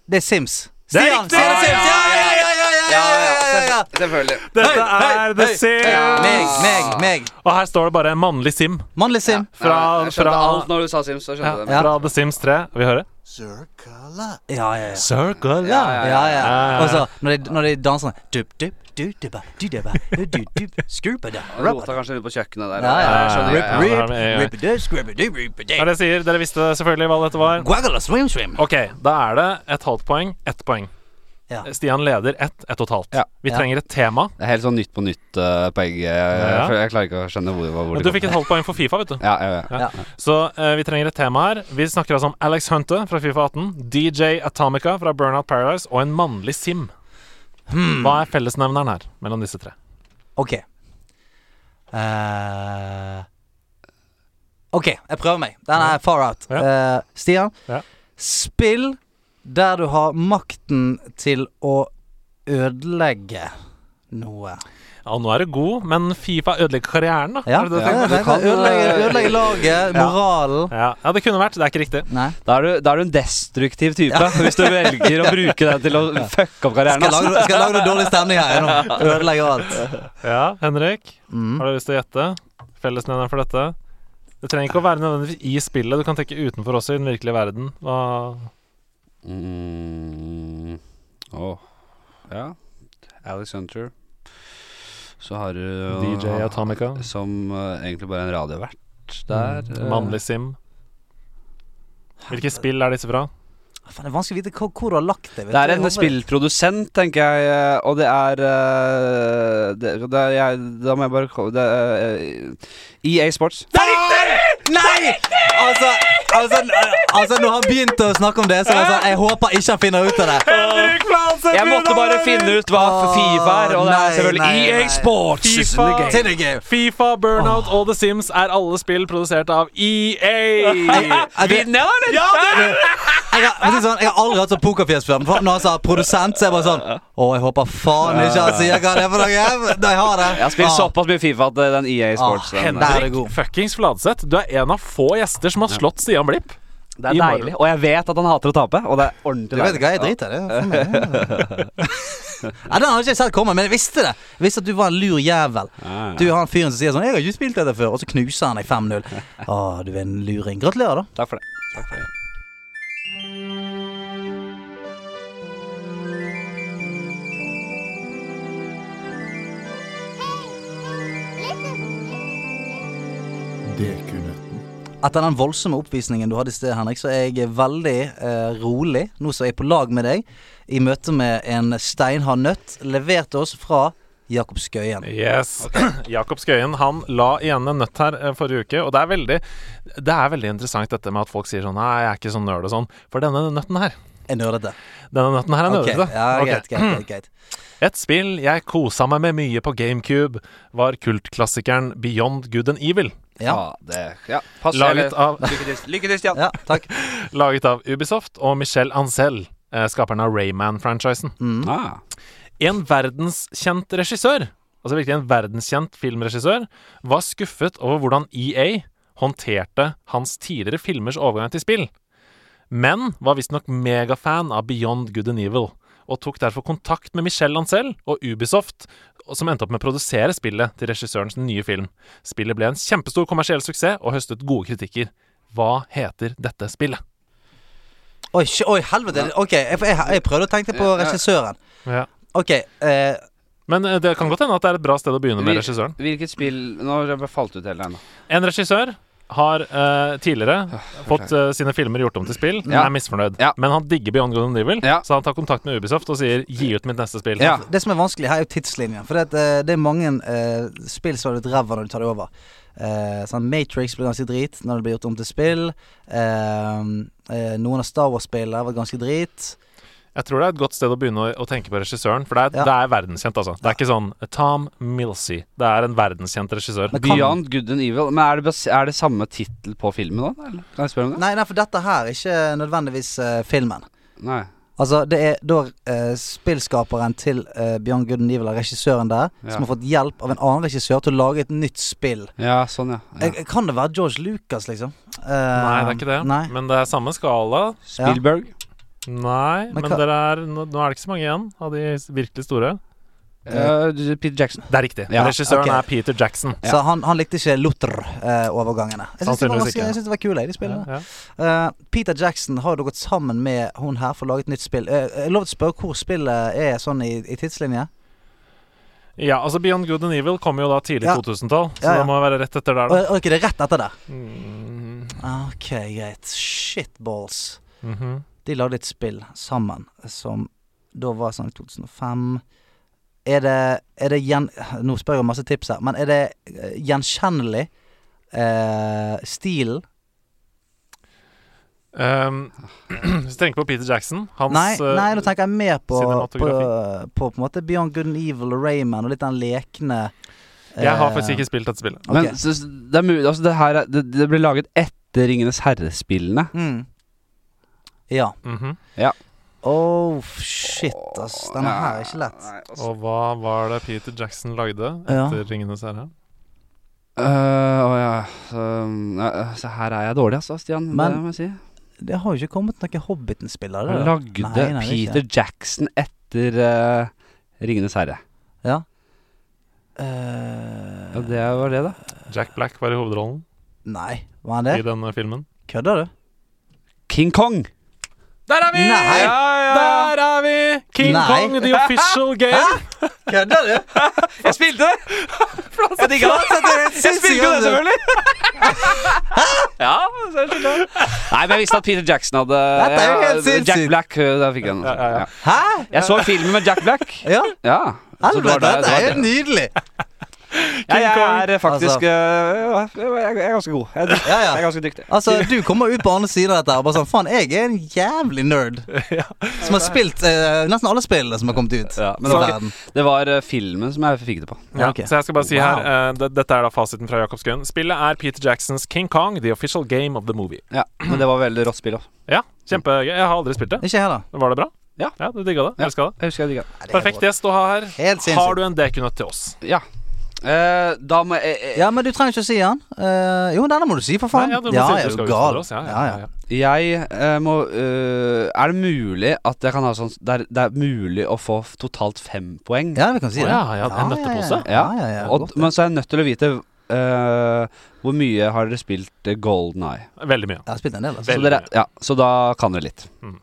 Speaker 3: Det er Sims.
Speaker 4: Det er
Speaker 3: Stian,
Speaker 4: riktig!
Speaker 3: Stian Sims! Ja, ja, ja, ja, ja, ja, ja, ja, ja.
Speaker 1: Selvfølgelig.
Speaker 4: Dette
Speaker 3: Hei,
Speaker 4: er The Sims!
Speaker 3: Meg, meg, meg.
Speaker 4: Og her står det bare en mannlig Sim
Speaker 3: Mannlig Sim.
Speaker 4: fra,
Speaker 1: jeg skjønte
Speaker 4: fra,
Speaker 1: alt når du sa Sims. Så
Speaker 4: ja,
Speaker 1: skjønte jeg det.
Speaker 4: fra The Sims 3. Vi hører
Speaker 8: Zirkala.
Speaker 3: Ja, ja, ja.
Speaker 4: Circle.
Speaker 1: Ja, ja,
Speaker 3: Ja, ja.
Speaker 4: ja.
Speaker 3: Og så når de, når de danser sånn dup, dup, du, dubba, du, dubba, du, du, dup, scoopa, da,
Speaker 1: Han
Speaker 3: rubba,
Speaker 1: rota kanskje rundt på kjøkkenet der.
Speaker 3: Ja, ja,
Speaker 1: Jeg skjønner
Speaker 4: ja, ja.
Speaker 1: det, ja.
Speaker 4: det har vi, ja.
Speaker 3: da. Rippa, du, scoopa, du, rippa,
Speaker 4: Det er
Speaker 3: du.
Speaker 4: det jeg sier. Dere visste selvfølgelig hva dette var.
Speaker 3: Guagala, swim, swim.
Speaker 4: Ok, da er det et halvt poeng, ett poeng.
Speaker 3: Ja.
Speaker 4: Stian leder ett, ett og et halvt.
Speaker 1: Ja.
Speaker 4: Vi
Speaker 3: Ja.
Speaker 4: trenger et tema.
Speaker 1: Det er helt sånn Nytt på nytt-poeng.
Speaker 4: Ja.
Speaker 1: Jeg klarer ikke å skjønne hvor, hvor
Speaker 4: Men
Speaker 1: det
Speaker 4: du fikk et halvt poeng for Fifa, vet du.
Speaker 1: Ja, ja, ja.
Speaker 3: Ja.
Speaker 4: Så eh, vi trenger et tema her. Vi snakker altså om Alex Hunter fra Fifa 18, DJ Atomica fra Burnout Paradise og en mannlig Sim. Hva er fellesnevneren her mellom disse tre?
Speaker 3: Hmm. Ok. Eh, ok, jeg prøver meg. Den er far out. Eh, Stian,
Speaker 4: Ja.
Speaker 3: spill der du har makten til å ødelegge noe.
Speaker 4: Ja, nå er du god, men Fifa ødelegger karrieren, da.
Speaker 3: Ja,
Speaker 4: Er det det du
Speaker 3: ja,
Speaker 4: tenker?
Speaker 3: det er- ødelegge,
Speaker 1: eh,
Speaker 3: ødelegge laget, moralen.
Speaker 4: ja. ja, det kunne vært. Det er ikke riktig.
Speaker 3: Nei.
Speaker 1: Da er, du, da er du en destruktiv type hvis du velger å bruke den til å fucke opp karrieren.
Speaker 3: Skal
Speaker 1: ass.
Speaker 3: lage, noe- skal lage noe dårlig stemning her nå. Ødelegge alt.
Speaker 4: Ja, Henrik,
Speaker 3: Mm.
Speaker 4: har du lyst til å gjette fellesnevneren for dette? Det trenger ikke å være nødvendigvis i spillet, du kan tenke utenfor også, i den virkelige verden. Hva
Speaker 1: Mm. Åh. Ja. Alex Hunter. Så har du
Speaker 4: DJ Atomica, Mm.
Speaker 1: Som eh, egentlig bare er en radiovert der. eh.
Speaker 4: mannlig sim. Hvilke spill er disse fra?
Speaker 3: Faen, det er vanskelig å vite hvor, hvor du har lagt det. vet
Speaker 1: Det er
Speaker 3: du.
Speaker 1: en
Speaker 3: Jeg håper-
Speaker 1: spillprodusent, tenker jeg, eh, og det er eh, det, det er jeg, Da må jeg bare ko- det, er, eh, EA Sports.
Speaker 3: Nei! Altså, altså, altså når han begynte å snakke om det, så var jeg sånn Jeg håper ikke han finner ut av det.
Speaker 1: Jeg måtte bare finne ut hva
Speaker 3: Åh,
Speaker 1: Fifa er, og det er
Speaker 3: nei,
Speaker 1: selvfølgelig
Speaker 3: nei, nei.
Speaker 1: EA Sports!
Speaker 4: FIFA.
Speaker 1: Det er gøy.
Speaker 3: Til det game.
Speaker 4: Fifa, Burnout og The Sims er alle spill produsert av E
Speaker 1: E
Speaker 4: EA.
Speaker 3: Jeg, jeg,
Speaker 1: Vinner, eller?
Speaker 3: jeg, har- for å si det sånn, jeg har aldri hatt så pokerfjes før. Men for- når han sa produsent, så er jeg bare sånn Å, jeg håper faen ikke han sier hva det er for noe. Da jeg har det.
Speaker 1: Jeg har
Speaker 4: Ah.
Speaker 1: spilt såpass mye Fifa at eh, den EA Sports
Speaker 3: Ah,
Speaker 1: den,
Speaker 3: hender.
Speaker 1: eh,
Speaker 3: er god.
Speaker 4: Fuckings Fladseth, du er en av få gjester som har slått Stian Blipp.
Speaker 1: Det er
Speaker 4: I morgen.
Speaker 1: deilig, og jeg vet at han hater å tape, og det er ordentlig
Speaker 3: Du vet
Speaker 1: deilig.
Speaker 3: hva, jeg driter i det. for meg, ja. Nei, Den hadde ikke jeg sett komme, men jeg visste det. Jeg visste at du var en lur jævel. Du er han fyren som sier sånn 'Jeg har ikke spilt dette før', og så knuser han deg 5-0. Å, du er en luring. Gratulerer, da.
Speaker 1: Takk for det. Takk for det.
Speaker 2: Det kunne den.
Speaker 3: Etter den voldsomme oppvisningen du hadde i sted, Henrik, så er jeg veldig eh, rolig nå som jeg er på lag med deg i møte med en steinhard nøtt levert oss fra Jakob Skøyen.
Speaker 4: Yes. Jakob Skøyen han la igjen en nøtt her eh, forrige uke, og det er veldig Det er veldig interessant dette med at folk sier sånn Nei, jeg er ikke sånn nerd og sånn. For denne nøtten her
Speaker 3: Jeg nerdete.
Speaker 4: Denne nøtten her er
Speaker 3: Ok,
Speaker 4: nerdete.
Speaker 3: Ja,
Speaker 4: Ok.
Speaker 3: greit, greit, greit, greit.
Speaker 4: Et spill jeg kosa meg med mye på GameCube, var kultklassikeren Beyond Good and Evil.
Speaker 3: Ja.
Speaker 1: det Ja, pass.
Speaker 4: Laget av,
Speaker 1: eller- Lykke til, Lykke til, Stian.
Speaker 3: ja, takk.
Speaker 4: laget av Ubisoft og Michel Ancel, eh, skaperen av Rayman-franchisen.
Speaker 3: Mm.
Speaker 1: Ah.
Speaker 4: En verdenskjent regissør, altså virkelig en verdenskjent filmregissør, var skuffet over hvordan EA håndterte hans tidligere filmers overgang til spill, men var visstnok megafan av Beyond Good and Evil, og tok derfor kontakt med Michel Ancel og Ubisoft, og- som endte opp med å produsere spillet til regissørens nye film. Spillet ble en kjempestor kommersiell suksess og høstet gode kritikker. Hva heter dette spillet?
Speaker 3: Oi, sj- oi, helvete. Ok, jeg, jeg, jeg prøvde å tenke på
Speaker 1: Ja, ja.
Speaker 3: regissøren. Ok, eh,
Speaker 4: Men eh, det kan godt hende at det er et bra sted å begynne med
Speaker 1: Vi-
Speaker 4: regissøren.
Speaker 1: Hvilket spill Nå har jeg bare falt ut hele ennå.
Speaker 4: En regissør har eh,
Speaker 3: Ah,
Speaker 4: tidligere fått eh, sine filmer gjort om til spill, men
Speaker 1: Ja.
Speaker 4: er misfornøyd.
Speaker 1: Ja.
Speaker 4: Men han digger Beyond Good and Evil,
Speaker 1: Ja.
Speaker 4: så han tar kontakt med Ubisoft og sier 'gi ut mitt neste spill'.
Speaker 1: Ja.
Speaker 3: det som er vanskelig her, er jo tidslinjen. For det, at, eh, det er mange eh, spill som har blitt ræva når du tar det over. Eh, sånn Matrix ble ganske drit når det ble gjort om til spill. Eh, eh, noen av Star Wars-spillene har vært ganske drit.
Speaker 4: Jeg tror det er et godt sted å begynne å, å tenke på regissøren, for det er,
Speaker 3: Ja.
Speaker 4: det er verdenskjent, altså. Det er ikke sånn Tom Milsey. Det er en verdenskjent regissør.
Speaker 3: Men kan-
Speaker 1: Beyond Good and Evil. Men er det, bas er det samme tittel på filmen, da? Eller? Kan jeg spørre om det?
Speaker 3: Nei, nei, for dette her er ikke nødvendigvis eh, filmen.
Speaker 1: Nei.
Speaker 3: Altså, det er da eh, spillskaperen til eh, Bjørn Gooden Evil, regissøren der,
Speaker 1: Ja.
Speaker 3: som har fått hjelp av en annen regissør til å lage et nytt spill.
Speaker 1: Ja, sånn, ja. ja.
Speaker 3: Eh, Kan det være George Lucas, liksom? Eh,
Speaker 4: Nei, det er ikke det.
Speaker 3: Nei.
Speaker 4: Men det er samme skala.
Speaker 1: Spielberg.
Speaker 4: Nei,
Speaker 3: Men
Speaker 4: men,
Speaker 3: hva-
Speaker 4: dere er, nå, nå er det ikke så mange igjen av de virkelig store.
Speaker 1: Eh, du- Peter Jackson.
Speaker 4: Det er riktig.
Speaker 1: Ja,
Speaker 4: Regissøren
Speaker 3: ok.
Speaker 4: er Peter Jackson.
Speaker 3: Så han, han likte ikke Luther-overgangene. jeg syns det var
Speaker 4: Sannsynligvis
Speaker 3: ganske-
Speaker 4: ikke.
Speaker 3: jeg syns det var kule, de
Speaker 4: Ja,
Speaker 3: spillene.
Speaker 4: ja.
Speaker 3: Eh, Peter Jackson har jo da gått sammen med hun her for å lage et nytt spill. Eh, jeg lovte å spørre hvor spillet er sånn i, i tidslinje.
Speaker 4: ja, altså Beyond Good and Evil kom jo da tidlig
Speaker 3: Ja.
Speaker 4: 2000-tall, så
Speaker 3: Ja, ja.
Speaker 4: det må være rett etter der, da.
Speaker 3: Og, ok, det er rett etter det.
Speaker 4: Mm.
Speaker 3: Ok, greit. Shitballs.
Speaker 4: Mhm.
Speaker 3: De lagde et spill sammen som da var sånn 2005. Er det, er det gjen... Nå spør jeg om masse tips her, men er det eh, gjenkjennelig eh, stilen?
Speaker 4: Um, hvis du tenker på Peter Jackson hans,
Speaker 3: Nei,
Speaker 4: eh,
Speaker 3: nei, nå tenker jeg mer på, på, på,
Speaker 4: cinematografi.
Speaker 3: på en måte Beyond Good and Evil og Rayman og litt den lekne eh,
Speaker 4: Jeg har faktisk ikke spilt dette spillet.
Speaker 3: Ok.
Speaker 1: Men så, så det er mulig Altså, det her er, det, det ble laget etter Ringenes herre-spillene.
Speaker 3: mm. Ja.
Speaker 4: Mhm.
Speaker 3: Oh, shit, ass. Denne her er ikke lett.
Speaker 1: Nei, altså.
Speaker 4: Og hva var det Peter Jackson lagde
Speaker 3: Ja.
Speaker 4: etter 'Ringenes herre'?
Speaker 1: Øh, å ja. Så, nei, så her er jeg dårlig, altså, Stian.
Speaker 3: Men-
Speaker 1: det må jeg si.
Speaker 3: Det har jo ikke kommet noen Hobbiten-spillere.
Speaker 1: Han
Speaker 3: da.
Speaker 1: lagde
Speaker 3: Nei, nei, det er ikke
Speaker 1: Peter Jackson etter eh, Ringenes herre.
Speaker 3: Ja. Eh,
Speaker 1: Ja, det var det, da.
Speaker 4: Jack Black var i hovedrollen
Speaker 3: Nei, var han
Speaker 4: i
Speaker 3: det?
Speaker 4: denne filmen.
Speaker 3: Kødder du?
Speaker 1: King Kong!
Speaker 4: Der er vi!
Speaker 3: Nei.
Speaker 4: Der er vi! King
Speaker 3: Nei.
Speaker 4: Kong, the official game.
Speaker 3: Kødder du?
Speaker 1: Jeg spilte det! Jeg digga det. Jeg spilte jo det, selvfølgelig! ja, så jeg skjønner det. Nei, men jeg visste at Peter Jackson hadde
Speaker 3: Dette er jo
Speaker 1: ja,
Speaker 3: helt sinnssykt.
Speaker 1: Jack Black, øh, der fikk jeg den.
Speaker 4: ja, ja.
Speaker 1: Ja.
Speaker 3: Hæ?
Speaker 1: Jeg så filmen med Jack Black.
Speaker 3: Ja,
Speaker 1: Ja. så det
Speaker 3: helvete,
Speaker 1: var det-
Speaker 3: dette
Speaker 1: det var
Speaker 3: er
Speaker 1: det.
Speaker 3: jo nydelig.
Speaker 1: Ja, jeg
Speaker 4: Kong.
Speaker 1: er faktisk
Speaker 3: Altså.
Speaker 1: øh, ja, jeg, jeg er ganske god. Jeg er, dykt-
Speaker 3: Ja,
Speaker 1: jeg er
Speaker 3: ja.
Speaker 1: ganske dyktig.
Speaker 3: Altså, du kommer ut på andre siden av dette og bare sånn Faen, jeg er en jævlig nerd. Som har spilt eh, nesten alle spillene som har kommet ut.
Speaker 1: Ja, men
Speaker 3: i
Speaker 1: det var-
Speaker 3: verden.
Speaker 1: Det var øh, filmen som jeg fikk det på.
Speaker 4: Ja,
Speaker 3: Ok.
Speaker 4: Så jeg skal bare si
Speaker 3: Wow.
Speaker 4: her eh, det, Dette er da fasiten fra Jakob Skøyen. Spillet er Peter Jacksons King Kong, the official game of the movie.
Speaker 1: Ja, Men det var veldig rått spill òg.
Speaker 4: Ja, kjempegøy. Jeg har aldri spilt det.
Speaker 3: Ikke jeg heller.
Speaker 4: Var det bra?
Speaker 1: Ja.
Speaker 4: ja du digga det?
Speaker 1: Ja.
Speaker 4: Elska det?
Speaker 1: Jeg husker jeg digga det.
Speaker 3: Nei, det er
Speaker 4: Perfekt gjest å ha her.
Speaker 3: Helt sinnssykt.
Speaker 4: Har du en dekunøtt til oss?
Speaker 1: Ja. Eh, da må jeg
Speaker 3: bra. Ja, men du trenger ikke å si den. Eh, jo, denne må du si, for faen.
Speaker 4: Nei, ja, du må
Speaker 3: ja,
Speaker 4: si at
Speaker 3: jeg
Speaker 4: du
Speaker 3: er
Speaker 4: skal
Speaker 3: jo gal.
Speaker 4: utfordre oss. Ja, ja, ja, ja.
Speaker 1: Jeg eh, må øh, Er det mulig at jeg kan ha sånn Det er, det er mulig å få f- totalt fem poeng?
Speaker 3: Ja, vi kan si
Speaker 4: Å,
Speaker 3: det.
Speaker 4: ja, ja, en nøttepose.
Speaker 3: Ja, ja, ja.
Speaker 1: og,
Speaker 3: godt.
Speaker 1: men så er jeg nødt til å vite eh, hvor mye har dere spilt eh, Golden Eye?
Speaker 4: Veldig mye.
Speaker 3: Jeg har spilt en del, altså.
Speaker 1: Så,
Speaker 4: Veldig
Speaker 1: dere,
Speaker 4: mye.
Speaker 1: ja, så da kan dere litt.
Speaker 4: Mm.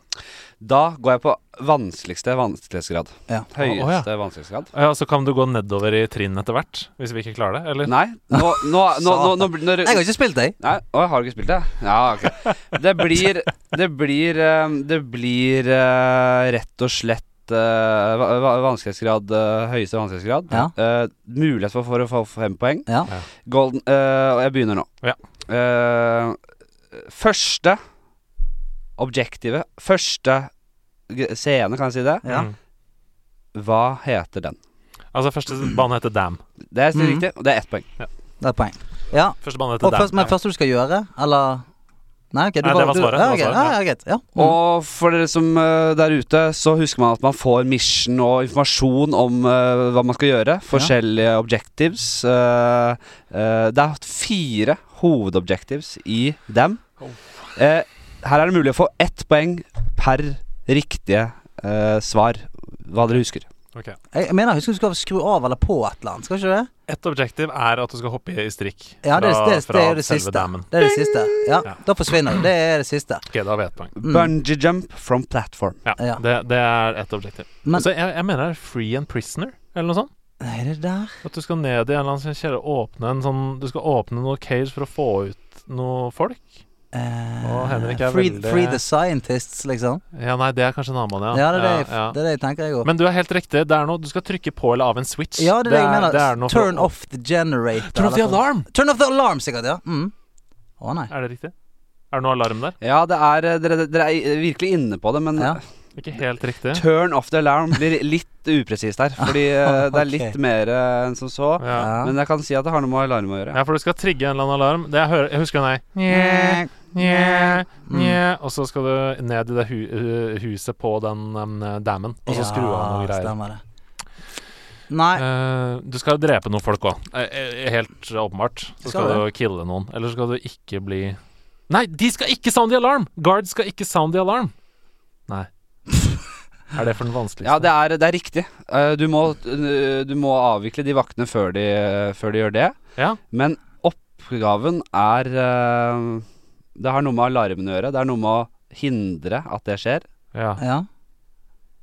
Speaker 1: Da går jeg på vanskeligste vanskelighetsgrad.
Speaker 3: Ja.
Speaker 1: Høyeste
Speaker 4: Å,
Speaker 1: vanskelighetsgrad.
Speaker 4: Ja, så kan du gå nedover i trinn etter hvert, hvis vi ikke klarer det, eller?
Speaker 1: Nei, nå, nå, nå, nå, nå, blir- når-
Speaker 3: Jeg har ikke spilt deg.
Speaker 1: Nei, å, har du ikke spilt det? Ja, ok Det blir Det blir eh, Det blir eh, rett og slett eh, va- va- vanskelighetsgrad eh, Høyeste vanskelighetsgrad
Speaker 3: Ja.
Speaker 1: Eh, Mulighet for, for å få fem poeng
Speaker 3: Ja.
Speaker 1: Golden eh, Og jeg begynner nå
Speaker 4: Ja.
Speaker 1: Eh, Første Objektivet Første g- scene, kan jeg si det
Speaker 3: Ja.
Speaker 4: Mm.
Speaker 1: Hva heter den?
Speaker 4: Altså, første bane heter Dam.
Speaker 1: Det er
Speaker 3: Mhm.
Speaker 1: riktig, og det er ett poeng
Speaker 3: Det er et poeng. Ja.
Speaker 4: Første bane heter
Speaker 3: Og
Speaker 4: Dam.
Speaker 3: først, men først du skal gjøre, eller Nei, ok, du
Speaker 4: Nei, det var
Speaker 3: du-
Speaker 4: svaret,
Speaker 3: Ja,
Speaker 4: det var
Speaker 3: ok,
Speaker 4: svaret, ja.
Speaker 3: ja, ja, greit. Ja.
Speaker 1: Og for dere som eh, der ute, så husker man at man får mission og informasjon om eh, hva man skal gjøre. Forskjellige objectives. eh, eh, det er fire hovedobjectives i dem. Eh, her er det mulig å få ett poeng per riktige eh, svar. Hva dere husker.
Speaker 3: Jeg jeg mener, jeg husker du skal skru av eller på et eller annet, skal ikke du det?
Speaker 4: Et objektiv er at du skal hoppe i strikk
Speaker 3: Ja, det, det, det, er jo det
Speaker 4: selve
Speaker 3: siste.
Speaker 4: dammen.
Speaker 3: Det er det siste. Ja,
Speaker 4: Ja.
Speaker 3: da forsvinner du. Det er det siste.
Speaker 4: Ok, da vet poeng.
Speaker 3: Mm.
Speaker 1: Bungee jump from platform.
Speaker 4: Ja,
Speaker 3: Ja.
Speaker 4: Det, det er ett objektiv.
Speaker 3: Men-
Speaker 4: Så jeg, jeg mener det er free and prisoner, eller noe sånt.
Speaker 3: Er det der?
Speaker 4: At du skal ned i en eller annen sånn kjeller og åpne en sånn Du skal åpne noe cage for å få ut noe folk.
Speaker 3: Eh,
Speaker 4: Å, Henrik er
Speaker 3: free,
Speaker 4: veldig-
Speaker 3: free the scientists, liksom.
Speaker 4: Ja, nei, det er kanskje en annen
Speaker 3: Ja,
Speaker 4: bane, ja.
Speaker 3: det, er det, jeg,
Speaker 4: Ja, ja.
Speaker 3: det er det jeg tenker jeg òg.
Speaker 4: Men du er helt riktig. Det er noe Du skal trykke på eller av en switch.
Speaker 3: Ja, det er det, jeg mener.
Speaker 4: det er noe for-
Speaker 3: Turn off the generator.
Speaker 4: Turn off the
Speaker 3: eller noe.
Speaker 4: alarm!
Speaker 3: Turn off the alarm, sikkert, ja. Mm. Å nei.
Speaker 4: Er det riktig? Er det noe alarm der?
Speaker 1: Ja, det er, eh, dere, dere er i- virkelig inne på det, men
Speaker 3: Ja.
Speaker 4: Ikke helt riktig.
Speaker 1: turn off the alarm blir litt upresist her. Fordi eh, det er
Speaker 3: Ok.
Speaker 1: litt mer eh, enn som så.
Speaker 4: Ja.
Speaker 3: Ja.
Speaker 1: Men jeg kan si at det har noe med alarm å gjøre.
Speaker 4: ja, for du skal trigge en eller annen alarm. Det jeg, hører, jeg husker den der Nje,
Speaker 3: Mm.
Speaker 4: nje. Og så skal du ned i det hu hu- huset på den um, dammen, og så skru av
Speaker 3: Ja,
Speaker 4: noen greier.
Speaker 3: Stemmer det. Nei.
Speaker 4: Eh, du skal drepe noen folk òg. helt åpenbart. Så
Speaker 3: Skal
Speaker 4: skal du kille noen. Eller så skal du ikke bli Nei, de skal ikke sound the alarm! Guard skal ikke sound the alarm. Nei. Er det for den vanskeligste?
Speaker 1: Ja, det er, det er riktig. Eh, Du må, eh, du må avvikle de vaktene før de, før de gjør det.
Speaker 4: Ja.
Speaker 1: Men oppgaven er eh, Det har noe med alarmen å gjøre. Det er noe med å hindre at det skjer.
Speaker 4: Ja.
Speaker 3: Ja.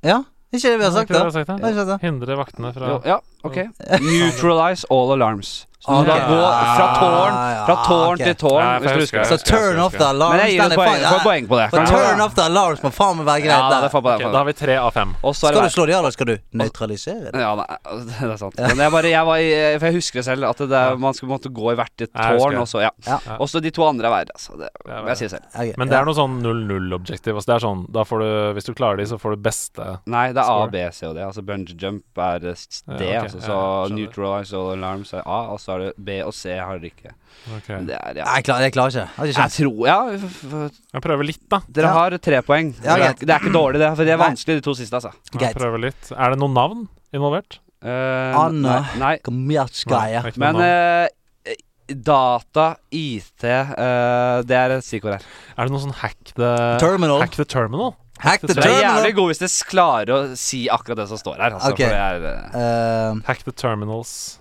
Speaker 3: ja. Ikke det vi har sagt,
Speaker 4: Ikke det
Speaker 3: da.
Speaker 4: jeg har sagt,
Speaker 3: Det er
Speaker 4: det?
Speaker 3: ikke det.
Speaker 4: Hindre vaktene fra
Speaker 1: Jo, ja, ok. Neutralize all alarms. Så du da
Speaker 3: Ok.
Speaker 1: gå fra tårn,
Speaker 3: Ah, ja,
Speaker 1: fra tårn
Speaker 3: ok.
Speaker 1: til tårn,
Speaker 4: Nei, for
Speaker 1: hvis
Speaker 4: jeg husker
Speaker 1: du husker det.
Speaker 3: Så
Speaker 4: Jeg skal- jeg
Speaker 3: turn
Speaker 4: skal-
Speaker 3: off the alarm
Speaker 1: Men jeg gir
Speaker 3: den
Speaker 1: deg
Speaker 3: er
Speaker 1: poeng,
Speaker 3: faen-
Speaker 1: får poeng på det.
Speaker 3: For turn off the alarm må faen meg være
Speaker 1: Ja,
Speaker 3: greit. der.
Speaker 1: det får
Speaker 4: Ok,
Speaker 1: poeng på
Speaker 4: Da
Speaker 1: det.
Speaker 4: har vi tre av fem.
Speaker 1: Og så er
Speaker 3: Skal
Speaker 1: det
Speaker 3: du slå de, eller skal du nøytralisere det?
Speaker 1: Ja, nei, det er sant. Men jeg bare, jeg var i, for jeg husker det selv, at det, der- man skulle måtte gå i hvert et
Speaker 4: Ja, jeg husker
Speaker 1: tårn,
Speaker 4: det.
Speaker 1: og så ja.
Speaker 3: Ja.
Speaker 1: Og så de to andre er verre, altså. Det
Speaker 4: er
Speaker 1: må
Speaker 4: verre.
Speaker 1: jeg si selv.
Speaker 3: Ok,
Speaker 4: Men det
Speaker 3: ja.
Speaker 4: er noe sånn 0-0-objektiv. Altså det er sånn, da får du, Hvis du klarer de, så får du beste
Speaker 1: Nei, det er A,
Speaker 4: Score.
Speaker 1: B, C og D. Altså bungee jump er eh, s-
Speaker 4: Ja,
Speaker 1: D,
Speaker 4: ok, ja,
Speaker 1: altså, så
Speaker 4: skjønner.
Speaker 1: neutralize all alarms er A, og så er det B og C har dere ikke. Men Det er, ja.
Speaker 3: Nei, jeg klarer, jeg klarer ikke. Jeg har ikke
Speaker 1: Jeg
Speaker 3: sjans.
Speaker 1: tror Ja, f- f-
Speaker 4: Jeg prøver litt, da.
Speaker 1: dere
Speaker 3: Ja.
Speaker 1: har tre poeng.
Speaker 3: Ja,
Speaker 1: det, er,
Speaker 3: greit.
Speaker 1: det er ikke dårlig, det. For de er
Speaker 3: Nei.
Speaker 1: vanskelig, de to siste, altså.
Speaker 4: Jeg
Speaker 3: Greit.
Speaker 4: prøver litt. Er det noen navn involvert?
Speaker 1: Eh,
Speaker 3: Anna.
Speaker 1: Nei. nei.
Speaker 3: Kommertsgreie.
Speaker 4: Nei, det er ikke noen
Speaker 1: Men
Speaker 4: navn.
Speaker 1: eh, data, IT eh, Det er et stikkord her.
Speaker 4: er det noe sånn hack the,
Speaker 3: Terminal.
Speaker 4: hack the terminal?
Speaker 3: Hack the
Speaker 1: Så jeg er jævlig
Speaker 3: terminal.
Speaker 1: god hvis dere klarer å si akkurat det som står her. Altså,
Speaker 3: Ok.
Speaker 1: for det er, eh,
Speaker 3: Eh,
Speaker 4: Hack the terminals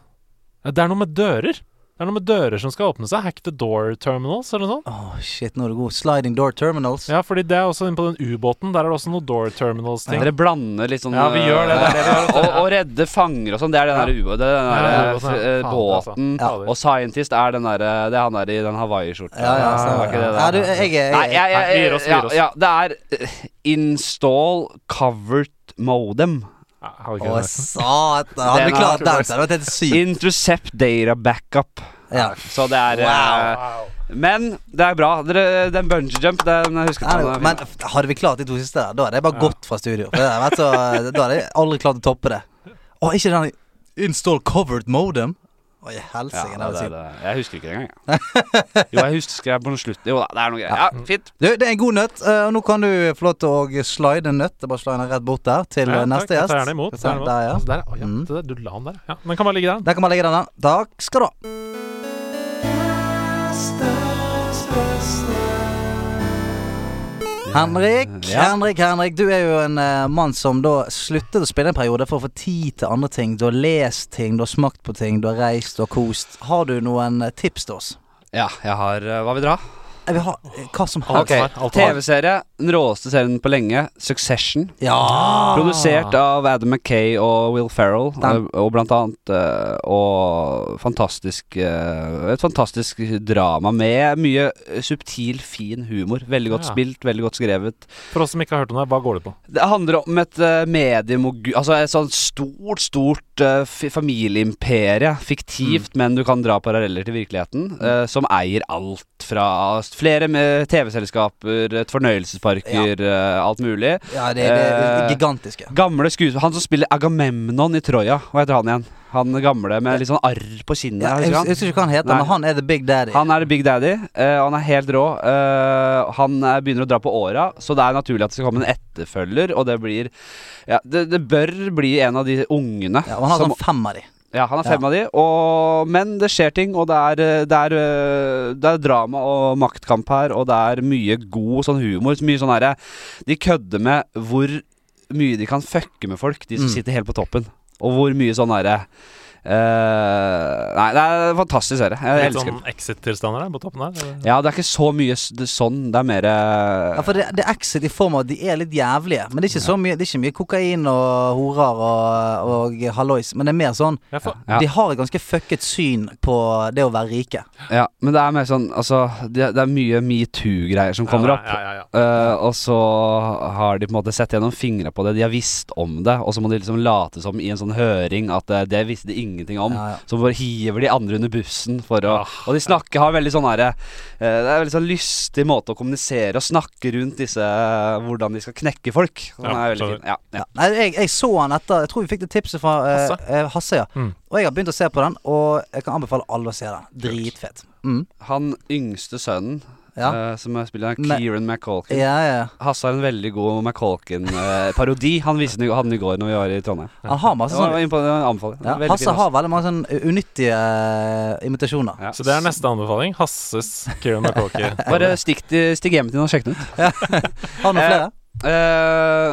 Speaker 4: Eh, Det er noe med dører. Det er noe med dører som skal åpne seg. Hack the door terminals, eller noe sånt.
Speaker 3: Åh, shit, nå er du god. Sliding door terminals.
Speaker 4: Ja, fordi det er også inne på den ubåten. Der er det også noe door terminals-ting.
Speaker 1: Dere blander litt sånn
Speaker 4: Ja, vi gjør det, det er det vi gjør, vet du.
Speaker 1: og, og redde fanger og sånn, det er den der, u- det er den der
Speaker 4: Ja,
Speaker 1: eh,
Speaker 4: ubåten, ja.
Speaker 1: f-
Speaker 4: Faen,
Speaker 1: eh,
Speaker 4: altså.
Speaker 1: båten.
Speaker 4: Ja.
Speaker 1: Og scientist er den der eh, Det er han der i den Hawaii-skjorta.
Speaker 3: Ja, ja,
Speaker 1: Det
Speaker 3: stemmer.
Speaker 1: var ikke det der.
Speaker 3: Ja, du, jeg er
Speaker 1: Nei, jeg, jeg,
Speaker 4: Nei, vi gir oss, vi
Speaker 1: ja,
Speaker 4: gir oss.
Speaker 1: ja, det er eh, install covered modem.
Speaker 4: Ja, har vi ikke
Speaker 3: Å,
Speaker 4: det?
Speaker 3: satan. Hadde vi
Speaker 1: Den
Speaker 3: klart
Speaker 1: er-
Speaker 3: den, så hadde det vært helt sykt.
Speaker 1: Intercept data backup.
Speaker 3: Ja.
Speaker 1: Så det er eh, Men det er bra. Dere, den bungee jump, den jeg husket
Speaker 3: Nei,
Speaker 1: jeg.
Speaker 3: det- Men f- hadde vi klart de to siste der, da hadde jeg bare gått fra studio. For det hadde vært så, eh, da hadde jeg aldri klart å toppe det. Å, ikke den Install covered modem. Oi,
Speaker 1: Ja,
Speaker 3: helsike.
Speaker 1: det,
Speaker 3: det var
Speaker 1: det,
Speaker 3: sykt.
Speaker 1: det. Jeg husker ikke det engang. jeg. Jo, jeg husker jeg på noe slutt. Jo da, det er noe greier. Ja, fint.
Speaker 3: Du, det er en god nøtt, eh, og nå kan du få lov til å slide en nøtt. Jeg bare slide den rett bort der, til
Speaker 4: Ja,
Speaker 3: eh,
Speaker 4: takk,
Speaker 3: neste
Speaker 4: jeg
Speaker 3: gjest.
Speaker 4: tar gjerne imot.
Speaker 3: Der,
Speaker 4: tar gjerne imot.
Speaker 3: der, ja.
Speaker 4: Altså, der, å, ja,
Speaker 3: Mm.
Speaker 4: det der, du la den der. Ja, den kan bare ligge der.
Speaker 3: Der kan man legge den. der. Takk skal du ha. Henrik,
Speaker 1: Ja.
Speaker 3: Henrik, Henrik, du er jo en eh, mann som da sluttet å spille en periode for å få tid til andre ting. Du har lest ting, du har smakt på ting, du har reist, du har kost. Har du noen eh, tips til oss?
Speaker 1: Ja, jeg har eh, Hva vil dere ha?
Speaker 3: Jeg vil ha eh, hva som
Speaker 4: Alt
Speaker 3: helst.
Speaker 4: svar, alt svar.
Speaker 1: TV-serie, den råeste serien på lenge, Succession. Ah.
Speaker 3: Ja!
Speaker 1: Produsert av Adam McKay og Will Ferrell,
Speaker 3: Den.
Speaker 1: eh, og blant annet eh, Og fantastisk eh, Et fantastisk drama med mye eh, subtil, fin humor. Veldig godt
Speaker 4: Ja.
Speaker 1: spilt, veldig godt skrevet.
Speaker 4: For oss som ikke har hørt om det, hva går det på?
Speaker 1: Det handler om et uh, mediemogul Altså et sånt stort, stort eh, fi- familieimperie. Fiktivt,
Speaker 3: Mm.
Speaker 1: men du kan dra paralleller til virkeligheten. eh, som eier alt fra s- flere med TV-selskaper, et fornøyelsesparker, eh, alt mulig.
Speaker 3: Ja, det, det er
Speaker 1: Eh,
Speaker 3: gigantiske.
Speaker 1: Gamle skuespiller Han som spiller Agamemnon i Troja. Hva heter han igjen? Han gamle med litt sånn arr på kinnet.
Speaker 3: Ja, jeg,
Speaker 1: husker du
Speaker 3: hus-
Speaker 1: han?
Speaker 3: jeg husker ikke hva han heter,
Speaker 1: Nei.
Speaker 3: men han er the big daddy.
Speaker 1: Han er Big Daddy. eh, han er helt rå. eh, han eh, begynner å dra på åra, så det er naturlig at det skal komme en etterfølger. Og det blir ja, det, det bør bli en av de ungene.
Speaker 3: ja, og han har
Speaker 1: som-
Speaker 3: sånn fem av de.
Speaker 1: ja, han er
Speaker 3: ja.
Speaker 1: fem av de. Og, men det skjer ting, og det er, eh, det, er, eh, det er drama og maktkamp her, og det er mye god sånn humor. så Mye sånn herre De kødder med hvor mye de kan fucke med folk, de som
Speaker 3: Mm.
Speaker 1: sitter helt på toppen. Og hvor mye sånn herre eh, Nei, det er en fantastisk serie. Jeg
Speaker 4: Litt
Speaker 1: elsker den.
Speaker 4: sånn Exit-tilstander der på toppen der? eller?
Speaker 1: Ja, det er ikke så mye s- det, sånn. Det er mer
Speaker 3: Ja, for det, det er exit i form av at de er litt jævlige. Men det er ikke så mye, det er ikke mye kokain og horer og, og hallois. Men det er mer sånn
Speaker 4: Ja, for,
Speaker 1: Ja.
Speaker 3: De har et ganske fucket syn på det å være rike.
Speaker 1: Ja, men det er mer sånn Altså, det, det er mye metoo-greier som kommer opp.
Speaker 4: Ja, ja, ja, ja.
Speaker 1: Eh, og så har de på en måte sett gjennom fingra på det, de har visst om det, og så må de liksom late som i en sånn høring at eh, det visste de ingenting om.
Speaker 3: Ja, ja.
Speaker 1: Så bare hiver de andre under bussen for å
Speaker 4: Ah.
Speaker 1: Og de snakker har veldig sånn herre eh, Det er veldig sånn lystig måte å kommunisere og snakke rundt disse eh, Hvordan de skal knekke folk. Den
Speaker 4: Ja,
Speaker 1: er veldig
Speaker 4: skjønner.
Speaker 1: fin. Ja, ja.
Speaker 3: Ja. Nei, jeg, jeg så han etter Jeg tror vi fikk det tipset fra eh,
Speaker 4: Hasse?
Speaker 3: eh, Hasse ja.
Speaker 4: Mm.
Speaker 3: Og jeg har begynt å se på den, og jeg kan anbefale alle å se den. Dritfett. Mm.
Speaker 1: Han yngste sønnen,
Speaker 3: Ja.
Speaker 1: eh, som er spiller av
Speaker 3: Men-
Speaker 1: Kieran McColkin
Speaker 3: ja, ja.
Speaker 1: Hasse har en veldig god McColkin-parodi. Han viste den i- hadde den i går når vi var i Trondheim.
Speaker 3: Han har masse
Speaker 1: Det var
Speaker 3: sånne
Speaker 1: impo- det anbefaler.
Speaker 3: ja,
Speaker 1: Veldig fin,
Speaker 3: Hasse har veldig mange sånn sånne unyttige eh, imitasjoner.
Speaker 1: Ja.
Speaker 4: Så det er neste anbefaling. Hasses Kieran McCorkey.
Speaker 1: Bare stikk, til, stikk hjem til den og sjekk den ut.
Speaker 3: Har du noen flere?
Speaker 1: Eh,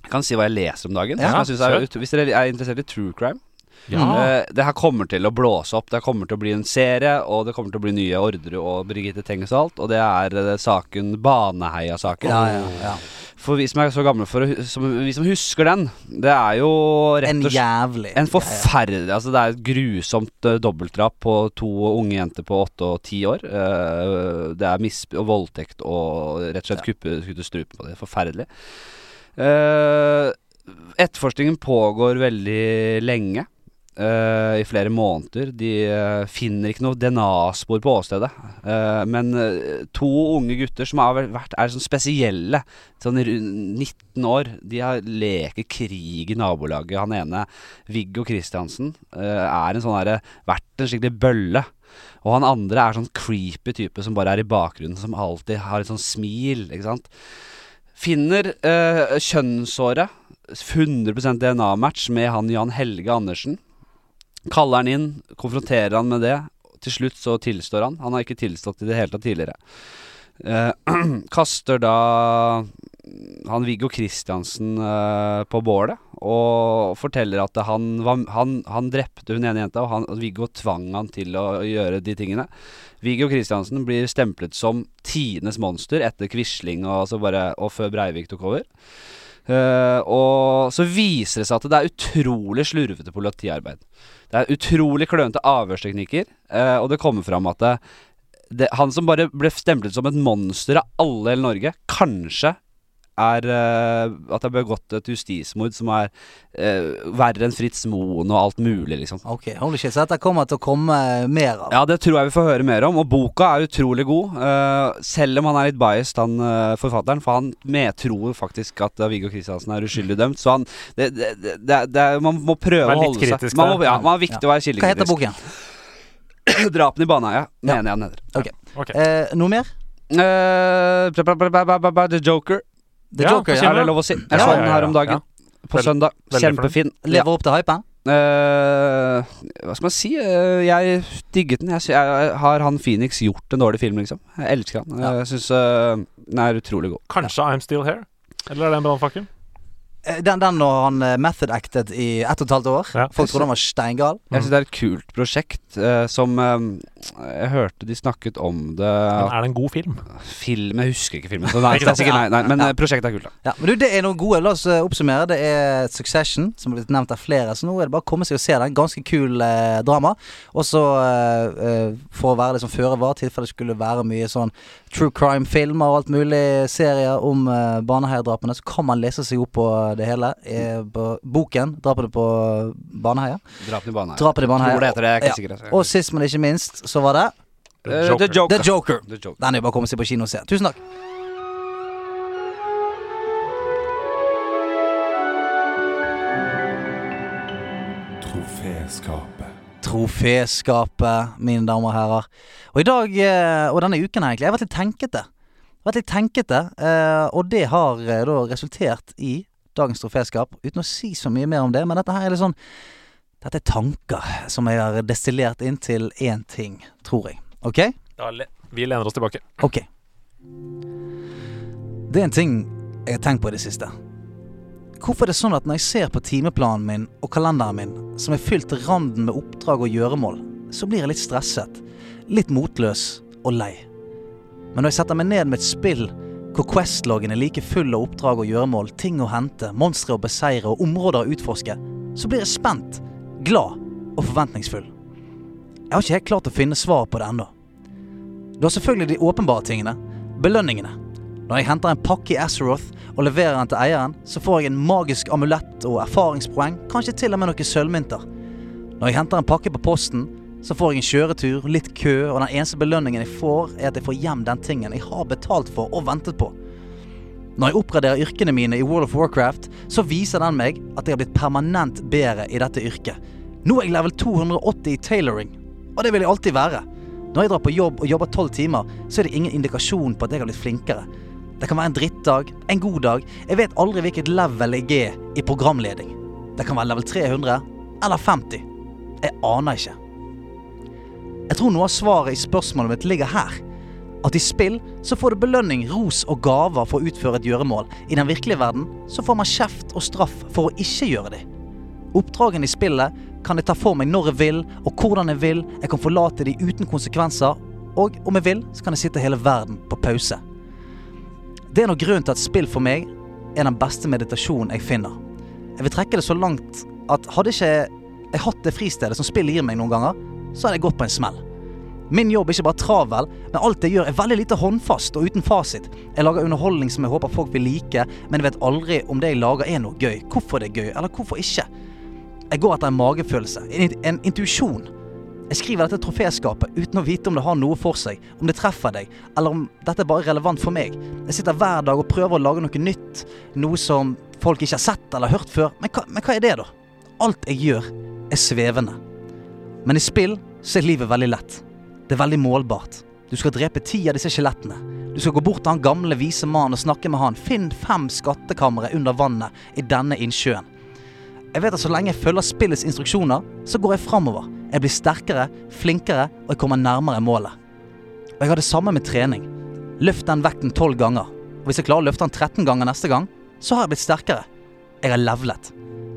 Speaker 1: jeg kan si hva jeg leser om dagen.
Speaker 3: Ja,
Speaker 1: som jeg synes er,
Speaker 4: kjør.
Speaker 1: ut- hvis dere er interessert i true crime
Speaker 3: Mm.
Speaker 4: Ja.
Speaker 1: eh, Det her kommer til å blåse opp. Det her kommer til å bli en serie, og det kommer til å bli nye Ordre og Birgitte Tengs og alt. Og det er eh, saken Baneheia-saken.
Speaker 3: Ja, ja, ja.
Speaker 1: For vi som er så gamle for å, hu- som, Vi som husker den, det er jo rett
Speaker 3: En
Speaker 1: og slett
Speaker 3: jævlig
Speaker 1: En forferdelig Altså det er et grusomt uh, dobbeltdrap på to unge jenter på åtte og ti år. Eh, det er misp og voldtekt og rett og slett kuppe, kutte strupen på dem. Forferdelig. Eh, etterforskningen pågår veldig lenge. eh, I flere måneder. De eh, finner ikke noe DNA-spor på åstedet. Eh, men eh, to unge gutter som har vel vært, er sånn spesielle, sånn rundt 19 år, de har leker krig i nabolaget. Han ene Viggo Kristiansen eh, er en sånn derre Vært en skikkelig bølle. Og han andre er sånn creepy type som bare er i bakgrunnen, som alltid har et sånn smil, ikke sant. Finner eh, kjønnsåret, 100 DNA-match med han Jan Helge Andersen. Kaller han inn, konfronterer han med det. Til slutt så tilstår han. Han har ikke tilstått i det hele tatt tidligere. Eh, kaster da han Viggo Kristiansen eh, på bålet og forteller at han, var, han, han drepte hun ene jenta, og han, Viggo tvang han til å gjøre de tingene. Viggo Kristiansen blir stemplet som tidenes monster etter Quisling og, altså bare, og før Breivik tok over. Eh, og så viser det seg at det er utrolig slurvete politiarbeid. Det er utrolig klønete avhørsteknikker, eh, og det kommer fram at det, det, han som bare ble stemplet som et monster av alle i hele Norge, kanskje er eh, at det er begått et justismord som er eh, verre enn Fritz Moen og alt mulig, liksom.
Speaker 3: Ok, holy shit. Så dette kommer til å komme mer av.
Speaker 1: Ja, det tror jeg vi får høre mer om. Og boka er utrolig god. eh, selv om han er litt biased, han eh, forfatteren. For han med tror faktisk at eh, Viggo Kristiansen er uskyldig dømt. Så han det, det, det, det, er- Man må prøve
Speaker 4: Vær
Speaker 1: å
Speaker 4: litt
Speaker 1: holde
Speaker 4: kritisk
Speaker 1: seg Man må,
Speaker 4: der.
Speaker 1: ja, man er viktig å være
Speaker 3: Hva heter
Speaker 1: kildekritisk.
Speaker 3: boken?
Speaker 1: Drapene i Baneheia, mener jeg den heter.
Speaker 4: Ok.
Speaker 3: Eh, noe mer?
Speaker 1: Eh, bla, bla, bla, bla, bla, bla, bla, The Joker,
Speaker 3: The
Speaker 4: Ja,
Speaker 3: Joker.
Speaker 4: for
Speaker 3: Ja.
Speaker 1: er det lov å si. Jeg
Speaker 4: Ja,
Speaker 1: så
Speaker 4: ja,
Speaker 1: den
Speaker 4: ja,
Speaker 1: her om
Speaker 4: ja.
Speaker 1: dagen. På
Speaker 4: Veldig-
Speaker 1: søndag.
Speaker 4: veldig fornøyd.
Speaker 1: Kjempefin. Ja.
Speaker 3: Lever opp til hypen?
Speaker 1: Eh, hva skal man si? Eh, jeg digget den. Jeg, sy- jeg, har han Phoenix gjort en dårlig film, liksom? Jeg elsker han.
Speaker 3: Ja.
Speaker 1: Jeg syns eh, den er utrolig god.
Speaker 4: Kanskje I'm Still Here? Eller er det en brannfakkel?
Speaker 3: eh, Den, den når han eh, method acted i ett og et halvt år.
Speaker 4: Ja.
Speaker 3: Folk trodde han var steingal.
Speaker 1: Jeg syns det er et kult prosjekt eh, som eh, Jeg hørte de snakket om det
Speaker 4: Men er det en god film?
Speaker 1: Film Jeg husker ikke filmen, så nei, det er sikkert, nei, nei, men eh, prosjektet er kult, da.
Speaker 3: Ja, men du, Det er noen gode. La oss eh, oppsummere. Det er Succession, som har blitt nevnt av flere. Så nå er det bare å komme seg og se den. Ganske kul eh, drama. Og så, eh, eh, for å være liksom føre var, tilfelle det skulle være mye sånn true crime-filmer og alt mulig serier om eh, Baneheia-drapene, så kan man lese seg opp på det hele. Eh, på boken 'Drapene på Baneheia'.
Speaker 1: Drapene i banen.
Speaker 3: Drapene i Baneheia.
Speaker 1: Tror det heter det, jeg er ikke sikker, altså.
Speaker 3: Og sist, men ikke minst, så var det
Speaker 1: Eh, The Joker.
Speaker 3: The Joker.
Speaker 1: The Joker.
Speaker 3: Den er jo bare å komme seg på kino og se. Tusen takk.
Speaker 2: Troféskapet.
Speaker 3: Troféskapet, mine damer og herrer. Og i dag, eh, og denne uken her egentlig, jeg har vært litt tenkete. Jeg har vært litt tenkete, eh, og det har eh, da resultert i dagens troféskap. Uten å si så mye mer om det, men dette her er litt sånn Dette er tanker som jeg har destillert inn til én ting, tror jeg. Ok?
Speaker 4: Da le- Vi lener oss tilbake.
Speaker 3: Ok. Det er en ting jeg har tenkt på i det siste. Hvorfor er det sånn at når jeg ser på timeplanen min og kalenderen min, som er fylt til randen med oppdrag og gjøremål, så blir jeg litt stresset, litt motløs og lei. Men når jeg setter meg ned med et spill hvor Quest-loggen er like full av oppdrag og gjøremål, ting å hente, monstre å beseire og områder å utforske, så blir jeg spent, glad og forventningsfull. Jeg har ikke helt klart å finne svar på det ennå. Du har selvfølgelig de åpenbare tingene. Belønningene. Når jeg henter en pakke i Azeroth og leverer den til eieren, så får jeg en magisk amulett og erfaringspoeng, kanskje til og med noen sølvmynter. Når jeg henter en pakke på posten, så får jeg en kjøretur, litt kø, og den eneste belønningen jeg får, er at jeg får hjem den tingen jeg har betalt for og ventet på. Når jeg oppgraderer yrkene mine i World of Warcraft, så viser den meg at jeg har blitt permanent bedre i dette yrket. Nå er jeg level 280 i tailoring, og det vil jeg alltid være. Når jeg drar på jobb og jobber tolv timer, så er det ingen indikasjon på at jeg har blitt flinkere. Det kan være en drittdag, en god dag, jeg vet aldri hvilket level jeg er i programleding. Det kan være level 300, eller 50. Jeg aner ikke. Jeg tror noe av svaret i spørsmålet mitt ligger her. At i spill så får du belønning, ros og gaver for å utføre et gjøremål. I den virkelige verden så får man kjeft og straff for å ikke gjøre det. Oppdragene i spillet kan jeg ta for meg når jeg vil, og hvordan jeg vil. Jeg kan forlate de uten konsekvenser, og om jeg vil, så kan jeg sitte hele verden på pause. Det er nok grunnen til at spill for meg er den beste meditasjonen jeg finner. Jeg vil trekke det så langt at hadde ikke jeg hatt det fristedet som spill gir meg noen ganger, så hadde jeg gått på en smell. Min jobb er ikke bare travel, men alt jeg gjør er veldig lite håndfast og uten fasit. Jeg lager underholdning som jeg håper folk vil like, men jeg vet aldri om det jeg lager er noe gøy, hvorfor det er gøy, eller hvorfor ikke. Jeg går etter en magefølelse, en, en intuisjon. Jeg skriver dette troféskapet uten å vite om det har noe for seg, om det treffer deg, eller om dette er bare relevant for meg. Jeg sitter hver dag og prøver å lage noe nytt, noe som folk ikke har sett eller hørt før. Men hva, men hva er det, da? Alt jeg gjør, er svevende. Men i spill så er livet veldig lett. Det er veldig målbart. Du skal drepe ti av disse skjelettene. Du skal gå bort til han gamle, vise mannen og snakke med han. Finn fem skattekamre under vannet i denne innsjøen. Jeg vet at så lenge jeg følger spillets instruksjoner, så går jeg framover. Jeg blir sterkere, flinkere, og jeg kommer nærmere målet. Og jeg har det samme med trening. Løft den vekten tolv ganger. Og hvis jeg klarer å løfte den 13 ganger neste gang, så har jeg blitt sterkere. Jeg har levlet.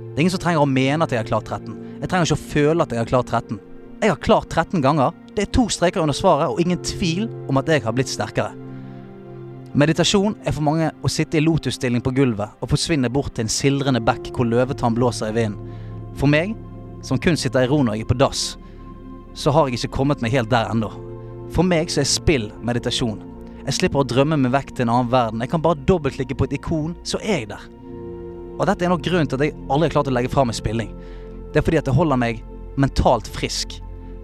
Speaker 3: Det er ingen som trenger å mene at jeg har klart 13. Jeg trenger ikke å føle at jeg har klart 13. Jeg har klart 13 ganger. Det er to streker under svaret og ingen tvil om at jeg har blitt sterkere. Meditasjon er for mange å sitte i lotusstilling på gulvet og forsvinne bort til en sildrende bekk hvor løvetann blåser i vinden. For meg, som kun sitter i ro når jeg er på dass, så har jeg ikke kommet meg helt der ennå. For meg så er spill meditasjon. Jeg slipper å drømme meg vekk til en annen verden. Jeg kan bare dobbeltklikke på et ikon, så er jeg der. Og dette er nok grunnen til at jeg aldri har klart å legge fra meg spilling. Det er fordi at det holder meg mentalt frisk.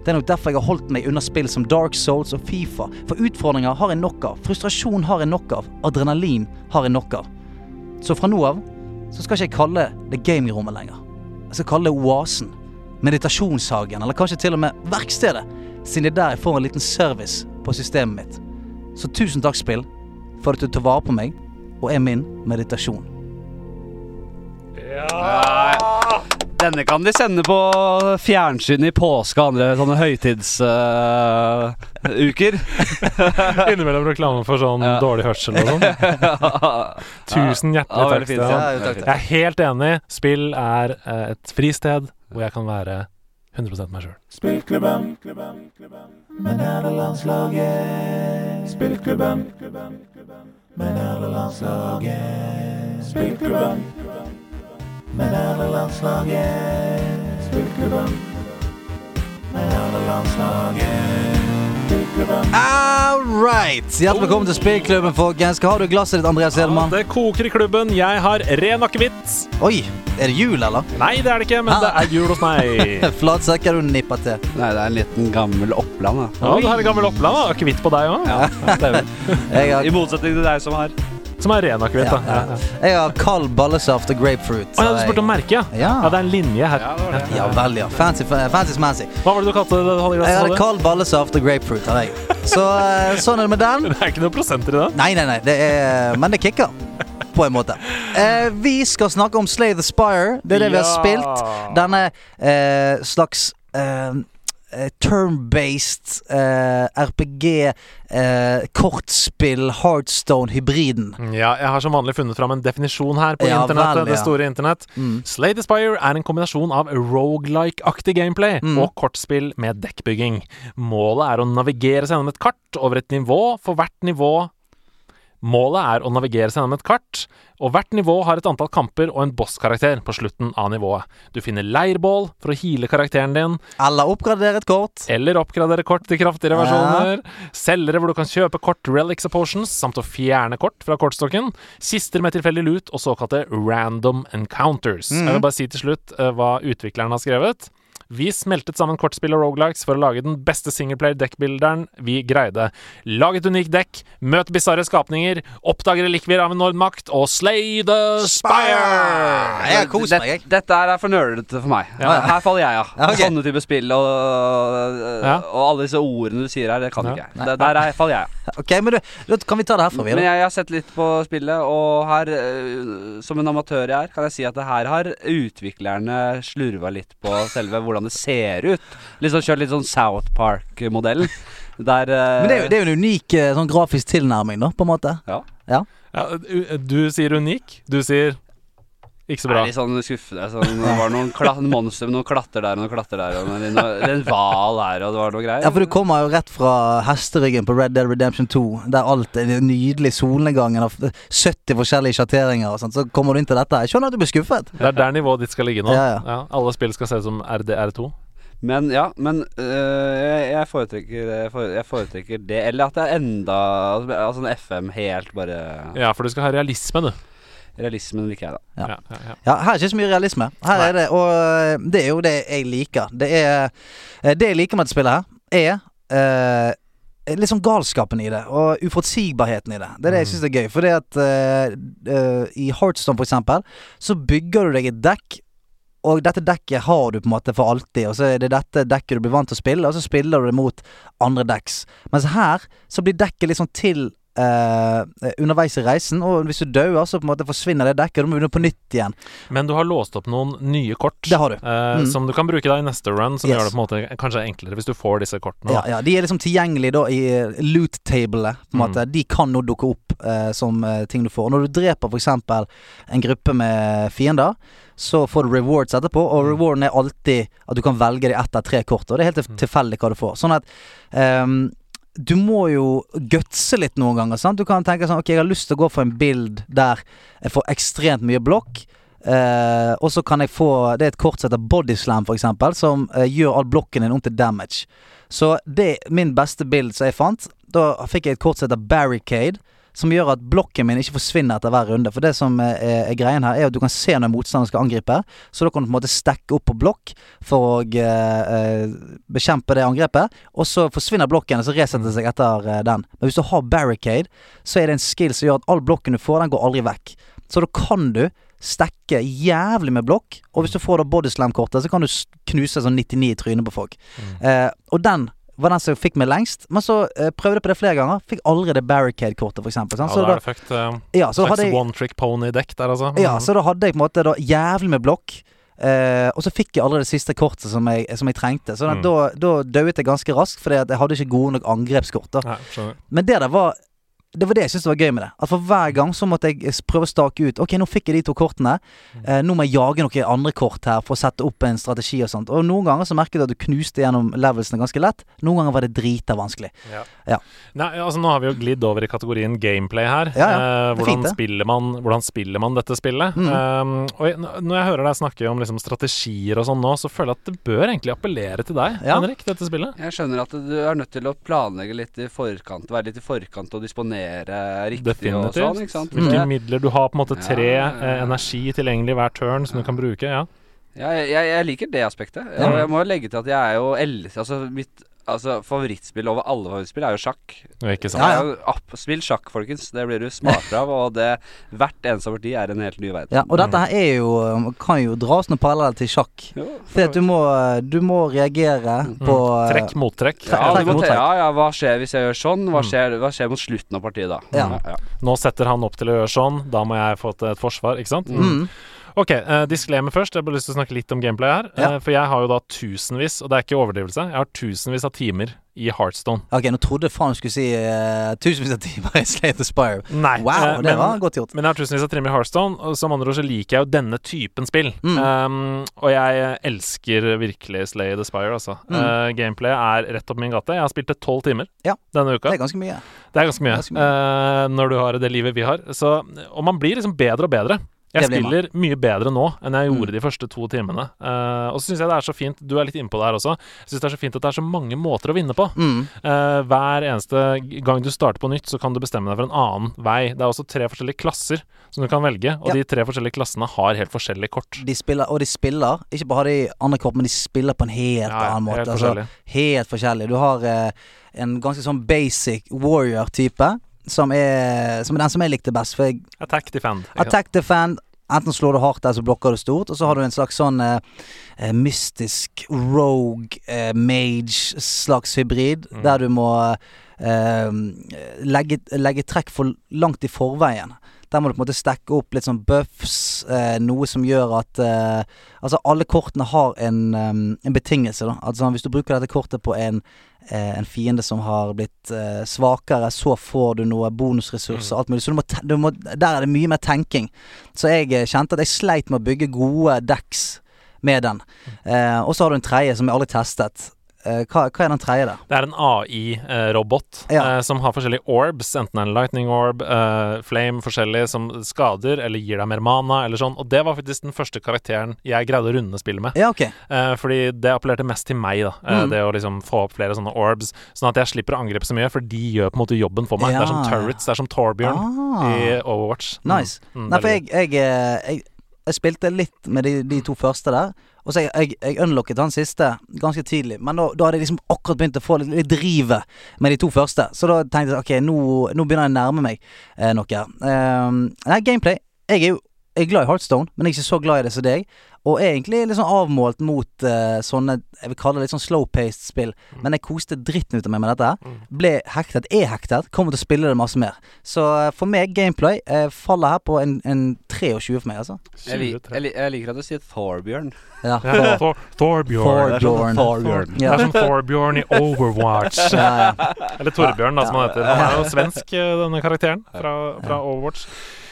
Speaker 3: Det er nok derfor jeg har holdt meg unna spill som Dark Souls og Fifa, for utfordringer har jeg nok av, frustrasjon har jeg nok av, adrenalin har jeg nok av. Så fra nå av så skal ikke jeg kalle det gamingrommet lenger. Jeg skal kalle det oasen, meditasjonshagen, eller kanskje til og med verkstedet, siden det er der jeg får en liten service på systemet mitt. Så tusen takk, spill, for at du tar vare på meg og er min meditasjon.
Speaker 1: Det Denne kan de sende på fjernsyn i påske og andre sånne eh, høytidsuker.
Speaker 4: Innimellom reklame for sånn
Speaker 1: Ja.
Speaker 4: dårlig hørsel og sånn. Tusen hjertelig takk.
Speaker 1: veldig fint.
Speaker 4: Stian.
Speaker 3: Ja, jo, takk,
Speaker 4: Jeg er helt enig. Spill er eh, et fristed hvor jeg kan være 100 meg sjøl.
Speaker 2: Spillklubben. Men er det landslaget? Spillklubben. Men er det landslaget? Spillklubben. Men er det landslaget? Spillklubben. Men er det landslaget? Spillklubben.
Speaker 3: All right! Hjertelig velkommen til spillklubben, folkens. Hva har du i glasset ditt, Andreas Hedman?
Speaker 4: Det koker i klubben. Jeg har ren akevitt.
Speaker 3: Oi, er det jul, eller?
Speaker 4: Nei, det er det ikke, men det er jul hos meg.
Speaker 3: Flatsekk er du nippa til.
Speaker 1: Nei, det er en liten gammel Oppland. Da.
Speaker 4: Ja, du har en gammel Oppland. da. Akevitt på deg òg.
Speaker 3: Jeg har,
Speaker 1: I motsetning til deg som har.
Speaker 4: Som er ren akevitt. da.
Speaker 3: Ja,
Speaker 4: Ja, ja.
Speaker 3: jeg har kald ballesaft og grapefruit.
Speaker 4: Å, ja, du spurte om merket, ja.
Speaker 3: Ja.
Speaker 4: Ja, det er en linje her.
Speaker 3: Ja vel, ja. Fancy, fancy, fancy.
Speaker 4: Hva var det du kalte det? du hadde i
Speaker 3: Jeg
Speaker 4: glasset,
Speaker 3: hadde
Speaker 4: sa du?
Speaker 3: kald ballesaft og grapefruit. Hadde jeg. Så eh, sånn er det med den.
Speaker 4: Det er ikke noen prosenter i det.
Speaker 3: Nei, nei, nei. Det er, men det kicker. På en måte. Eh, vi skal snakke om Slay the Spire. Det er det vi har
Speaker 4: Ja.
Speaker 3: spilt. Denne eh, slags eh, eh, turn-based eh, RPG, eh, kortspill, Heartstone-hybriden.
Speaker 4: Ja, jeg har som vanlig funnet fram en definisjon her på
Speaker 3: Ja,
Speaker 4: internettet.
Speaker 3: vel, ja.
Speaker 4: Det store internett. Slay the Spire er en kombinasjon av roguelike-aktig gameplay
Speaker 3: Mm.
Speaker 4: og kortspill med dekkbygging. Målet er å navigere seg gjennom et kart over et nivå for hvert nivå Målet er å navigere seg gjennom et kart, og hvert nivå har et antall kamper og en bosskarakter på slutten av nivået. Du finner leirbål for å heale karakteren din,
Speaker 3: Eller oppgradere et kort.
Speaker 4: eller oppgradere kort til kraftigere
Speaker 3: Ja.
Speaker 4: versjoner. Selgere hvor du kan kjøpe kort relics og potions, samt å fjerne kort fra kortstokken. Kister med tilfeldig lut og såkalte random encounters. Jeg vil bare si til slutt eh, hva utvikleren har skrevet. Vi smeltet sammen kortspill og rogelikes for å lage den beste singleplayer-dekkbilderen vi greide. Lag et unikt dekk, møt bisarre skapninger, oppdag relikvier av enorm makt, og slay the spire!
Speaker 3: Jeg har kost meg, jeg.
Speaker 1: Det- Dette her er for nerdete for meg.
Speaker 4: Ja.
Speaker 1: Her faller jeg av.
Speaker 3: Ja, ok.
Speaker 1: Sånne type spill og,
Speaker 4: Ja.
Speaker 1: og alle disse ordene du sier her, det kan
Speaker 4: Ja.
Speaker 1: ikke jeg. Det, der er, faller jeg av.
Speaker 3: Ok, men du, da kan vi ta det herfra
Speaker 1: Men
Speaker 3: videre?
Speaker 1: jeg, jeg har sett litt på spillet, og her, øh, som en amatør jeg er, kan jeg si at det her har utviklerne slurva litt på selve hvordan det ser ut. Litt sånn kjørt litt sånn South Park-modellen. Der øh,
Speaker 3: Men det er, jo- det er jo en unik eh, sånn grafisk tilnærming, da, på en måte.
Speaker 1: ja.
Speaker 4: Ja, du- du sier unik, du sier ikke så
Speaker 1: Jeg
Speaker 4: bra.
Speaker 1: er litt sånn skuffende. Sånn, det var noen kla monster med noen klatter der og noen klatter der, og noen, en hval her, og det var noe greier.
Speaker 3: Ja, for du kommer jo rett fra hesteryggen på Red Dead Redemption 2, der alt er den nydelige solnedgangen av 70 forskjellige sjatteringer og sånt, så kommer du inn til dette. Jeg skjønner at du blir skuffet.
Speaker 4: Det er der nivået ditt skal ligge nå.
Speaker 3: Ja, ja.
Speaker 4: alle spill skal se ut som RDR2.
Speaker 1: Men ja, men øh, jeg- jeg, foretrekker, jeg fore- jeg foretrekker det. Eller at det er enda Altså en FM helt bare
Speaker 4: Ja, for du skal ha realisme, du.
Speaker 1: Realismen liker jeg, da.
Speaker 3: Ja.
Speaker 4: Ja, ja, ja.
Speaker 3: Ja, her er ikke så mye realisme. Her er det, og eh, det er jo det jeg liker. Det, er, eh, det jeg liker med dette spillet her, er eh, litt sånn galskapen i det, og uforutsigbarheten i det. Det er det jeg syns er gøy. For det at eh, eh, i Heartstone, for eksempel, så bygger du deg et dekk. Og dette dekket har du på en måte for alltid, og så er det dette dekket du blir vant til å spille, og så spiller du det mot andre decks. Mens her så blir dekket liksom til eh, underveis i reisen, og hvis du dauer, så på en måte forsvinner det dekket, og du må begynne på nytt igjen.
Speaker 4: Men du har låst opp noen nye kort
Speaker 3: Det har du.
Speaker 4: eh,
Speaker 3: Mm.
Speaker 4: som du kan bruke da i neste run, som
Speaker 3: Yes.
Speaker 4: gjør det på en måte kanskje enklere hvis du får disse kortene.
Speaker 3: Ja,
Speaker 4: da.
Speaker 3: ja, De er liksom tilgjengelige da i eh, loot-tablene. på en måte De kan nå dukke opp eh, som eh, ting du får. Når du dreper f.eks. en gruppe med fiender, så får du rewards etterpå, og rewarden er alltid at du kan velge de ett av tre kort. Og det er helt til- tilfeldig hva du får. Sånn at ehm, du må jo gutse litt noen ganger. Sant? Du kan tenke sånn Ok, jeg har lyst til å gå for en bild der jeg får ekstremt mye blokk. Eh, og så kan jeg få Det er et kort som heter bodyslam, f.eks., som eh, gjør all blokken din om til damage. Så det er min beste bild som jeg fant. Da fikk jeg et kort som heter barricade. Som gjør at blokken min ikke forsvinner etter hver runde. For det som eh, er, er greien her, er at du kan se når motstanderen skal angripe. Så da kan du på en måte stekke opp på blokk for å eh, eh, bekjempe det angrepet. Og så forsvinner blokken, og så resetter det seg etter eh, den. Men hvis du har barricade, så er det en skill som gjør at all blokken du får, den går aldri vekk. Så da kan du stekke jævlig med blokk, og hvis du får da bodyslam-kortet, så kan du s- knuse sånn 99 i trynet på folk.
Speaker 4: Mm.
Speaker 3: Eh, og den var den som fikk meg lengst, men så eh, prøvde jeg på det flere ganger. Fikk aldri det barricade-kortet, for eksempel. sant?
Speaker 4: Ja, da
Speaker 3: Så
Speaker 4: er det fucked. eh,
Speaker 3: ja, så
Speaker 4: slags
Speaker 3: hadde jeg
Speaker 4: one trick pony-dekk der, altså.
Speaker 3: ja, så da hadde jeg på en måte da jævlig med blokk. Eh, og så fikk jeg aldri det siste kortet som jeg, som jeg trengte. Så da,
Speaker 4: Mm.
Speaker 3: da, da døde jeg ganske raskt, fordi at jeg hadde ikke gode nok angrepskort. da
Speaker 4: Nei, skjønner.
Speaker 3: Men det der var det var det jeg syntes var gøy med det. At For hver gang så måtte jeg s- prøve å stake ut Ok, nå fikk jeg de to kortene.
Speaker 4: Mm.
Speaker 3: Eh, nå må jeg jage noen andre kort her for å sette opp en strategi og sånt. Og noen ganger så merket du at du knuste gjennom levelsene ganske lett. Noen ganger var det drita vanskelig.
Speaker 4: Ja.
Speaker 3: Ja.
Speaker 4: Nei, altså Nå har vi jo glidd over i kategorien gameplay her.
Speaker 3: Ja, ja.
Speaker 4: Eh,
Speaker 3: Det er
Speaker 4: hvordan,
Speaker 3: fint, det. Mm.
Speaker 4: spiller man, hvordan spiller man dette spillet? Eh, og jeg, n- når jeg hører deg snakke om liksom, strategier og sånn nå, så føler jeg at det bør egentlig appellere til deg,
Speaker 3: Ja.
Speaker 4: Henrik, dette spillet.
Speaker 1: Jeg skjønner at du er nødt til å planlegge litt i forkant, være litt i forkant og disponere riktig og
Speaker 4: Definitivt.
Speaker 1: sånn, ikke sant?
Speaker 4: Hvilke
Speaker 1: Det-
Speaker 4: midler du har, på en måte tre
Speaker 1: Ja, ja, ja.
Speaker 4: eh, energi tilgjengelig hver turn som du kan bruke. Ja.
Speaker 1: Ja, jeg, jeg jeg liker det aspektet. Og jeg må jo legge til at jeg er jo elsker Altså, mitt altså, favorittspill over alle favorittspill er jo sjakk.
Speaker 4: Ikke sant?
Speaker 3: Ja, ja.
Speaker 1: Jeg er jo app, spill sjakk, folkens. Det blir du smartere av, og det hvert eneste parti er en helt ny verden.
Speaker 3: Ja, og dette
Speaker 4: Mm.
Speaker 3: her er jo um, kan jo dras noen paralleller til sjakk.
Speaker 1: Jo.
Speaker 3: Fordi at du må, eh, du må reagere på
Speaker 4: Mm.
Speaker 3: eh,
Speaker 4: Trekk, mottrekk.
Speaker 1: Ja,
Speaker 3: Trekk
Speaker 1: du må
Speaker 3: mot
Speaker 1: te-
Speaker 3: trekk.
Speaker 1: ja, ja, hva skjer hvis jeg gjør sånn? Hva skjer, hva skjer mot slutten av partiet da?
Speaker 3: Mm. Ja.
Speaker 4: Nå setter han opp til å gjøre sånn, da må jeg få til et forsvar, ikke sant?
Speaker 3: Mm.
Speaker 4: Ok, eh, disclaimer først. Jeg har bare lyst til å snakke litt om gameplay her. eh,
Speaker 3: Ja.
Speaker 4: for jeg har jo da tusenvis, og det er ikke overdrivelse, jeg har tusenvis av timer i Heartstone.
Speaker 3: Ok, nå trodde jeg faen du skulle si eh, tusenvis av timer i Slate Aspire.
Speaker 4: Nei,
Speaker 3: Wow,
Speaker 4: eh,
Speaker 3: det
Speaker 4: men-
Speaker 3: var godt gjort.
Speaker 4: Men jeg har tusenvis av timer i Heartstone, og som andre ord så liker jeg jo denne typen spill. Um, og jeg elsker virkelig Slay the Spire, altså. Uh, gameplayet er rett opp min gate. Jeg har spilt det tolv timer
Speaker 3: Ja.
Speaker 4: denne uka.
Speaker 3: Det er ganske mye.
Speaker 4: Det er ganske mye,
Speaker 3: Ganske mye.
Speaker 4: eh, når du har det livet vi har. Så, og man blir liksom bedre og bedre.
Speaker 3: Det
Speaker 4: Jeg
Speaker 3: blir man. Mm.
Speaker 4: spiller mye bedre nå enn jeg gjorde de første to timene. Eh, og så syns jeg det er så fint Du er litt innpå det her også. Jeg synes det er så fint at det er så mange måter å vinne på.
Speaker 3: Mm.
Speaker 4: Eh, hver eneste g- gang du starter på nytt, så kan du bestemme deg for en annen vei. Det er også tre forskjellige klasser som du kan velge, og
Speaker 3: Ja.
Speaker 4: de tre forskjellige klassene har helt forskjellige kort.
Speaker 3: De spiller, og de spiller, ikke bare har de andre kort, men de spiller på en helt
Speaker 4: Ja, ja,
Speaker 3: annen måte. altså,
Speaker 4: helt forskjellig.
Speaker 3: helt forskjellig. Du har eh, en ganske sånn basic warrior-type, som, er- som er den som jeg likte best. For jeg
Speaker 4: Attack defend. ikke sant?
Speaker 3: Attack defend. Enten slår du hardt eller så blokker du stort, og så har du en slags sånn eh, eh, mystisk rogue eh, mage-slags hybrid, der du må eh, legge, legge trekk for langt i forveien. Der må du på en måte stekke opp litt sånn buffs, eh, noe som gjør at eh, Altså, alle kortene har en, eh, en betingelse, da. Altså, hvis du bruker dette kortet på en eh, en fiende som har blitt eh, svakere, så får du noe bonusressurser og alt mulig. Så du må, te- du må, der er det mye mer tenking. Så jeg eh, kjente at jeg sleit med å bygge gode decks med den. Eh, og så har du en tredje som jeg aldri testet. Eh, hva, hva er den tredje der?
Speaker 4: Det er en AI-robot
Speaker 3: Ja.
Speaker 4: som har forskjellige orbs, enten en lightning orb, eh, flame, forskjellig, som skader eller gir deg mer mana eller sånn. Og det var faktisk den første karakteren jeg greide å runde spillet med.
Speaker 3: Ja, ok.
Speaker 4: Eh, fordi det appellerte mest til meg, da. Eh,
Speaker 3: Mm.
Speaker 4: Det å liksom få opp flere sånne orbs. Sånn at jeg slipper å angripe så mye, for de gjør på en måte jobben for meg.
Speaker 3: Ja.
Speaker 4: Det er som turrets, det er som Torbjørn
Speaker 3: Ah.
Speaker 4: i Overwatch. Mm.
Speaker 3: Nice.
Speaker 4: Mm,
Speaker 3: Nei, for
Speaker 4: veldig
Speaker 3: jeg, jeg, eh, jeg, jeg spilte litt med de, de to første der. Og så jeg, jeg, jeg unlocket han siste ganske tidlig, men da, da hadde jeg liksom akkurat begynt å få litt, litt drivet med de to første. Så da tenkte jeg ok, nå, nå begynner jeg å nærme meg eh, noe. her. Ehm, nei, gameplay. Jeg er jo jeg er glad i Heartstone, men jeg er ikke så glad i det som deg. Og er egentlig litt sånn avmålt mot eh, sånne jeg vil kalle det litt sånn slow-paced spill.
Speaker 4: Mm.
Speaker 3: Men jeg koste dritten ut av meg med dette. her Ble hektet, er hektet. Kommer til å spille det masse mer. Så eh, for meg, gameplay eh, faller her på en, en 23 for meg, altså.
Speaker 1: Jeg, li- jeg, li- jeg liker at du sier Thorbjørn.
Speaker 3: Ja.
Speaker 4: Ja, Thor Thorbjørn.
Speaker 1: Det er
Speaker 3: Thorbjørn.
Speaker 1: sånn Thorbjørn.
Speaker 4: Det
Speaker 3: Ja.
Speaker 4: er som Thorbjørn i Overwatch.
Speaker 3: Ja, ja.
Speaker 4: Eller Torbjørn, da, som han heter. Han er jo svensk, eh, denne karakteren fra, fra Overwatch.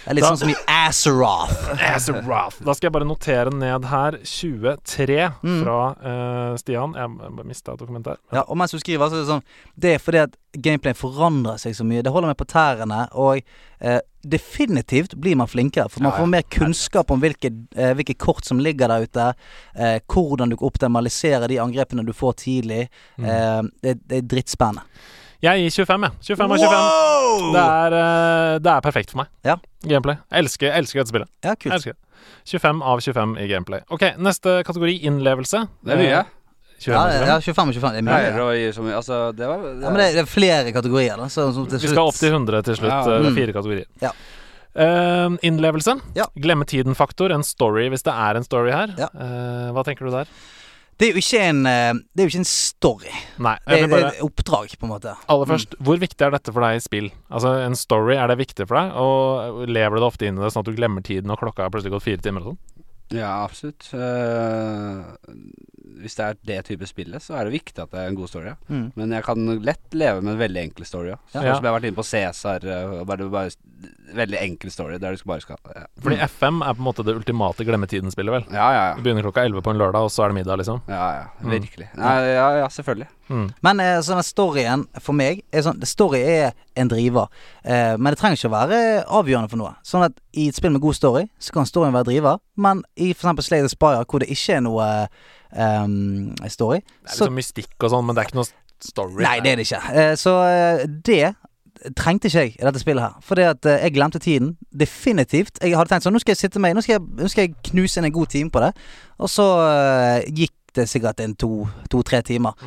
Speaker 3: Det er litt sånn som i Azeroth.
Speaker 4: Azeroth. Da skal jeg bare notere ned her 23
Speaker 3: Mm.
Speaker 4: fra eh, Stian. Jeg bare mista et dokument der.
Speaker 3: Ja, og mens du skriver, så er det sånn Det er fordi at gameplayen forandrer seg så mye. Det holder meg på tærne, og eh, definitivt blir man flinkere. For man får mer kunnskap om hvilke, eh, hvilke kort som ligger der ute. Eh, hvordan du optimaliserer de angrepene du får tidlig. Eh, det, det er drittspennende.
Speaker 4: Jeg gir 25, jeg. 25 av 25. Det er, eh, det er perfekt for meg.
Speaker 3: Ja.
Speaker 4: Gameplay. Jeg elsker, jeg elsker dette spillet.
Speaker 3: Ja,
Speaker 4: Jeg
Speaker 3: kult.
Speaker 4: elsker det. 25 av 25 i gameplay. Ok, neste kategori innlevelse.
Speaker 1: Det er mye.
Speaker 4: Eh, 25
Speaker 3: Ja,
Speaker 4: av 25.
Speaker 3: ja, 25 og 25. Det er mye.
Speaker 1: Pleier å gi så mye Altså, det var det
Speaker 3: Ja, men det, det er flere kategorier, da. Så, så til
Speaker 4: Vi skal opp
Speaker 3: slutt-
Speaker 4: til 100 til slutt.
Speaker 1: Ja.
Speaker 4: eh, Det
Speaker 3: Mm.
Speaker 4: er fire kategorier.
Speaker 3: Ja.
Speaker 4: Eh, innlevelse.
Speaker 3: Ja.
Speaker 4: Glemme tiden-faktor. En story, hvis det er en story her.
Speaker 3: Ja.
Speaker 4: Eh, hva tenker du der?
Speaker 3: Det er jo ikke en, eh, det er jo ikke en story.
Speaker 4: Nei,
Speaker 3: Det
Speaker 4: jeg
Speaker 3: er, det
Speaker 4: vil
Speaker 3: Mm.
Speaker 4: bare
Speaker 3: er et oppdrag, på en måte.
Speaker 4: Aller først, hvor viktig er dette for deg i spill? Altså, en story, er det viktig for deg? Og lever du deg ofte inn i det, sånn at du glemmer tiden, og klokka har plutselig gått fire timer og sånn?
Speaker 1: Ja, absolutt. Eh, hvis det er det type spillet, så er det viktig at det er en god story. Ja.
Speaker 3: Mm.
Speaker 1: Men jeg kan lett leve med en veldig enkel story. Ja. Sånn
Speaker 4: Ja.
Speaker 1: Som jeg har vært inne på Cæsar. eh, og Bare, bare, veldig enkel story der du skal bare skal Ja,
Speaker 4: Fordi
Speaker 3: Mm.
Speaker 4: FM er på en måte det ultimate glemmetiden-spillet, vel?
Speaker 1: ja. ja,
Speaker 4: Det
Speaker 1: ja.
Speaker 4: begynner klokka 11 på en lørdag, og så er det middag, liksom.
Speaker 1: ja, ja.
Speaker 4: Mm.
Speaker 1: Virkelig. Nei, ja, ja, selvfølgelig.
Speaker 3: Men eh, sånn at storyen for meg er sånn, Story er en driver, eh, men det trenger ikke å være avgjørende for noe. Sånn at i et spill med god story, så kan storyen være driver, men i f.eks. Slay the Spire, hvor det ikke er noe ehm, story,
Speaker 4: Det er
Speaker 3: så
Speaker 4: liksom mystikk og sånn, men det er ikke noe story.
Speaker 3: Nei, det er det ikke. Eh, Så eh, det trengte ikke jeg i dette spillet her. Fordi at eh, jeg glemte tiden. Definitivt. Jeg hadde tenkt sånn, nå skal jeg sitte meg, nå skal jeg, nå skal jeg knuse inn en god time på det. Og så eh, gikk det sikkert en to-tre to, tre timer.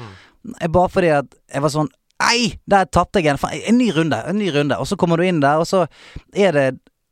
Speaker 3: Eh, Bare fordi at jeg var sånn Nei, der tapte jeg igjen. Faen, En ny runde, en ny runde. Og så kommer du inn der, og så er det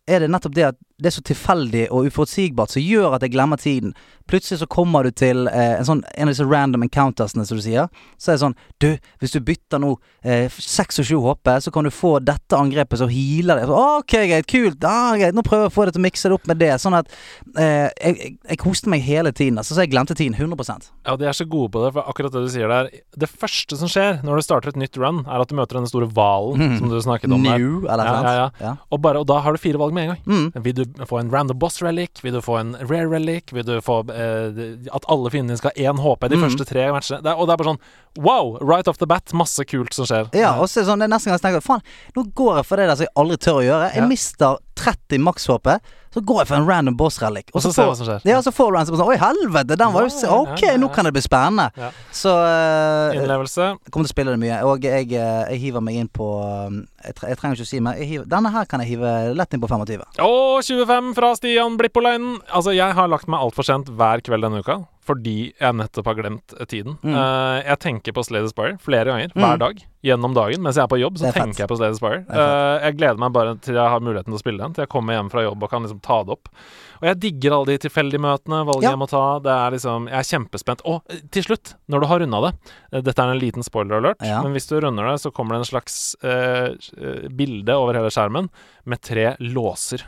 Speaker 3: er det nettopp det at det er så tilfeldig og uforutsigbart som gjør at jeg glemmer tiden. Plutselig så kommer du til eh, en, sånn, en av disse random encountersene, som du sier. Så er det sånn Du, hvis du bytter nå eh, seks og sju HP, så kan du få dette angrepet, så healer det. Så, OK, greit, kult. Ah, greit. Nå prøver jeg å få det til å mikse det opp med det. Sånn at eh, jeg, jeg, jeg koste meg hele tiden. Altså, så jeg glemte tiden 100
Speaker 4: Ja, de er så gode på det, for akkurat det du sier der Det første som skjer når du starter et nytt run, er at du møter denne store hvalen som du snakket om der.
Speaker 3: Mhm. New, eller
Speaker 4: Ja,
Speaker 3: noe
Speaker 4: ja, ja.
Speaker 3: sånt. Ja.
Speaker 4: Og, bare, og da har du fire valg med en gang.
Speaker 3: Mm.
Speaker 4: Vil du få en random boss relic? Vil du få en rare relic? Vil du få eh, at alle fiendene skal ha én HP de
Speaker 3: Mm.
Speaker 4: første tre matchene? Det er, og det er bare sånn wow! Right off the bat, masse kult som skjer.
Speaker 3: Ja, og så er det sånn, det er nesten gang jeg tenker Faen, nå går jeg for det der som jeg aldri tør å gjøre. Jeg
Speaker 4: Ja.
Speaker 3: mister 30 makshåpe, så går jeg for en random boss relic.
Speaker 4: Og så ser
Speaker 3: får-
Speaker 4: vi hva som skjer.
Speaker 3: Ja, så får du en som sånn Oi, helvete, den var jo
Speaker 4: Ja,
Speaker 3: så
Speaker 4: ja,
Speaker 3: Ok,
Speaker 4: ja, ja,
Speaker 3: nå kan det bli spennende.
Speaker 4: Ja.
Speaker 3: Så eh,
Speaker 4: Innlevelse.
Speaker 3: jeg kommer til å spille det mye, og jeg, eh, jeg hiver meg inn på um, Jeg, tre, jeg trenger ikke å si mer. Jeg hiver- Denne her kan jeg hive lett inn på 25.
Speaker 4: Og 25 fra Stian Blippolainen. Altså, jeg har lagt meg altfor sent hver kveld denne uka. Fordi jeg nettopp har glemt tiden.
Speaker 3: Mm.
Speaker 4: Eh, jeg tenker på Slade Aspire flere ganger
Speaker 3: Mm.
Speaker 4: hver dag gjennom dagen. Mens jeg er på jobb, så
Speaker 3: Det er fett.
Speaker 4: tenker jeg på Slade
Speaker 3: er
Speaker 4: Aspire.
Speaker 3: fett.
Speaker 4: jeg gleder meg bare til jeg har muligheten til å spille den. Til jeg kommer hjem fra jobb og kan liksom ta det opp. Og jeg digger alle de tilfeldige møtene, valget
Speaker 3: Ja.
Speaker 4: jeg må ta. Det er liksom, Jeg er kjempespent. Og eh, til slutt, når du har runda det eh, Dette er en liten spoiler alert,
Speaker 3: Ja.
Speaker 4: men hvis du runder det, så kommer det en slags eh, eh, bilde over hele skjermen med tre låser.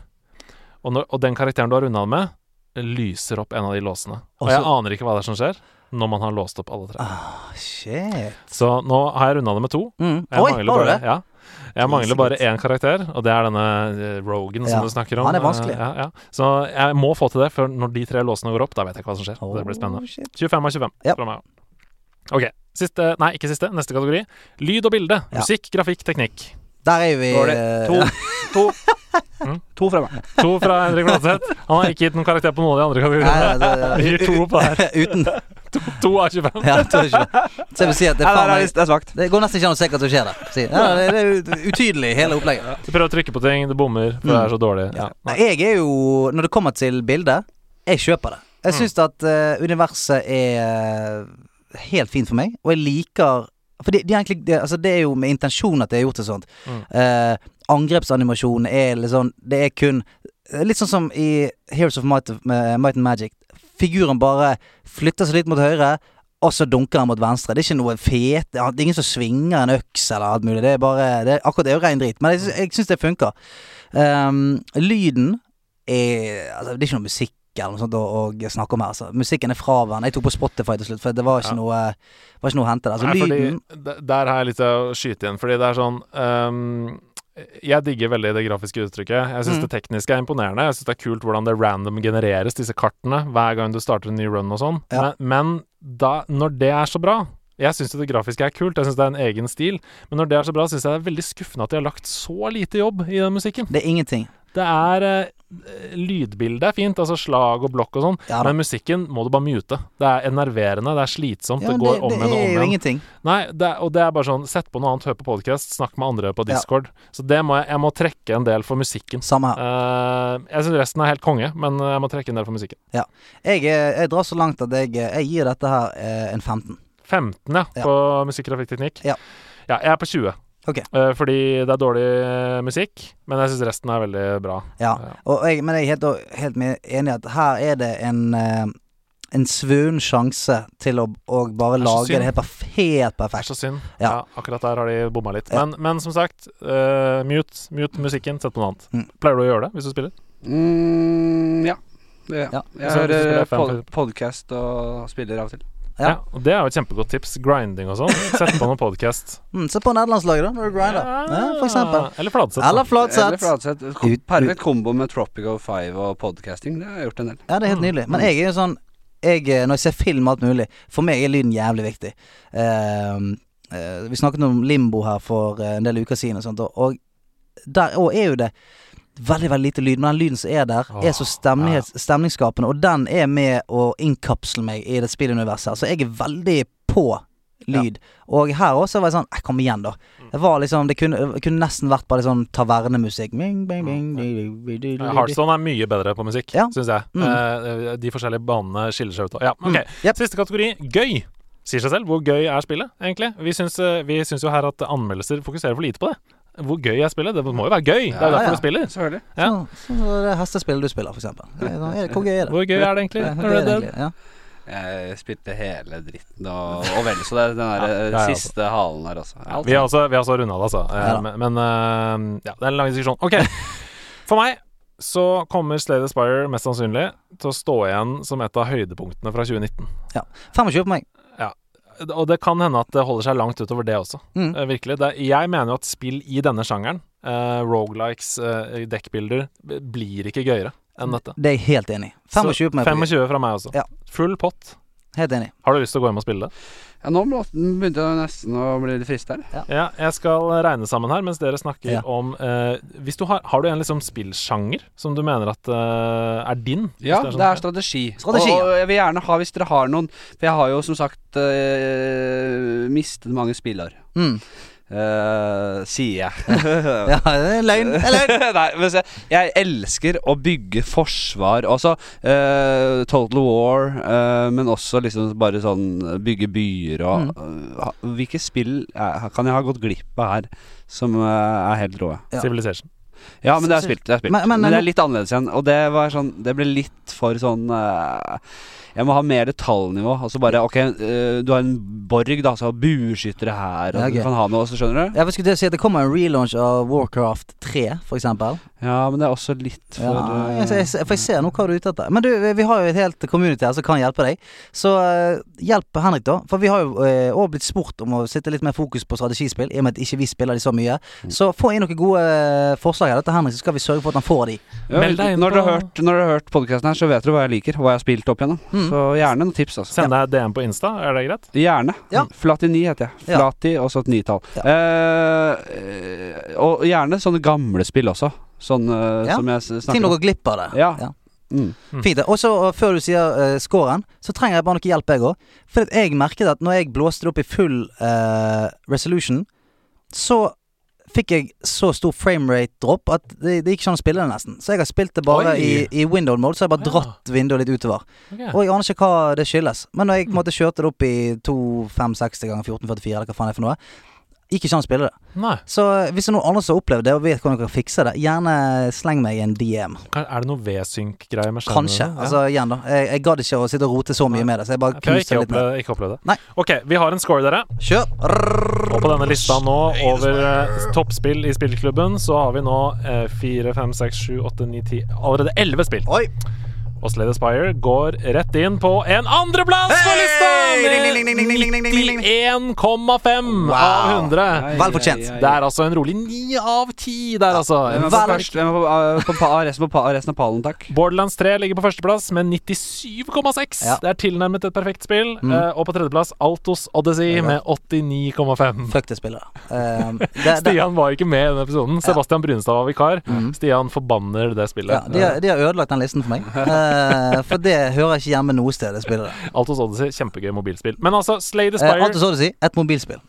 Speaker 4: Og, når, og den karakteren du har runda det med, lyser opp en av de låsene. Og
Speaker 3: Og
Speaker 4: jeg
Speaker 3: så-
Speaker 4: aner ikke hva det er som skjer når man har låst opp alle tre.
Speaker 3: Ah, shit.
Speaker 4: Så nå har jeg runda det med to.
Speaker 3: Mm.
Speaker 4: og Jeg
Speaker 3: Oi,
Speaker 4: mangler
Speaker 3: var du
Speaker 4: bare,
Speaker 3: det?
Speaker 4: ja. Jeg
Speaker 3: Jesus
Speaker 4: mangler bare
Speaker 3: Christ.
Speaker 4: én karakter, og det er denne eh, Rogan
Speaker 3: Ja,
Speaker 4: som du snakker om.
Speaker 3: han er vanskelig.
Speaker 4: Eh, Ja, ja. Så jeg må få til det, for når de tre låsene går opp, da vet jeg ikke hva som skjer. Det blir spennende.
Speaker 3: Oh, shit.
Speaker 4: 25 av 25
Speaker 3: Ja.
Speaker 4: fra meg. OK. Siste, nei, ikke siste. Neste kategori. Lyd og bilde.
Speaker 3: Ja.
Speaker 4: Musikk, grafikk, teknikk.
Speaker 3: Der er vi
Speaker 1: Dårlig.
Speaker 3: eh,
Speaker 1: To. To.
Speaker 4: Mm.
Speaker 1: To fra meg.
Speaker 4: To fra Henrik Fladseth. Han har ikke gitt noen karakter på noen av de andre
Speaker 3: Nei,
Speaker 4: kategoriene.
Speaker 3: nei, nei, nei.
Speaker 4: Gir to på her.
Speaker 3: Uten
Speaker 4: To av 25.
Speaker 3: Ja, jeg tror ikke Så jeg vil si at det er
Speaker 1: Nei,
Speaker 3: faen
Speaker 1: nei, nei,
Speaker 3: meg
Speaker 1: det er svakt.
Speaker 3: Det går nesten ikke an å se hva som skjer der. Si. Ja, det, det er ut- utydelig, hele opplegget.
Speaker 4: Du prøver å trykke på ting, det bommer, for det er så dårlig. Ja.
Speaker 3: Nei, Jeg er jo Når det kommer til bildet, jeg kjøper det. Jeg syns at eh, universet er eh, helt fint for meg, og jeg liker For det, det, er, egentlig, det, altså det er jo med intensjon at jeg har gjort det sånt.
Speaker 4: Mm.
Speaker 3: Eh, angrepsanimasjon er litt sånn Det er kun Litt sånn som i Heroes of Might, eh, Might and Magic. Figuren bare flytter seg litt mot høyre, og så dunker han mot venstre. Det er ikke noe fet Det er ingen som svinger en øks eller alt mulig. Det er bare det er, Akkurat det er jo ren drit, men jeg, syns- jeg syns det funker. Ehm, lyden er Altså, det er ikke noe musikk. Eller noe sånt å, å snakke om her altså. Musikken er fraværende. Jeg tok på Spotify til slutt, for det var ikke
Speaker 4: Ja.
Speaker 3: noe Var ikke noe å hente der. Altså,
Speaker 4: Nei, fordi
Speaker 3: lyden
Speaker 4: d- Der har jeg litt å skyte igjen, fordi det er sånn ehm, Jeg digger veldig det grafiske uttrykket. Jeg syns
Speaker 3: Mm.
Speaker 4: det tekniske er imponerende. Jeg syns det er kult hvordan det random genereres, disse kartene, hver gang du starter en ny run og sånn.
Speaker 3: Ja.
Speaker 4: Men, men da, når det er så bra jeg syns det grafiske er kult, jeg syns det er en egen stil, men når det er så bra, syns jeg det er veldig skuffende at de har lagt så lite jobb i den musikken.
Speaker 3: Det er ingenting.
Speaker 4: Det er eh, Lydbildet er fint, altså slag og blokk og sånn,
Speaker 3: Ja da.
Speaker 4: men musikken må du bare mute. Det er enerverende, det er slitsomt,
Speaker 3: Ja,
Speaker 4: det
Speaker 3: men
Speaker 4: går om igjen og om
Speaker 3: Det er jo
Speaker 4: igjen.
Speaker 3: ingenting.
Speaker 4: Nei, det, er- og det er bare sånn Sett på noe annet, hør på podcast, snakk med andre på
Speaker 3: Ja.
Speaker 4: Discord. Så det må jeg Jeg må trekke en del for musikken.
Speaker 3: Samme her.
Speaker 4: Eh, jeg syns resten er helt konge, men eh, jeg må trekke en del for musikken.
Speaker 3: Jeg, eh, jeg drar så langt at jeg, eh, jeg gir dette her eh, en 15.
Speaker 4: 15, ja,
Speaker 3: Ja.
Speaker 4: på musikk, grafikk, teknikk.
Speaker 3: Ja.
Speaker 4: Ja, jeg er på 20.
Speaker 3: Ok.
Speaker 4: Eh, fordi det er dårlig eh, musikk, men jeg syns resten er veldig bra.
Speaker 3: Ja.
Speaker 4: Ja.
Speaker 3: Og jeg, men jeg er helt, helt med- enig i at her er det en eh, en svun sjanse til å, å bare
Speaker 4: Det er så
Speaker 3: lage
Speaker 4: synd.
Speaker 3: det helt, perf helt
Speaker 4: Det er
Speaker 3: perfekt.
Speaker 4: så synd. Ja.
Speaker 3: Ja.
Speaker 4: akkurat der har de bomma litt.
Speaker 3: Ja.
Speaker 4: Men, men som sagt, eh, mute, mute musikken, sett på noe annet.
Speaker 3: Mm.
Speaker 4: Pleier du å gjøre det hvis du spiller?
Speaker 1: Mm, ja. Ja.
Speaker 3: Ja.
Speaker 1: Jeg
Speaker 4: Så du spiller
Speaker 1: hører
Speaker 4: FM
Speaker 1: pod
Speaker 4: for-
Speaker 1: podkast og spiller av og til.
Speaker 3: Ja.
Speaker 4: Ja. og det er jo et kjempegodt tips. Grinding og sånn. Sett på noen podkast.
Speaker 3: Mm, se på nederlandslaget, da, når du grinder. Ja, for eksempel.
Speaker 4: Eller Fladseth. da.
Speaker 3: Eller
Speaker 1: Eller
Speaker 3: Flatseth.
Speaker 1: Fladseth. Kom-
Speaker 3: Ut-
Speaker 1: Perfekt kombo med Tropico 5 og podcasting. Det har jeg gjort en del.
Speaker 3: Ja, det er helt nydelig. Men jeg er jo sånn jeg, eh, Når jeg ser film og alt mulig, for meg er lyden jævlig viktig. Ehm, eh, vi snakket om limbo her for eh, en del uker siden, og sånt og- og der òg er jo det veldig veldig lite lyd. Men den lyden som er der, er så stemnighets- stemningsskapende, og den er med å innkapsle meg i det spilluniverset her. Så jeg er veldig på lyd. Og her også var jeg sånn eh, Kom igjen, da. Det var liksom Det kunne, det kunne nesten vært bare sånn tavernemusikk. Bing, bing, bing, bing, bing, bing,
Speaker 4: Eh,
Speaker 3: bing, bing.
Speaker 4: Hearthstone er mye bedre på musikk,
Speaker 3: Ja.
Speaker 4: syns jeg.
Speaker 3: Mm.
Speaker 4: Eh, de forskjellige banene skiller seg ut. Ja, ok.
Speaker 3: Jep.
Speaker 4: Siste kategori gøy. Sier seg selv hvor gøy er spillet, egentlig. Vi syns, eh, vi syns jo her at anmeldelser fokuserer for lite på det. Hvor gøy er spillet? Det må jo være gøy. det er jo
Speaker 3: Ja,
Speaker 4: derfor
Speaker 3: ja.
Speaker 4: du spiller.
Speaker 1: Selvfølgelig.
Speaker 4: Ja.
Speaker 3: Sånn som det hestespillet du spiller, for eksempel. Det er sånn, er det- Hvor gøy er det?
Speaker 4: Hvor gøy er det egentlig?
Speaker 3: Ja, hvor gøy er
Speaker 4: Red
Speaker 3: det
Speaker 4: Dead?
Speaker 3: egentlig? Ja.
Speaker 1: Jeg spilte hele dritten og, og vel så det. Den
Speaker 4: Ja,
Speaker 1: der eh,
Speaker 4: ja, ja,
Speaker 1: siste halen her, altså. Ja,
Speaker 4: Vi har også, vi har også runda det, altså. Eh,
Speaker 3: Ja da.
Speaker 4: men men, eh, ja, det er en lang diskusjon. Ok. For meg så kommer Slade Aspire mest sannsynlig til å stå igjen som et av høydepunktene fra 2019.
Speaker 3: 25 på meg.
Speaker 4: Og det kan hende at det holder seg langt utover det også.
Speaker 3: Mm.
Speaker 4: Eh, virkelig. Det, jeg mener jo at spill i denne sjangeren, uh, rogelikes, dekkbilder, b- blir ikke gøyere enn dette.
Speaker 3: Det er jeg helt enig i. 25 på meg.
Speaker 4: Så
Speaker 3: Fredrik.
Speaker 4: 25 fra meg også.
Speaker 3: Ja.
Speaker 4: Full pott.
Speaker 3: Helt enig.
Speaker 4: Har du lyst til å gå hjem og spille det?
Speaker 1: Ja, nå må- begynte jeg nesten å bli litt frista her.
Speaker 4: Ja, jeg skal regne sammen her mens dere snakker
Speaker 3: Ja.
Speaker 4: om eh, Hvis du har, har du en liksom spillsjanger som du mener at eh, er din? Hvis
Speaker 1: Ja, det er
Speaker 4: sånn.
Speaker 1: strategi.
Speaker 3: Strategi,
Speaker 1: og, og jeg vil gjerne ha, hvis dere har noen For jeg har jo som sagt eh, mistet mange spillår.
Speaker 3: Mm.
Speaker 1: Eh, sier jeg.
Speaker 3: Ja, det er løgn. Det er løgn.
Speaker 1: Nei, men se, jeg elsker å bygge forsvar. Også eh, Total War, eh, men også liksom bare sånn bygge byer og eh, ha- Hvilke spill eh, kan jeg ha gått glipp av her som eh, er helt rå?
Speaker 3: Ja.
Speaker 4: Civilization.
Speaker 1: Ja, men det er spilt. Det er spilt.
Speaker 3: Men-
Speaker 1: Men,
Speaker 3: men-
Speaker 1: det er litt annerledes igjen. Og det var sånn Det ble litt for sånn eh, Jeg må ha mer detaljnivå. Altså bare Ok, eh, du har en borg, da, så har bueskyttere her, og
Speaker 3: Ja, ok.
Speaker 1: du kan ha noe også, skjønner du?
Speaker 3: Jeg skulle til å si at det kommer en relaunch av Warcraft 3, for eksempel.
Speaker 1: Ja, men det er også litt for
Speaker 3: Ja,
Speaker 1: eh,
Speaker 3: jeg, jeg, for jeg ser nå hva du er ute etter. Men du, vi har jo et helt community her som kan hjelpe deg. Så eh, hjelp Henrik, da. For vi har jo eh, også blitt spurt om å sitte litt mer fokus på strategispill, i og med at ikke vi spiller de så mye. Så få inn noen gode eh, forslag her da, til Henrik, så skal vi sørge for at han får de.
Speaker 1: Ja,
Speaker 4: Meld deg inn
Speaker 1: når, dere
Speaker 4: på-
Speaker 1: har hørt, når dere har hørt podcasten her, så vet dere hva jeg liker, og hva jeg har spilt opp igjennom.
Speaker 3: Mm.
Speaker 1: Så gjerne noen tips, altså.
Speaker 4: Send deg DM på Insta, er det greit?
Speaker 1: Gjerne.
Speaker 3: Ja.
Speaker 1: Flatini heter jeg.
Speaker 3: Ja.
Speaker 1: Flati og så et nitall.
Speaker 3: Ja.
Speaker 1: Eh, eh, og gjerne sånne gamle spill også. Sånne eh,
Speaker 3: Ja.
Speaker 1: som jeg s-
Speaker 3: Ting
Speaker 1: snakker
Speaker 3: dere glipper av det.
Speaker 1: Ja. Mm.
Speaker 3: Fint. det. Og så uh, før du sier uh, scoren, så trenger jeg bare noe hjelp, jeg òg. For at jeg merket at når jeg blåste det opp i full uh, resolution, så fikk jeg så stor framerate-dropp at det, det gikk ikke an å spille det, nesten. Så jeg har spilt det bare
Speaker 4: Oi.
Speaker 3: i, i windowed mode, så jeg har bare
Speaker 4: Ja.
Speaker 3: dratt vinduet litt utover. Og jeg aner ikke hva det skyldes. Men når jeg på en måte kjørte det opp i 2560 ganger 1444, eller hva faen det er for noe, gikk ikke an å spille det.
Speaker 4: Nei.
Speaker 3: Så uh, hvis det er noen andre som har opplevd det, og vet hvordan dere kan fikse det, gjerne sleng meg en DM.
Speaker 4: Kan- Er det noe V-synk-greier med skjermen?
Speaker 3: Kanskje.
Speaker 4: Ja.
Speaker 3: Altså igjen, da. Jeg, jeg gadd ikke å sitte og rote så mye med det, så jeg bare
Speaker 4: For jeg har
Speaker 3: knuste
Speaker 4: ikke
Speaker 3: det litt ned.
Speaker 4: opplevd, ikke opplevd det.
Speaker 3: Nei.
Speaker 4: Ok, vi har en score, dere.
Speaker 3: Kjør! Rrrr.
Speaker 4: Og på denne lista nå over eh, toppspill i spillklubben, så har vi nå eh, fire, fem, seks, sju, åtte, ni, ti Allerede elleve spill.
Speaker 3: Oi!
Speaker 4: Og Slade Aspire går rett inn på en andreplass på
Speaker 3: Hey!
Speaker 4: lista!
Speaker 3: Ding, ding, ding, ding, ding, ding, ding, ding, ding.
Speaker 4: Med 91,5 av 100.
Speaker 1: Ai,
Speaker 3: Vel fortjent.
Speaker 1: ai, ai.
Speaker 4: Det er altså en rolig 9 av 10 der, altså.
Speaker 1: Hvem er på
Speaker 3: Vel-
Speaker 1: først? Hvem er på, eh, på, pa- resten, på pa- resten av pallen, takk.
Speaker 4: Borderlands 3 ligger på førsteplass med 97,6.
Speaker 3: Ja. Mm.
Speaker 4: Det er tilnærmet et perfekt spill. Eh, og på tredjeplass Altos Odyssey med 89,5.
Speaker 3: Fuck det spillet. Um, det, det, Mm.
Speaker 4: Stian var ikke med i denne episoden. Sebastian Brunestad var vikar. Stian forbanner det
Speaker 3: ja,
Speaker 4: spillet.
Speaker 3: de, har, de har ødelagt den listen for meg. Eh, for det hører ikke hjemme noe sted, det spillet der.
Speaker 4: Altos Eh, Odyssey, kjempegøy mobilspill. Men altså, Slay the
Speaker 3: Eh,
Speaker 4: Spire
Speaker 3: alt du så å si, et mobilspill.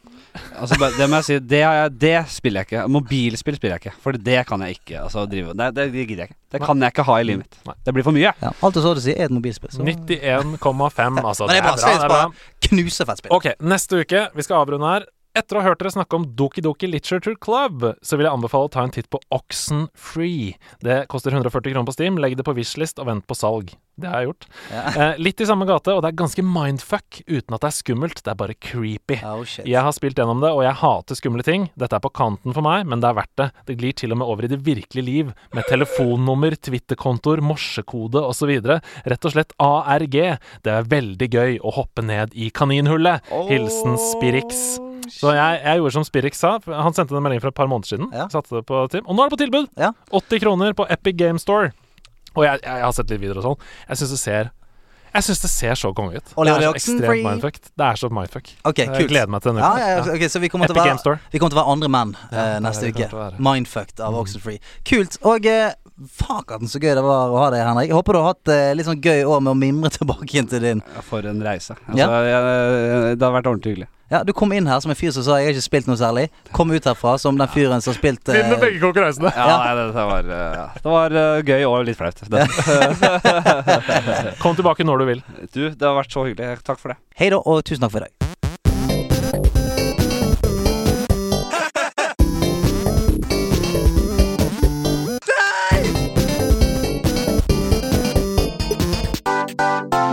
Speaker 1: Altså, bare- det må jeg si, det, har jeg, det spiller jeg ikke. Mobilspill spiller jeg ikke. For det kan jeg ikke altså, drive Nei, det, det gidder jeg ikke. Det kan jeg ikke ha i livet
Speaker 4: Nei.
Speaker 1: mitt. Det blir for mye.
Speaker 3: Ja, alt du så å si, er et mobilspill. Så.
Speaker 4: 91,5, altså.
Speaker 3: Men det er bra.
Speaker 4: det er bra.
Speaker 3: Bare, knusefett spill.
Speaker 4: Ok, neste uke, vi skal avrunde her Etter å ha hørt dere snakke om Doki Doki Literature Club, så vil jeg anbefale å ta en titt på Oxen Free. Det koster 140 kroner på Steam. Legg det på wishlist og vent på salg. Det har jeg gjort. Eh, litt i samme gate, og det er ganske mindfuck uten at det er skummelt. Det er bare creepy.
Speaker 3: Oh, shit.
Speaker 4: Jeg har spilt gjennom det, og jeg hater skumle ting. Dette er på kanten for meg, men det er verdt det. Det glir til og med over i det virkelige liv, med telefonnummer, Twitter-kontoer, morsekode osv. Rett og slett ARG. Det er veldig gøy å hoppe ned i kaninhullet. Hilsen Spirix. Så jeg, jeg gjorde som Spirix sa. Han sendte en melding for et par måneder siden.
Speaker 3: Ja.
Speaker 4: Satte det på Tim. Og nå er det på tilbud!
Speaker 3: Ja.
Speaker 4: 80 kroner på Epic Game Store. Og jeg, jeg har sett litt videoer og sånn. Jeg syns det ser Jeg synes det ser så konge ut.
Speaker 3: Olli,
Speaker 4: det er
Speaker 3: Olli,
Speaker 4: så
Speaker 3: Oxen,
Speaker 4: ekstremt
Speaker 3: free.
Speaker 4: mindfuck. Det er så mindfuck.
Speaker 3: Ok,
Speaker 4: Jeg
Speaker 3: kult.
Speaker 4: gleder meg til denne
Speaker 3: Ja,
Speaker 4: uka.
Speaker 3: ja, ok, så vi kommer, til
Speaker 4: Epic
Speaker 3: å
Speaker 4: Game
Speaker 3: være,
Speaker 4: Store.
Speaker 3: vi kommer til å være andre menn eh,
Speaker 4: det er
Speaker 3: neste
Speaker 4: det Mm. vi
Speaker 3: uke.
Speaker 4: kommer til å være.
Speaker 3: Mindfucked av Oxenfree. Kult. Og eh, fakaten så gøy det var å ha deg, Henrik. Jeg håper du har hatt eh, litt sånn gøy år med å mimre tilbake igjen til din.
Speaker 1: For en reise. Altså,
Speaker 3: Ja.
Speaker 1: jeg, det har vært ordentlig hyggelig.
Speaker 3: Ja, Du kom inn her som en fyr som sa 'jeg har ikke spilt noe særlig'. Kom ut herfra som den fyren som har spilt eh,
Speaker 4: Vinner begge konkurransene.
Speaker 1: Ja,
Speaker 3: Ja.
Speaker 1: Nei, det, det var, eh, ja. det var eh, gøy og litt flaut. Det.
Speaker 4: Kom tilbake når du vil.
Speaker 1: Du, det har vært så hyggelig. Takk for det.
Speaker 3: Hei da, og tusen takk for i dag.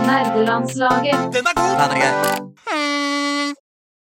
Speaker 9: Nerdelandslaget.
Speaker 3: Den er grei.